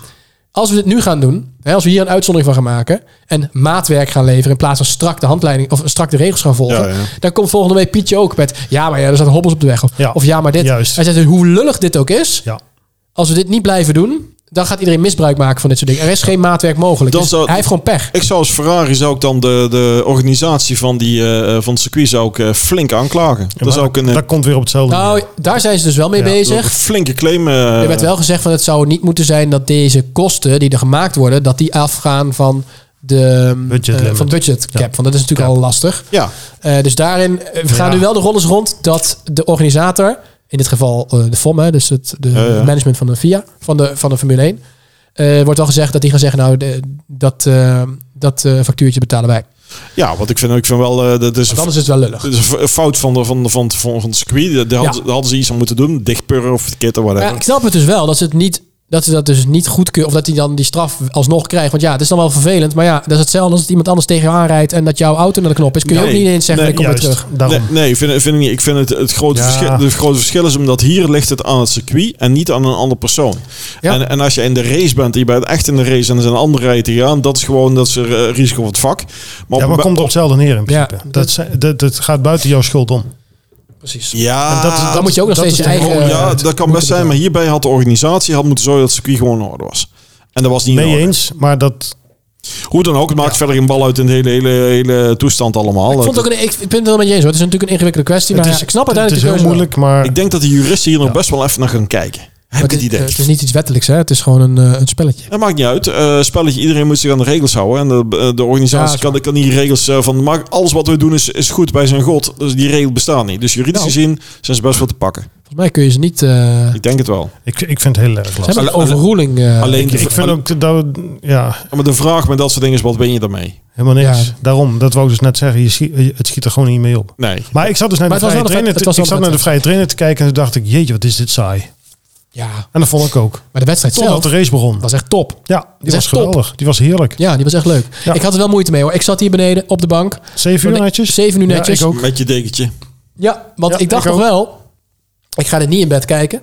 Speaker 2: als we dit nu gaan doen, hè, als we hier een uitzondering van gaan maken... en maatwerk gaan leveren in plaats van strak de handleiding... of strak de regels gaan volgen...
Speaker 3: Ja, ja.
Speaker 2: dan komt volgende week Pietje ook met... ja, maar ja, er zaten hobbels op de weg. Of ja,
Speaker 1: Ja,
Speaker 2: of ja maar dit.
Speaker 1: juist.
Speaker 2: Hij zei, hoe lullig dit ook is
Speaker 1: Ja.
Speaker 2: als we dit niet blijven doen, dan gaat iedereen misbruik maken van dit soort dingen. Er is geen maatwerk mogelijk.
Speaker 3: Dan
Speaker 2: Dus
Speaker 3: zou-
Speaker 2: hij heeft gewoon pech.
Speaker 3: Ik zou als Ferrari zou ik dan de, de organisatie van, die, eh, van het circuit zou ik, eh, flink aanklagen. dat
Speaker 1: Maar
Speaker 3: zou ik een, eh,
Speaker 1: dat komt weer op hetzelfde.
Speaker 2: Nou, daar zijn ze dus wel mee
Speaker 1: Ja,
Speaker 3: een
Speaker 2: bezig.
Speaker 3: flinke claim. eh,
Speaker 2: Er werd wel gezegd van het zou niet moeten zijn dat deze kosten die er gemaakt worden, dat die afgaan van de
Speaker 1: Budget
Speaker 2: eh,
Speaker 1: limit.
Speaker 2: van budget cap. Want dat is natuurlijk al lastig.
Speaker 3: Ja,
Speaker 2: Eh, dus daarin, eh, we gaan
Speaker 1: Ja.
Speaker 2: nu wel de rollen rond dat de organisator, in dit geval eh, de FOM, hè, dus het de
Speaker 3: Ja, ja.
Speaker 2: het management van de FIA, van de, van de Formule 1, eh, wordt wel gezegd dat die gaan zeggen, nou, de- dat, eh, dat eh, factuurtje betalen wij.
Speaker 3: ja, wat ik vind, ik vind wel, eh, dat is
Speaker 2: Want
Speaker 3: een,
Speaker 2: anders is het wel lullig.
Speaker 3: dat is een f- een fout van, de, van, de, van, de- van, van het circuit. Daar hadden,
Speaker 2: Ja.
Speaker 3: daar hadden ze iets aan moeten doen. Dichtpurren of kitten,
Speaker 2: Maar
Speaker 3: whatever.
Speaker 2: ja, ik snap het dus wel dat ze het niet dat ze dat dus niet goedkeuren of dat hij dan die straf alsnog krijgt. Want ja, het is dan wel vervelend, maar ja, dat is hetzelfde als dat iemand anders tegen je aanrijdt en dat jouw auto naar de knop is. Kun je
Speaker 3: Nee,
Speaker 2: ook niet ineens zeggen,
Speaker 3: nee,
Speaker 2: ik kom weer
Speaker 1: Juist,
Speaker 2: terug.
Speaker 1: daarom.
Speaker 3: Nee, nee vind, ik- vind ik niet. Ik vind het, het, grote
Speaker 1: Ja.
Speaker 3: verschil, het grote verschil is omdat hier ligt het aan het circuit en niet aan een ander persoon.
Speaker 2: Ja.
Speaker 3: En, en als je in de race bent, en je bent echt in de race en er zijn andere rijden te gaan, dat is gewoon dat is er, eh, risico van het vak. Maar, op
Speaker 1: ja,
Speaker 3: een
Speaker 1: maar
Speaker 3: be-
Speaker 1: komt op hetzelfde neer in
Speaker 2: Ja.
Speaker 1: principe. Dat, zijn- dat, dat gaat buiten jouw schuld om.
Speaker 2: Precies.
Speaker 3: Ja,
Speaker 1: En dat-
Speaker 2: Ah, Dan moet je ook nog
Speaker 1: dat
Speaker 2: steeds je
Speaker 1: is de-
Speaker 2: eigen...
Speaker 1: oh,
Speaker 3: ja, dat kan best zijn, maar hierbij had de organisatie had moeten zorgen dat het circuit gewoon in orde was. En dat was niet in
Speaker 1: mee
Speaker 3: orde.
Speaker 1: eens, maar dat...
Speaker 3: Hoe dan ook, het maakt verder geen bal uit in de hele, hele, hele toestand allemaal.
Speaker 2: Ik, vond ook een, ik, ik ben het wel met je eens hoor. Het is natuurlijk een ingewikkelde kwestie, maar
Speaker 1: het
Speaker 2: Nou ja, ik snap het
Speaker 1: Het is
Speaker 2: uiteindelijk.
Speaker 1: heel moeilijk, maar...
Speaker 3: Ik denk dat de juristen hier nog best wel even naar gaan kijken. Heb ik het idee.
Speaker 2: Het is niet iets wettelijks, hè? Het is gewoon een, eh, een spelletje.
Speaker 3: Dat maakt niet uit. Eh, spelletje, iedereen moet zich aan de regels houden. En de, eh, de
Speaker 2: Ja,
Speaker 3: organisatie
Speaker 2: dat is
Speaker 3: kan, kan die regels eh, van... Maar alles wat we doen is, is goed bij zijn god. Dus die regel bestaat niet. Dus juridisch
Speaker 2: Nou.
Speaker 3: gezien zijn ze best wel te pakken.
Speaker 2: Volgens mij kun je ze niet... eh ze
Speaker 3: Ik denk het wel.
Speaker 1: ik, ik vind het heel erg lastig.
Speaker 2: hebben een
Speaker 3: Alleen-
Speaker 2: overruling. eh,
Speaker 3: Alleen
Speaker 1: Ik,
Speaker 3: de,
Speaker 1: ik vind ook dat... we- Ja,
Speaker 3: maar de vraag met dat soort dingen is, wat ben je daarmee?
Speaker 1: Helemaal niks.
Speaker 2: Ja.
Speaker 1: Daarom, dat wou ik dus net zeggen. Je schiet, je- het schiet er gewoon niet mee op.
Speaker 3: Nee.
Speaker 1: Maar ik zat dus naar, de
Speaker 2: Maar het was wel
Speaker 1: vrije,
Speaker 2: een vet-
Speaker 1: trainer,
Speaker 2: het
Speaker 1: te, ik
Speaker 2: was wel
Speaker 1: zat
Speaker 2: een
Speaker 1: naar de
Speaker 2: vet-
Speaker 1: vrije trainer te kijken en toen dacht ik, jeetje, wat is dit saai.
Speaker 2: ja,
Speaker 1: En dat vond ik ook.
Speaker 2: maar de wedstrijd
Speaker 1: Totdat
Speaker 2: zelf
Speaker 1: de race begon.
Speaker 2: was echt top.
Speaker 1: Ja, die
Speaker 2: is
Speaker 1: was
Speaker 2: echt top.
Speaker 1: geweldig. Die was heerlijk.
Speaker 2: Ja, die was echt leuk.
Speaker 1: Ja.
Speaker 2: Ik had er wel moeite mee hoor. Ik zat hier beneden op de bank.
Speaker 1: Zeven uur
Speaker 2: Want ik-
Speaker 1: netjes.
Speaker 2: Zeven uur
Speaker 1: Ja,
Speaker 2: netjes.
Speaker 1: ik ook.
Speaker 3: Met je dekentje.
Speaker 2: Ja, want
Speaker 1: Ja,
Speaker 2: ik dacht
Speaker 1: ik
Speaker 2: nog
Speaker 1: ook.
Speaker 2: wel, ik ga dit niet in bed kijken.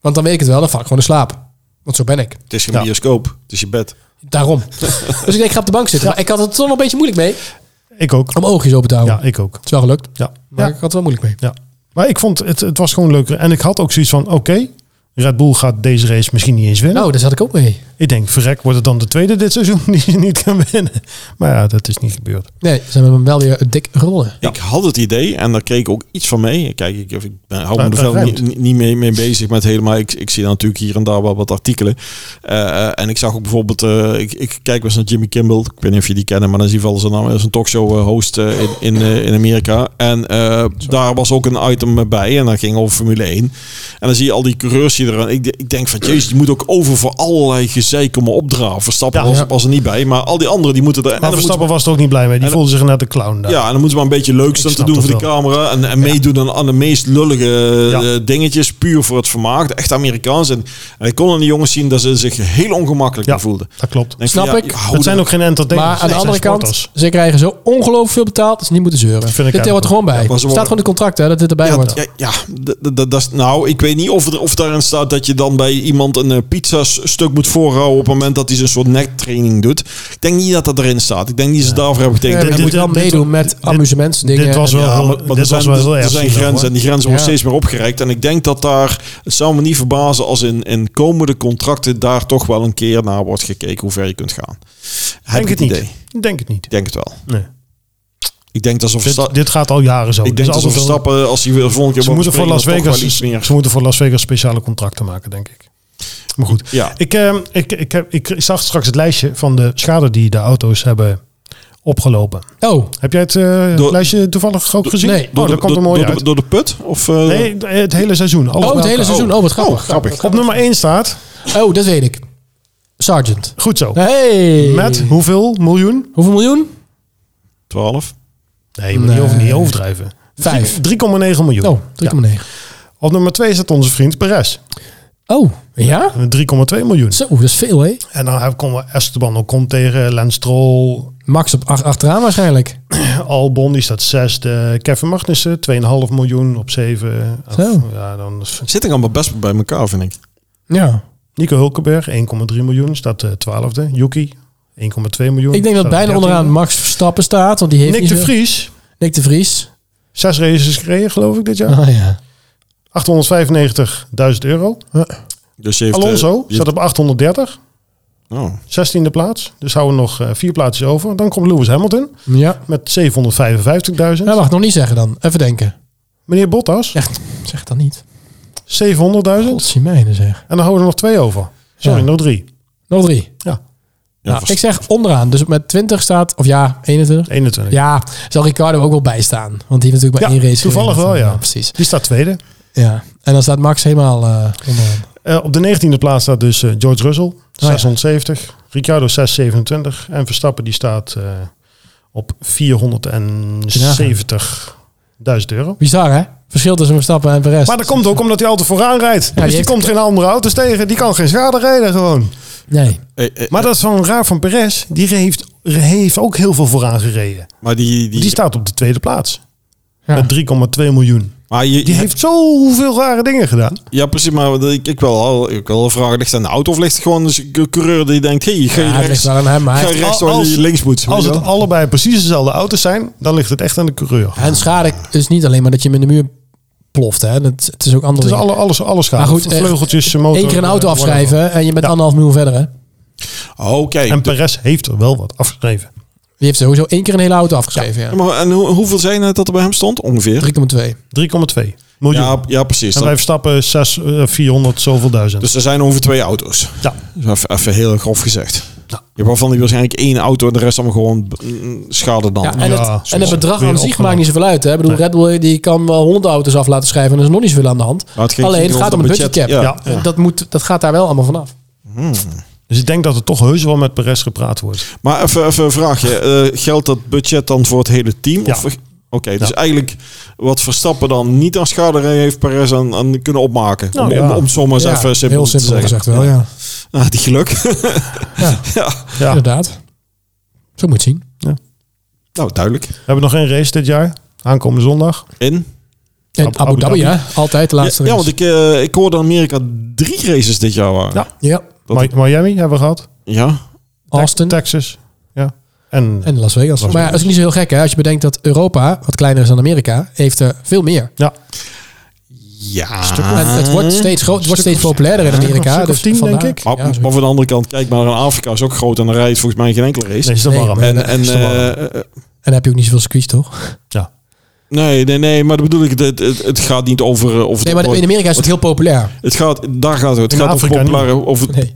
Speaker 2: Want dan weet ik het wel, dan val ik gewoon in slaap. Want zo ben ik.
Speaker 3: Het is geen
Speaker 1: Ja.
Speaker 3: bioscoop. Het is je bed.
Speaker 2: Daarom. dus ik denk, ik ga op de bank zitten. Maar ik had het toch nog een beetje moeilijk mee
Speaker 1: Ik ook.
Speaker 2: om oogjes open te houden.
Speaker 1: Ja, ik ook.
Speaker 2: Het is wel gelukt,
Speaker 1: Ja.
Speaker 2: maar
Speaker 1: Maar,
Speaker 2: ik had het wel moeilijk mee.
Speaker 1: ja. maar ik vond, het, het was gewoon leuker. En ik had ook zoiets van, oké, Red Bull gaat deze race misschien niet eens winnen.
Speaker 2: Nou, daar zat ik ook mee.
Speaker 1: Ik denk, verrek, wordt het dan de tweede dit seizoen die ze niet kan winnen. Maar ja, dat is niet gebeurd.
Speaker 2: Nee, ze hebben hem wel weer dik gewonnen.
Speaker 3: Ik had het idee, en daar kreeg ik ook iets van mee. Kijk, ik, ik ben, hou me
Speaker 1: Nou,
Speaker 3: er
Speaker 1: dat
Speaker 3: veel
Speaker 1: ruimt.
Speaker 3: niet, niet mee, mee bezig met helemaal. Ik, ik zie dan natuurlijk hier en daar wel wat artikelen. Eh, eh, en ik zag ook bijvoorbeeld, eh, ik, ik kijk wel eens naar Jimmy Kimmel. Ik weet niet of je die kennen, maar dan zie je wel zijn naam. Dat is een talkshow eh, host eh, in, in, eh, in Amerika. En eh, daar was ook een item bij. En dat ging over Formule 1. En dan zie je al die coureurs die er. Ik, ik denk van, jezus, die moet ook over voor allerlei gezeik komen opdraven. Verstappen
Speaker 1: Ja.
Speaker 3: was, was er niet bij. maar al die anderen die moeten er. en dan
Speaker 1: Maar
Speaker 3: moeten-
Speaker 1: Verstappen was er ook niet blij mee. Die
Speaker 3: en-
Speaker 1: voelde zich net de clown daar.
Speaker 3: ja, en dan moeten ze maar een beetje leuk staan te
Speaker 1: snap
Speaker 3: doen
Speaker 1: dat
Speaker 3: voor de camera. En, en meedoen aan, aan de meest lullige
Speaker 1: Ja.
Speaker 3: eh, dingetjes. Puur voor het vermaak. Echt Amerikaans. En, en ik kon aan die jongens zien dat ze zich heel ongemakkelijk
Speaker 1: Ja.
Speaker 3: voelden.
Speaker 1: dat klopt.
Speaker 3: Denk
Speaker 2: Snap
Speaker 3: van,
Speaker 2: ik.
Speaker 3: hou
Speaker 1: Het zijn
Speaker 3: er-
Speaker 1: ook geen entertainers.
Speaker 2: Maar aan de
Speaker 1: het
Speaker 2: andere
Speaker 1: zijn
Speaker 2: kant,
Speaker 1: sporters.
Speaker 2: ze krijgen zo ongelooflijk veel betaald, dus niet moeten zeuren.
Speaker 1: vind ik
Speaker 2: dit hoort
Speaker 1: eigenlijk
Speaker 2: er gewoon bij.
Speaker 3: Ja, maar
Speaker 2: staat
Speaker 3: ze
Speaker 2: gewoon
Speaker 3: worden-
Speaker 2: in het contract hè, dat dit erbij
Speaker 1: Ja,
Speaker 2: hoort.
Speaker 3: Ja, ja d- d- d- dat is- nou, ik weet niet of, er, of daarin staat dat je dan bij iemand een eh, pizzastuk moet voorhouden op het moment dat hij zo'n soort nektraining doet. Ik denk niet dat dat erin staat. Ik denk niet dat ze daarvoor hebben
Speaker 2: Ja,
Speaker 3: getekend.
Speaker 2: maar
Speaker 1: dit-
Speaker 2: je moet Eh, wel
Speaker 1: dit-
Speaker 2: meedoen met amusementsdingen.
Speaker 1: dit was
Speaker 2: en-
Speaker 1: wel-
Speaker 3: Ja,
Speaker 1: heel-
Speaker 3: maar, maar
Speaker 1: dit
Speaker 3: er
Speaker 1: was
Speaker 3: zijn,
Speaker 1: wel heel
Speaker 3: er
Speaker 1: erg
Speaker 3: zijn
Speaker 1: zielig,
Speaker 3: grenzen
Speaker 1: hoor.
Speaker 3: en die grenzen worden
Speaker 2: Ja.
Speaker 3: steeds meer opgereikt. En ik denk dat daar, het zou me niet verbazen als in, in komende contracten daar toch wel een keer naar wordt gekeken hoe ver je kunt gaan. Heb
Speaker 1: Denk
Speaker 3: ik
Speaker 1: het
Speaker 3: idee?
Speaker 1: niet. Denk het niet.
Speaker 3: Ik denk het wel.
Speaker 1: Nee.
Speaker 3: Ik denk dat ze Versta-
Speaker 1: Dit, dit gaat al jaren zo.
Speaker 3: ik denk
Speaker 1: Dus
Speaker 3: dat ze
Speaker 1: altijd wel-
Speaker 3: Verstappen, als hij weer de volgende keer
Speaker 1: Ze
Speaker 3: mogen
Speaker 1: moeten, voor
Speaker 3: springen,
Speaker 1: Las
Speaker 3: dan toch
Speaker 1: Vegas,
Speaker 3: wel iets meer.
Speaker 1: ze moeten voor Las Vegas speciale contracten maken, denk ik. Maar goed.
Speaker 3: Ja,
Speaker 1: Ik, eh, ik, ik, heb- ik zag straks het lijstje van de schade die de auto's hebben opgelopen.
Speaker 2: Oh,
Speaker 1: Heb jij het eh,
Speaker 3: Door-
Speaker 1: lijstje toevallig ook gezien?
Speaker 2: nee.
Speaker 1: Oh, dat komt er
Speaker 3: door,
Speaker 1: mooi
Speaker 3: door,
Speaker 1: uit.
Speaker 3: de- door de put? Of, eh,
Speaker 1: nee, het hele seizoen. alles
Speaker 2: oh
Speaker 1: bij
Speaker 2: het hele
Speaker 1: elkaar.
Speaker 2: seizoen. Oh, wat grappig.
Speaker 1: Op nummer 1 staat,
Speaker 2: Oh, dat weet ik. Sergeant.
Speaker 1: goed zo,
Speaker 2: Hey.
Speaker 1: met hoeveel miljoen?
Speaker 2: hoeveel miljoen?
Speaker 3: 12.
Speaker 1: Nee, je moet niet
Speaker 2: Nee.
Speaker 1: over- niet overdrijven.
Speaker 2: Vijf.
Speaker 1: 3,9 miljoen.
Speaker 2: Oh, 3,9.
Speaker 1: Ja. Op nummer 2 staat onze vriend Perez.
Speaker 2: Oh, ja?
Speaker 1: 3,2 miljoen.
Speaker 2: Zo, dat is veel, hè?
Speaker 1: En dan komen we Esteban Ocon tegen, Lance Stroll,
Speaker 2: Max op ach- achteraan waarschijnlijk.
Speaker 1: Albon, die staat zesde. Kevin Magnussen, 2,5 miljoen op 7.
Speaker 2: Zo.
Speaker 1: Ja, dan is-
Speaker 3: Zitten allemaal best bij elkaar, vind ik.
Speaker 2: Ja.
Speaker 1: Nico Hulkenberg, 1,3 miljoen, staat eh, 12e. Yuki, 1,2 miljoen.
Speaker 2: Ik denk dat
Speaker 1: staat
Speaker 2: bijna
Speaker 1: 13e.
Speaker 2: onderaan Max Verstappen staat, want die heeft
Speaker 1: Nick
Speaker 2: niet
Speaker 1: de
Speaker 2: zo-
Speaker 1: Vries,
Speaker 2: Nick de Vries.
Speaker 1: zes races gereden, geloof ik, dit jaar.
Speaker 2: Ah ja.
Speaker 1: 895.000 euro.
Speaker 3: Dus je heeft, eh,
Speaker 1: Alonso
Speaker 3: je-
Speaker 1: staat op 830,
Speaker 3: oh.
Speaker 1: 16e plaats. Dus houden we nog eh, vier plaatsjes over. Dan komt Lewis Hamilton
Speaker 2: Ja.
Speaker 1: met 755.000.
Speaker 2: Nou, wacht, nog niet zeggen dan. Even denken.
Speaker 1: Meneer Bottas,
Speaker 2: Echt, zeg het dan niet.
Speaker 1: 700.000.
Speaker 2: Godzimijnen zeg.
Speaker 1: En dan houden we er nog twee over. Sorry,
Speaker 2: Ja.
Speaker 1: nog drie.
Speaker 2: Nog drie.
Speaker 3: Ja,
Speaker 2: nou,
Speaker 3: vers-
Speaker 2: ik zeg onderaan. Dus met 20 staat, of ja, 21.
Speaker 1: 21.
Speaker 2: Ja, zal Ricardo ook wel bijstaan. Want die heeft natuurlijk maar
Speaker 1: Ja,
Speaker 2: één race
Speaker 1: toevallig
Speaker 2: gereden.
Speaker 1: wel, ja.
Speaker 2: Precies.
Speaker 1: Die staat tweede.
Speaker 2: Ja. En dan staat Max helemaal eh, onderaan.
Speaker 1: Eh, op de 19e plaats staat dus eh, George Russell, 670. Ricciardo 627. En Verstappen die staat eh, op 470.000 euro.
Speaker 2: Bizar, hè? Verschil tussen Verstappen en Perez.
Speaker 1: Maar dat komt ook omdat die auto vooraan rijdt. dus die
Speaker 2: heeft-
Speaker 1: komt geen andere auto's tegen. Die kan geen schade rijden gewoon.
Speaker 2: Nee.
Speaker 3: eh, eh,
Speaker 1: Maar dat is van raar van Perez. Die heeft, heeft ook heel veel vooraan gereden.
Speaker 3: maar die, die,
Speaker 1: Die staat op de tweede plaats.
Speaker 2: Ja.
Speaker 1: Met 3,2 miljoen.
Speaker 3: maar je,
Speaker 1: Die
Speaker 3: je-
Speaker 1: heeft zoveel rare dingen gedaan.
Speaker 3: Ja, precies. Maar ik, ik wil al, ik wil al vragen, ligt het aan de auto of ligt het gewoon een coureur die denkt, hey, ga je
Speaker 2: Ja, het ligt
Speaker 3: rechts,
Speaker 2: wel aan hem. Maar
Speaker 3: ga
Speaker 2: hij
Speaker 3: je
Speaker 2: heeft-
Speaker 3: rechts
Speaker 1: al-
Speaker 3: waar je
Speaker 1: als-
Speaker 3: links moet? weet
Speaker 1: Als
Speaker 3: je
Speaker 1: het
Speaker 3: wel?
Speaker 1: allebei precies dezelfde auto's zijn, dan ligt het echt aan de coureur.
Speaker 2: en schade is niet alleen maar dat je hem in de muur ontploft. Hè? Dat, het is ook andere
Speaker 1: Het is
Speaker 2: dingen.
Speaker 1: alle, alles, alles gaat.
Speaker 2: Maar goed, eh,
Speaker 1: Vleugeltjes, motor.
Speaker 2: Eén keer een auto
Speaker 1: eh, whatever.
Speaker 2: afschrijven en je bent anderhalf miljoen verder. Hè?
Speaker 3: Ah, Oké.
Speaker 1: En Perez heeft er wel wat afgeschreven.
Speaker 2: Die heeft sowieso één keer een hele auto afgeschreven. Ja.
Speaker 3: Maar, en hoe- hoeveel zijn het dat er bij hem stond? Ongeveer.
Speaker 2: 3,2.
Speaker 1: 3,2 miljoen.
Speaker 3: Ja, ja precies.
Speaker 1: en
Speaker 3: Dat-
Speaker 1: wij verstappen 6, 400, zoveel duizend.
Speaker 3: dus er zijn over twee auto's.
Speaker 1: ja.
Speaker 3: Dus Even, even heel grof gezegd. Je hebt waarvan die waarschijnlijk één auto en de rest allemaal gewoon mm, schade dan.
Speaker 2: Ja, en,
Speaker 1: Ja,
Speaker 2: het, en
Speaker 1: soms
Speaker 2: het bedrag
Speaker 1: weer
Speaker 2: aan zich
Speaker 1: opgenomen.
Speaker 2: maakt niet zoveel uit. Hè? Ik bedoel, Red Bull die kan wel honderd auto's af laten schrijven en er is nog niet zoveel aan de hand.
Speaker 3: Maar ging
Speaker 2: Alleen het
Speaker 3: over
Speaker 2: gaat om
Speaker 3: dat
Speaker 2: het budgetcap.
Speaker 3: Ja.
Speaker 1: Ja.
Speaker 2: Dat, moet, dat gaat daar wel allemaal vanaf.
Speaker 1: Dus ik denk dat er toch heus wel met Perez gepraat wordt.
Speaker 3: Maar even, even een vraagje. Eh, geldt dat budget dan voor het hele team?
Speaker 1: Ja.
Speaker 3: Of- Oké, dus eigenlijk wat Verstappen dan niet aan schade heeft Perez aan, aan kunnen opmaken.
Speaker 1: Nou,
Speaker 3: om,
Speaker 1: ja.
Speaker 3: om, om het zomaar eens
Speaker 2: Ja,
Speaker 3: even simpel
Speaker 2: heel
Speaker 3: te
Speaker 2: simpel
Speaker 3: zeggen.
Speaker 2: gezegd wel, ja.
Speaker 3: Nou, die geluk.
Speaker 2: Ja.
Speaker 3: ja.
Speaker 1: Ja.
Speaker 2: Inderdaad. Zo moet je het zien.
Speaker 3: Nou, duidelijk.
Speaker 1: We hebben nog één race dit jaar. Aankomende zondag.
Speaker 3: In?
Speaker 2: En
Speaker 1: Abu
Speaker 2: Abu, Dhabi,
Speaker 1: Dhabi.
Speaker 2: hè? Altijd de
Speaker 3: Ja,
Speaker 2: laatste
Speaker 3: ja,
Speaker 2: race.
Speaker 3: want ik, eh, ik hoorde dat Amerika drie races dit jaar waren.
Speaker 1: Ja.
Speaker 2: Ja,
Speaker 3: Dat-
Speaker 1: Mi- Miami hebben we gehad.
Speaker 3: Ja.
Speaker 2: Austin
Speaker 1: Texas. Ja. En,
Speaker 2: en Las Vegas. maar ja, dat is niet zo heel gek, hè? Als je bedenkt dat Europa, wat kleiner is dan Amerika, heeft er veel meer.
Speaker 1: ja.
Speaker 3: Ja.
Speaker 2: En
Speaker 3: Ah.
Speaker 2: het wordt steeds, groot, het wordt steeds populairder in
Speaker 1: Een
Speaker 2: Amerika.
Speaker 1: stuk of
Speaker 2: Dus
Speaker 1: tien,
Speaker 2: vandaar-
Speaker 1: denk ik.
Speaker 3: Maar,
Speaker 2: Ja,
Speaker 3: maar van de andere kant, kijk maar naar Afrika, is ook groot en daar rijdt volgens mij geen enkele race.
Speaker 1: Nee, is dat
Speaker 2: Nee,
Speaker 1: warm.
Speaker 2: maar-
Speaker 3: En, en,
Speaker 1: Is te warm.
Speaker 3: eh, eh,
Speaker 2: En dan heb je ook niet zoveel circuits, toch?
Speaker 1: ja.
Speaker 3: nee, nee, nee, maar dat bedoel ik, het, het, het gaat niet over... eh, Of
Speaker 2: Nee, maar in Amerika is het heel populair.
Speaker 3: Het gaat, daar gaat het. Het
Speaker 1: In
Speaker 3: gaat
Speaker 1: Afrika
Speaker 3: over populair. Over,
Speaker 2: Nee.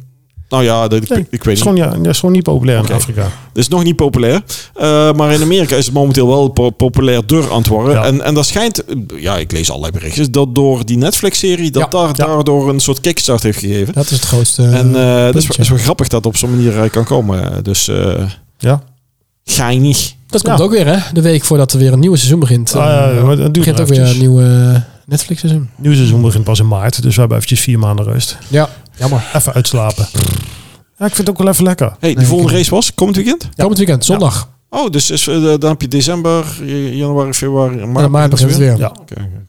Speaker 3: Nou ja, dat, ik,
Speaker 1: Nee,
Speaker 3: ik
Speaker 1: het
Speaker 3: weet
Speaker 1: is
Speaker 3: niet.
Speaker 1: gewoon, ja, het is gewoon niet populair
Speaker 3: Oké.
Speaker 1: in Afrika.
Speaker 3: Het is nog niet populair. Eh, maar in Amerika is het momenteel wel po- populair door aan het worden.
Speaker 1: Ja.
Speaker 3: En, en dat schijnt, eh, ja, ik lees allerlei berichtjes, dat door die Netflix-serie, dat
Speaker 2: Ja.
Speaker 3: daar, daardoor een soort kickstart heeft gegeven.
Speaker 2: Dat is het grootste.
Speaker 3: En eh dat is,
Speaker 2: puntje.
Speaker 3: is wel grappig dat het op zo'n manier eh, kan komen. Dus eh
Speaker 1: Ja.
Speaker 3: geinig.
Speaker 2: dat komt
Speaker 1: ja.
Speaker 2: ook weer, hè? De week voordat er weer een nieuwe seizoen begint.
Speaker 1: nou. Ah, ja,
Speaker 2: eh,
Speaker 1: maar het duurt
Speaker 2: begint
Speaker 1: nog
Speaker 2: ook weer een
Speaker 1: eventjes.
Speaker 2: nieuw eh, Netflix-seizoen.
Speaker 1: Nieuw seizoen begint pas in maart. Dus we hebben eventjes vier maanden rust.
Speaker 2: Ja, jammer.
Speaker 1: Even uitslapen. Ja, ik vind het ook wel even lekker.
Speaker 3: Hey, die
Speaker 2: Nee,
Speaker 3: volgende
Speaker 2: ik-
Speaker 3: race was komend weekend?
Speaker 2: Komend weekend, zondag.
Speaker 3: Oh, dus is, eh, dan heb je december, eh, januari, februari, maart.
Speaker 2: Maar, maar Eh, begint het weer.
Speaker 1: Ja,
Speaker 3: Oké, oké.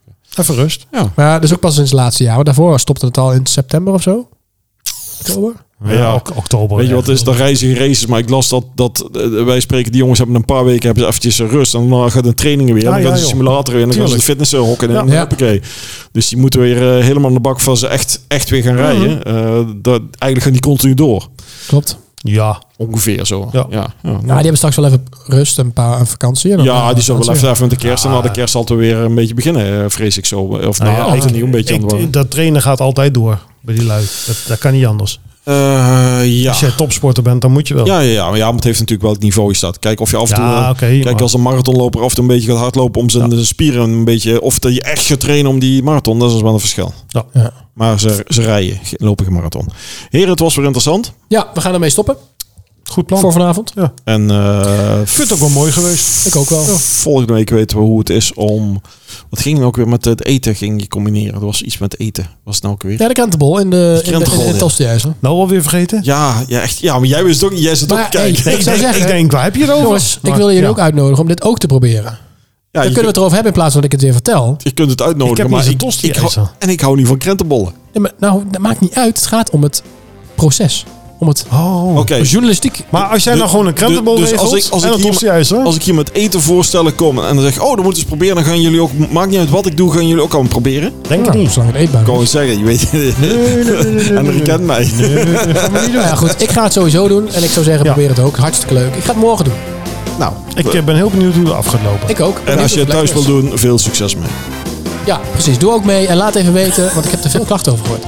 Speaker 1: even rust.
Speaker 2: Maar dus ook pas sinds het laatste jaar. Want daarvoor stopte het al in september of zo. Oktober.
Speaker 1: Ja,
Speaker 3: Ja.
Speaker 1: ok- oktober.
Speaker 3: Weet je wat
Speaker 1: ergens.
Speaker 3: het is? Dan reizen geen races. Maar ik las dat, dat eh, wij spreken, die jongens hebben een paar weken hebben ze eventjes rust. En dan gaat de trainingen weer. En
Speaker 1: Ja,
Speaker 3: dan gaat
Speaker 1: ja,
Speaker 3: de
Speaker 1: joh.
Speaker 3: simulator weer. En dan gaan ze de
Speaker 1: Tuurlijk.
Speaker 3: fitnesshokken in.
Speaker 1: Ja.
Speaker 3: En dan,
Speaker 2: Ja.
Speaker 3: hoppakee. Dus die moeten weer eh, helemaal aan de bak van ze echt, echt weer gaan
Speaker 1: Mhm.
Speaker 3: rijden. Eh, dat, eigenlijk gaan die continu door.
Speaker 2: Klopt.
Speaker 1: Ja,
Speaker 3: Nou Ongeveer zo. Ja,
Speaker 1: Ja.
Speaker 3: ja. ja.
Speaker 2: Ja, die hebben straks wel even rust en een paar een vakantie. en dan-
Speaker 3: die zullen wel
Speaker 2: vakantie.
Speaker 3: even, even met de kerst. En na de kerst zal het weer een beetje beginnen, eh, vrees ik zo. Of na
Speaker 1: Nou ja,
Speaker 3: oud en nieuw een beetje. aan het worden.
Speaker 1: ik, dat trainen gaat altijd door bij die lui. Dat, dat kan niet anders.
Speaker 3: Eh, ja.
Speaker 1: Als jij topsporter bent, dan moet je wel.
Speaker 3: Ja, ja, ja, maar ja, maar het heeft natuurlijk welk niveau je staat. Kijk of je af en toe,
Speaker 1: Oh. Ja,
Speaker 3: eh,
Speaker 1: oké,
Speaker 3: kijk
Speaker 1: maar-
Speaker 3: als een marathonloper af en toe een beetje gaat hardlopen om zijn eh, spieren een beetje, of dat je echt gaat trainen om die marathon, dat is wel een verschil.
Speaker 1: Ja.
Speaker 2: Ja.
Speaker 3: Maar ze, ze rijden, geen- lopen geen marathon. Heren, het was weer interessant.
Speaker 2: Ja, we gaan ermee stoppen
Speaker 1: Goed plan.
Speaker 2: voor vanavond.
Speaker 3: En eh,
Speaker 1: Ik vind het ook wel mooi geweest.
Speaker 2: Ik ook wel.
Speaker 3: volgende week weten we hoe het is om, wat ging er ook weer met het eten ging je combineren? Er was iets met eten, was het nou ook weer?
Speaker 2: Ja, de krentenbol in de, in de, in de,
Speaker 3: krentenbol, ja.
Speaker 2: Tastenhuis, hè.
Speaker 1: Nou alweer vergeten?
Speaker 3: Ja, ja, echt, ja, maar jij wist ook, jij zit ook
Speaker 2: Maar,
Speaker 3: te kijken.
Speaker 2: hey,
Speaker 1: Ik,
Speaker 2: Ik zou
Speaker 1: denk,
Speaker 2: zeggen-
Speaker 1: ik denk, waar heb je het over?
Speaker 2: Jongens, ik
Speaker 1: Maar-
Speaker 2: wil jullie
Speaker 1: ja.
Speaker 2: ook uitnodigen om dit ook te proberen.
Speaker 3: ja,
Speaker 2: dan
Speaker 3: je,
Speaker 2: kunnen we het erover hebben in plaats van dat ik het weer vertel.
Speaker 3: je kunt het uitnodigen,
Speaker 1: Ik heb niet
Speaker 3: maar
Speaker 1: eens een tosti
Speaker 3: ik hou-
Speaker 1: eten.
Speaker 3: en ik hou niet van krentenbollen.
Speaker 2: Nee, maar, nou, dat maakt niet uit. Het gaat om het proces. Om het
Speaker 1: Oh.
Speaker 3: Oké,
Speaker 2: journalistiek.
Speaker 1: Maar als jij
Speaker 3: Dus-
Speaker 1: nou gewoon een krentenbol
Speaker 3: dus
Speaker 1: regelt
Speaker 3: als ik- als
Speaker 1: en
Speaker 3: ik
Speaker 1: een
Speaker 3: hier-
Speaker 1: tosti-ijzer...
Speaker 3: Als ik hier met eten voorstellen kom en dan zeg ik, oh, dan moeten ze het proberen, dan gaan jullie ook, maakt niet uit wat ik doe, gaan jullie ook aan het proberen.
Speaker 1: Denk ik
Speaker 2: Ja,
Speaker 1: niet.
Speaker 2: Zolang het eetbaar is.
Speaker 3: Gewoon zeggen, je weet, en dan kent mij.
Speaker 2: Nou ja, goed. Ik ga het sowieso doen. En ik zou zeggen,
Speaker 1: Ja.
Speaker 2: probeer het ook. Hartstikke leuk. Ik ga het morgen doen.
Speaker 3: Nou,
Speaker 1: Ik eh, ben heel benieuwd hoe het af gaat lopen.
Speaker 2: Ik ook.
Speaker 3: en als je het thuis wil
Speaker 2: wil
Speaker 3: doen, veel succes mee.
Speaker 2: Ja, precies. Doe ook mee en laat even weten, want ik heb er veel klachten over gehoord.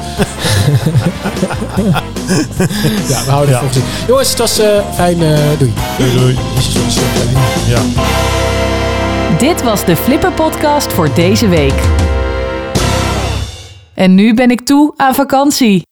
Speaker 2: ja, we houden het
Speaker 1: Ja.
Speaker 2: ja. Jongens, het was eh, fijn. eh, doei.
Speaker 1: Doei, doei.
Speaker 2: Jezus, wat is dit, eh.
Speaker 1: Ja.
Speaker 4: Dit was de Flipper Podcast voor deze week. En nu ben ik toe aan vakantie.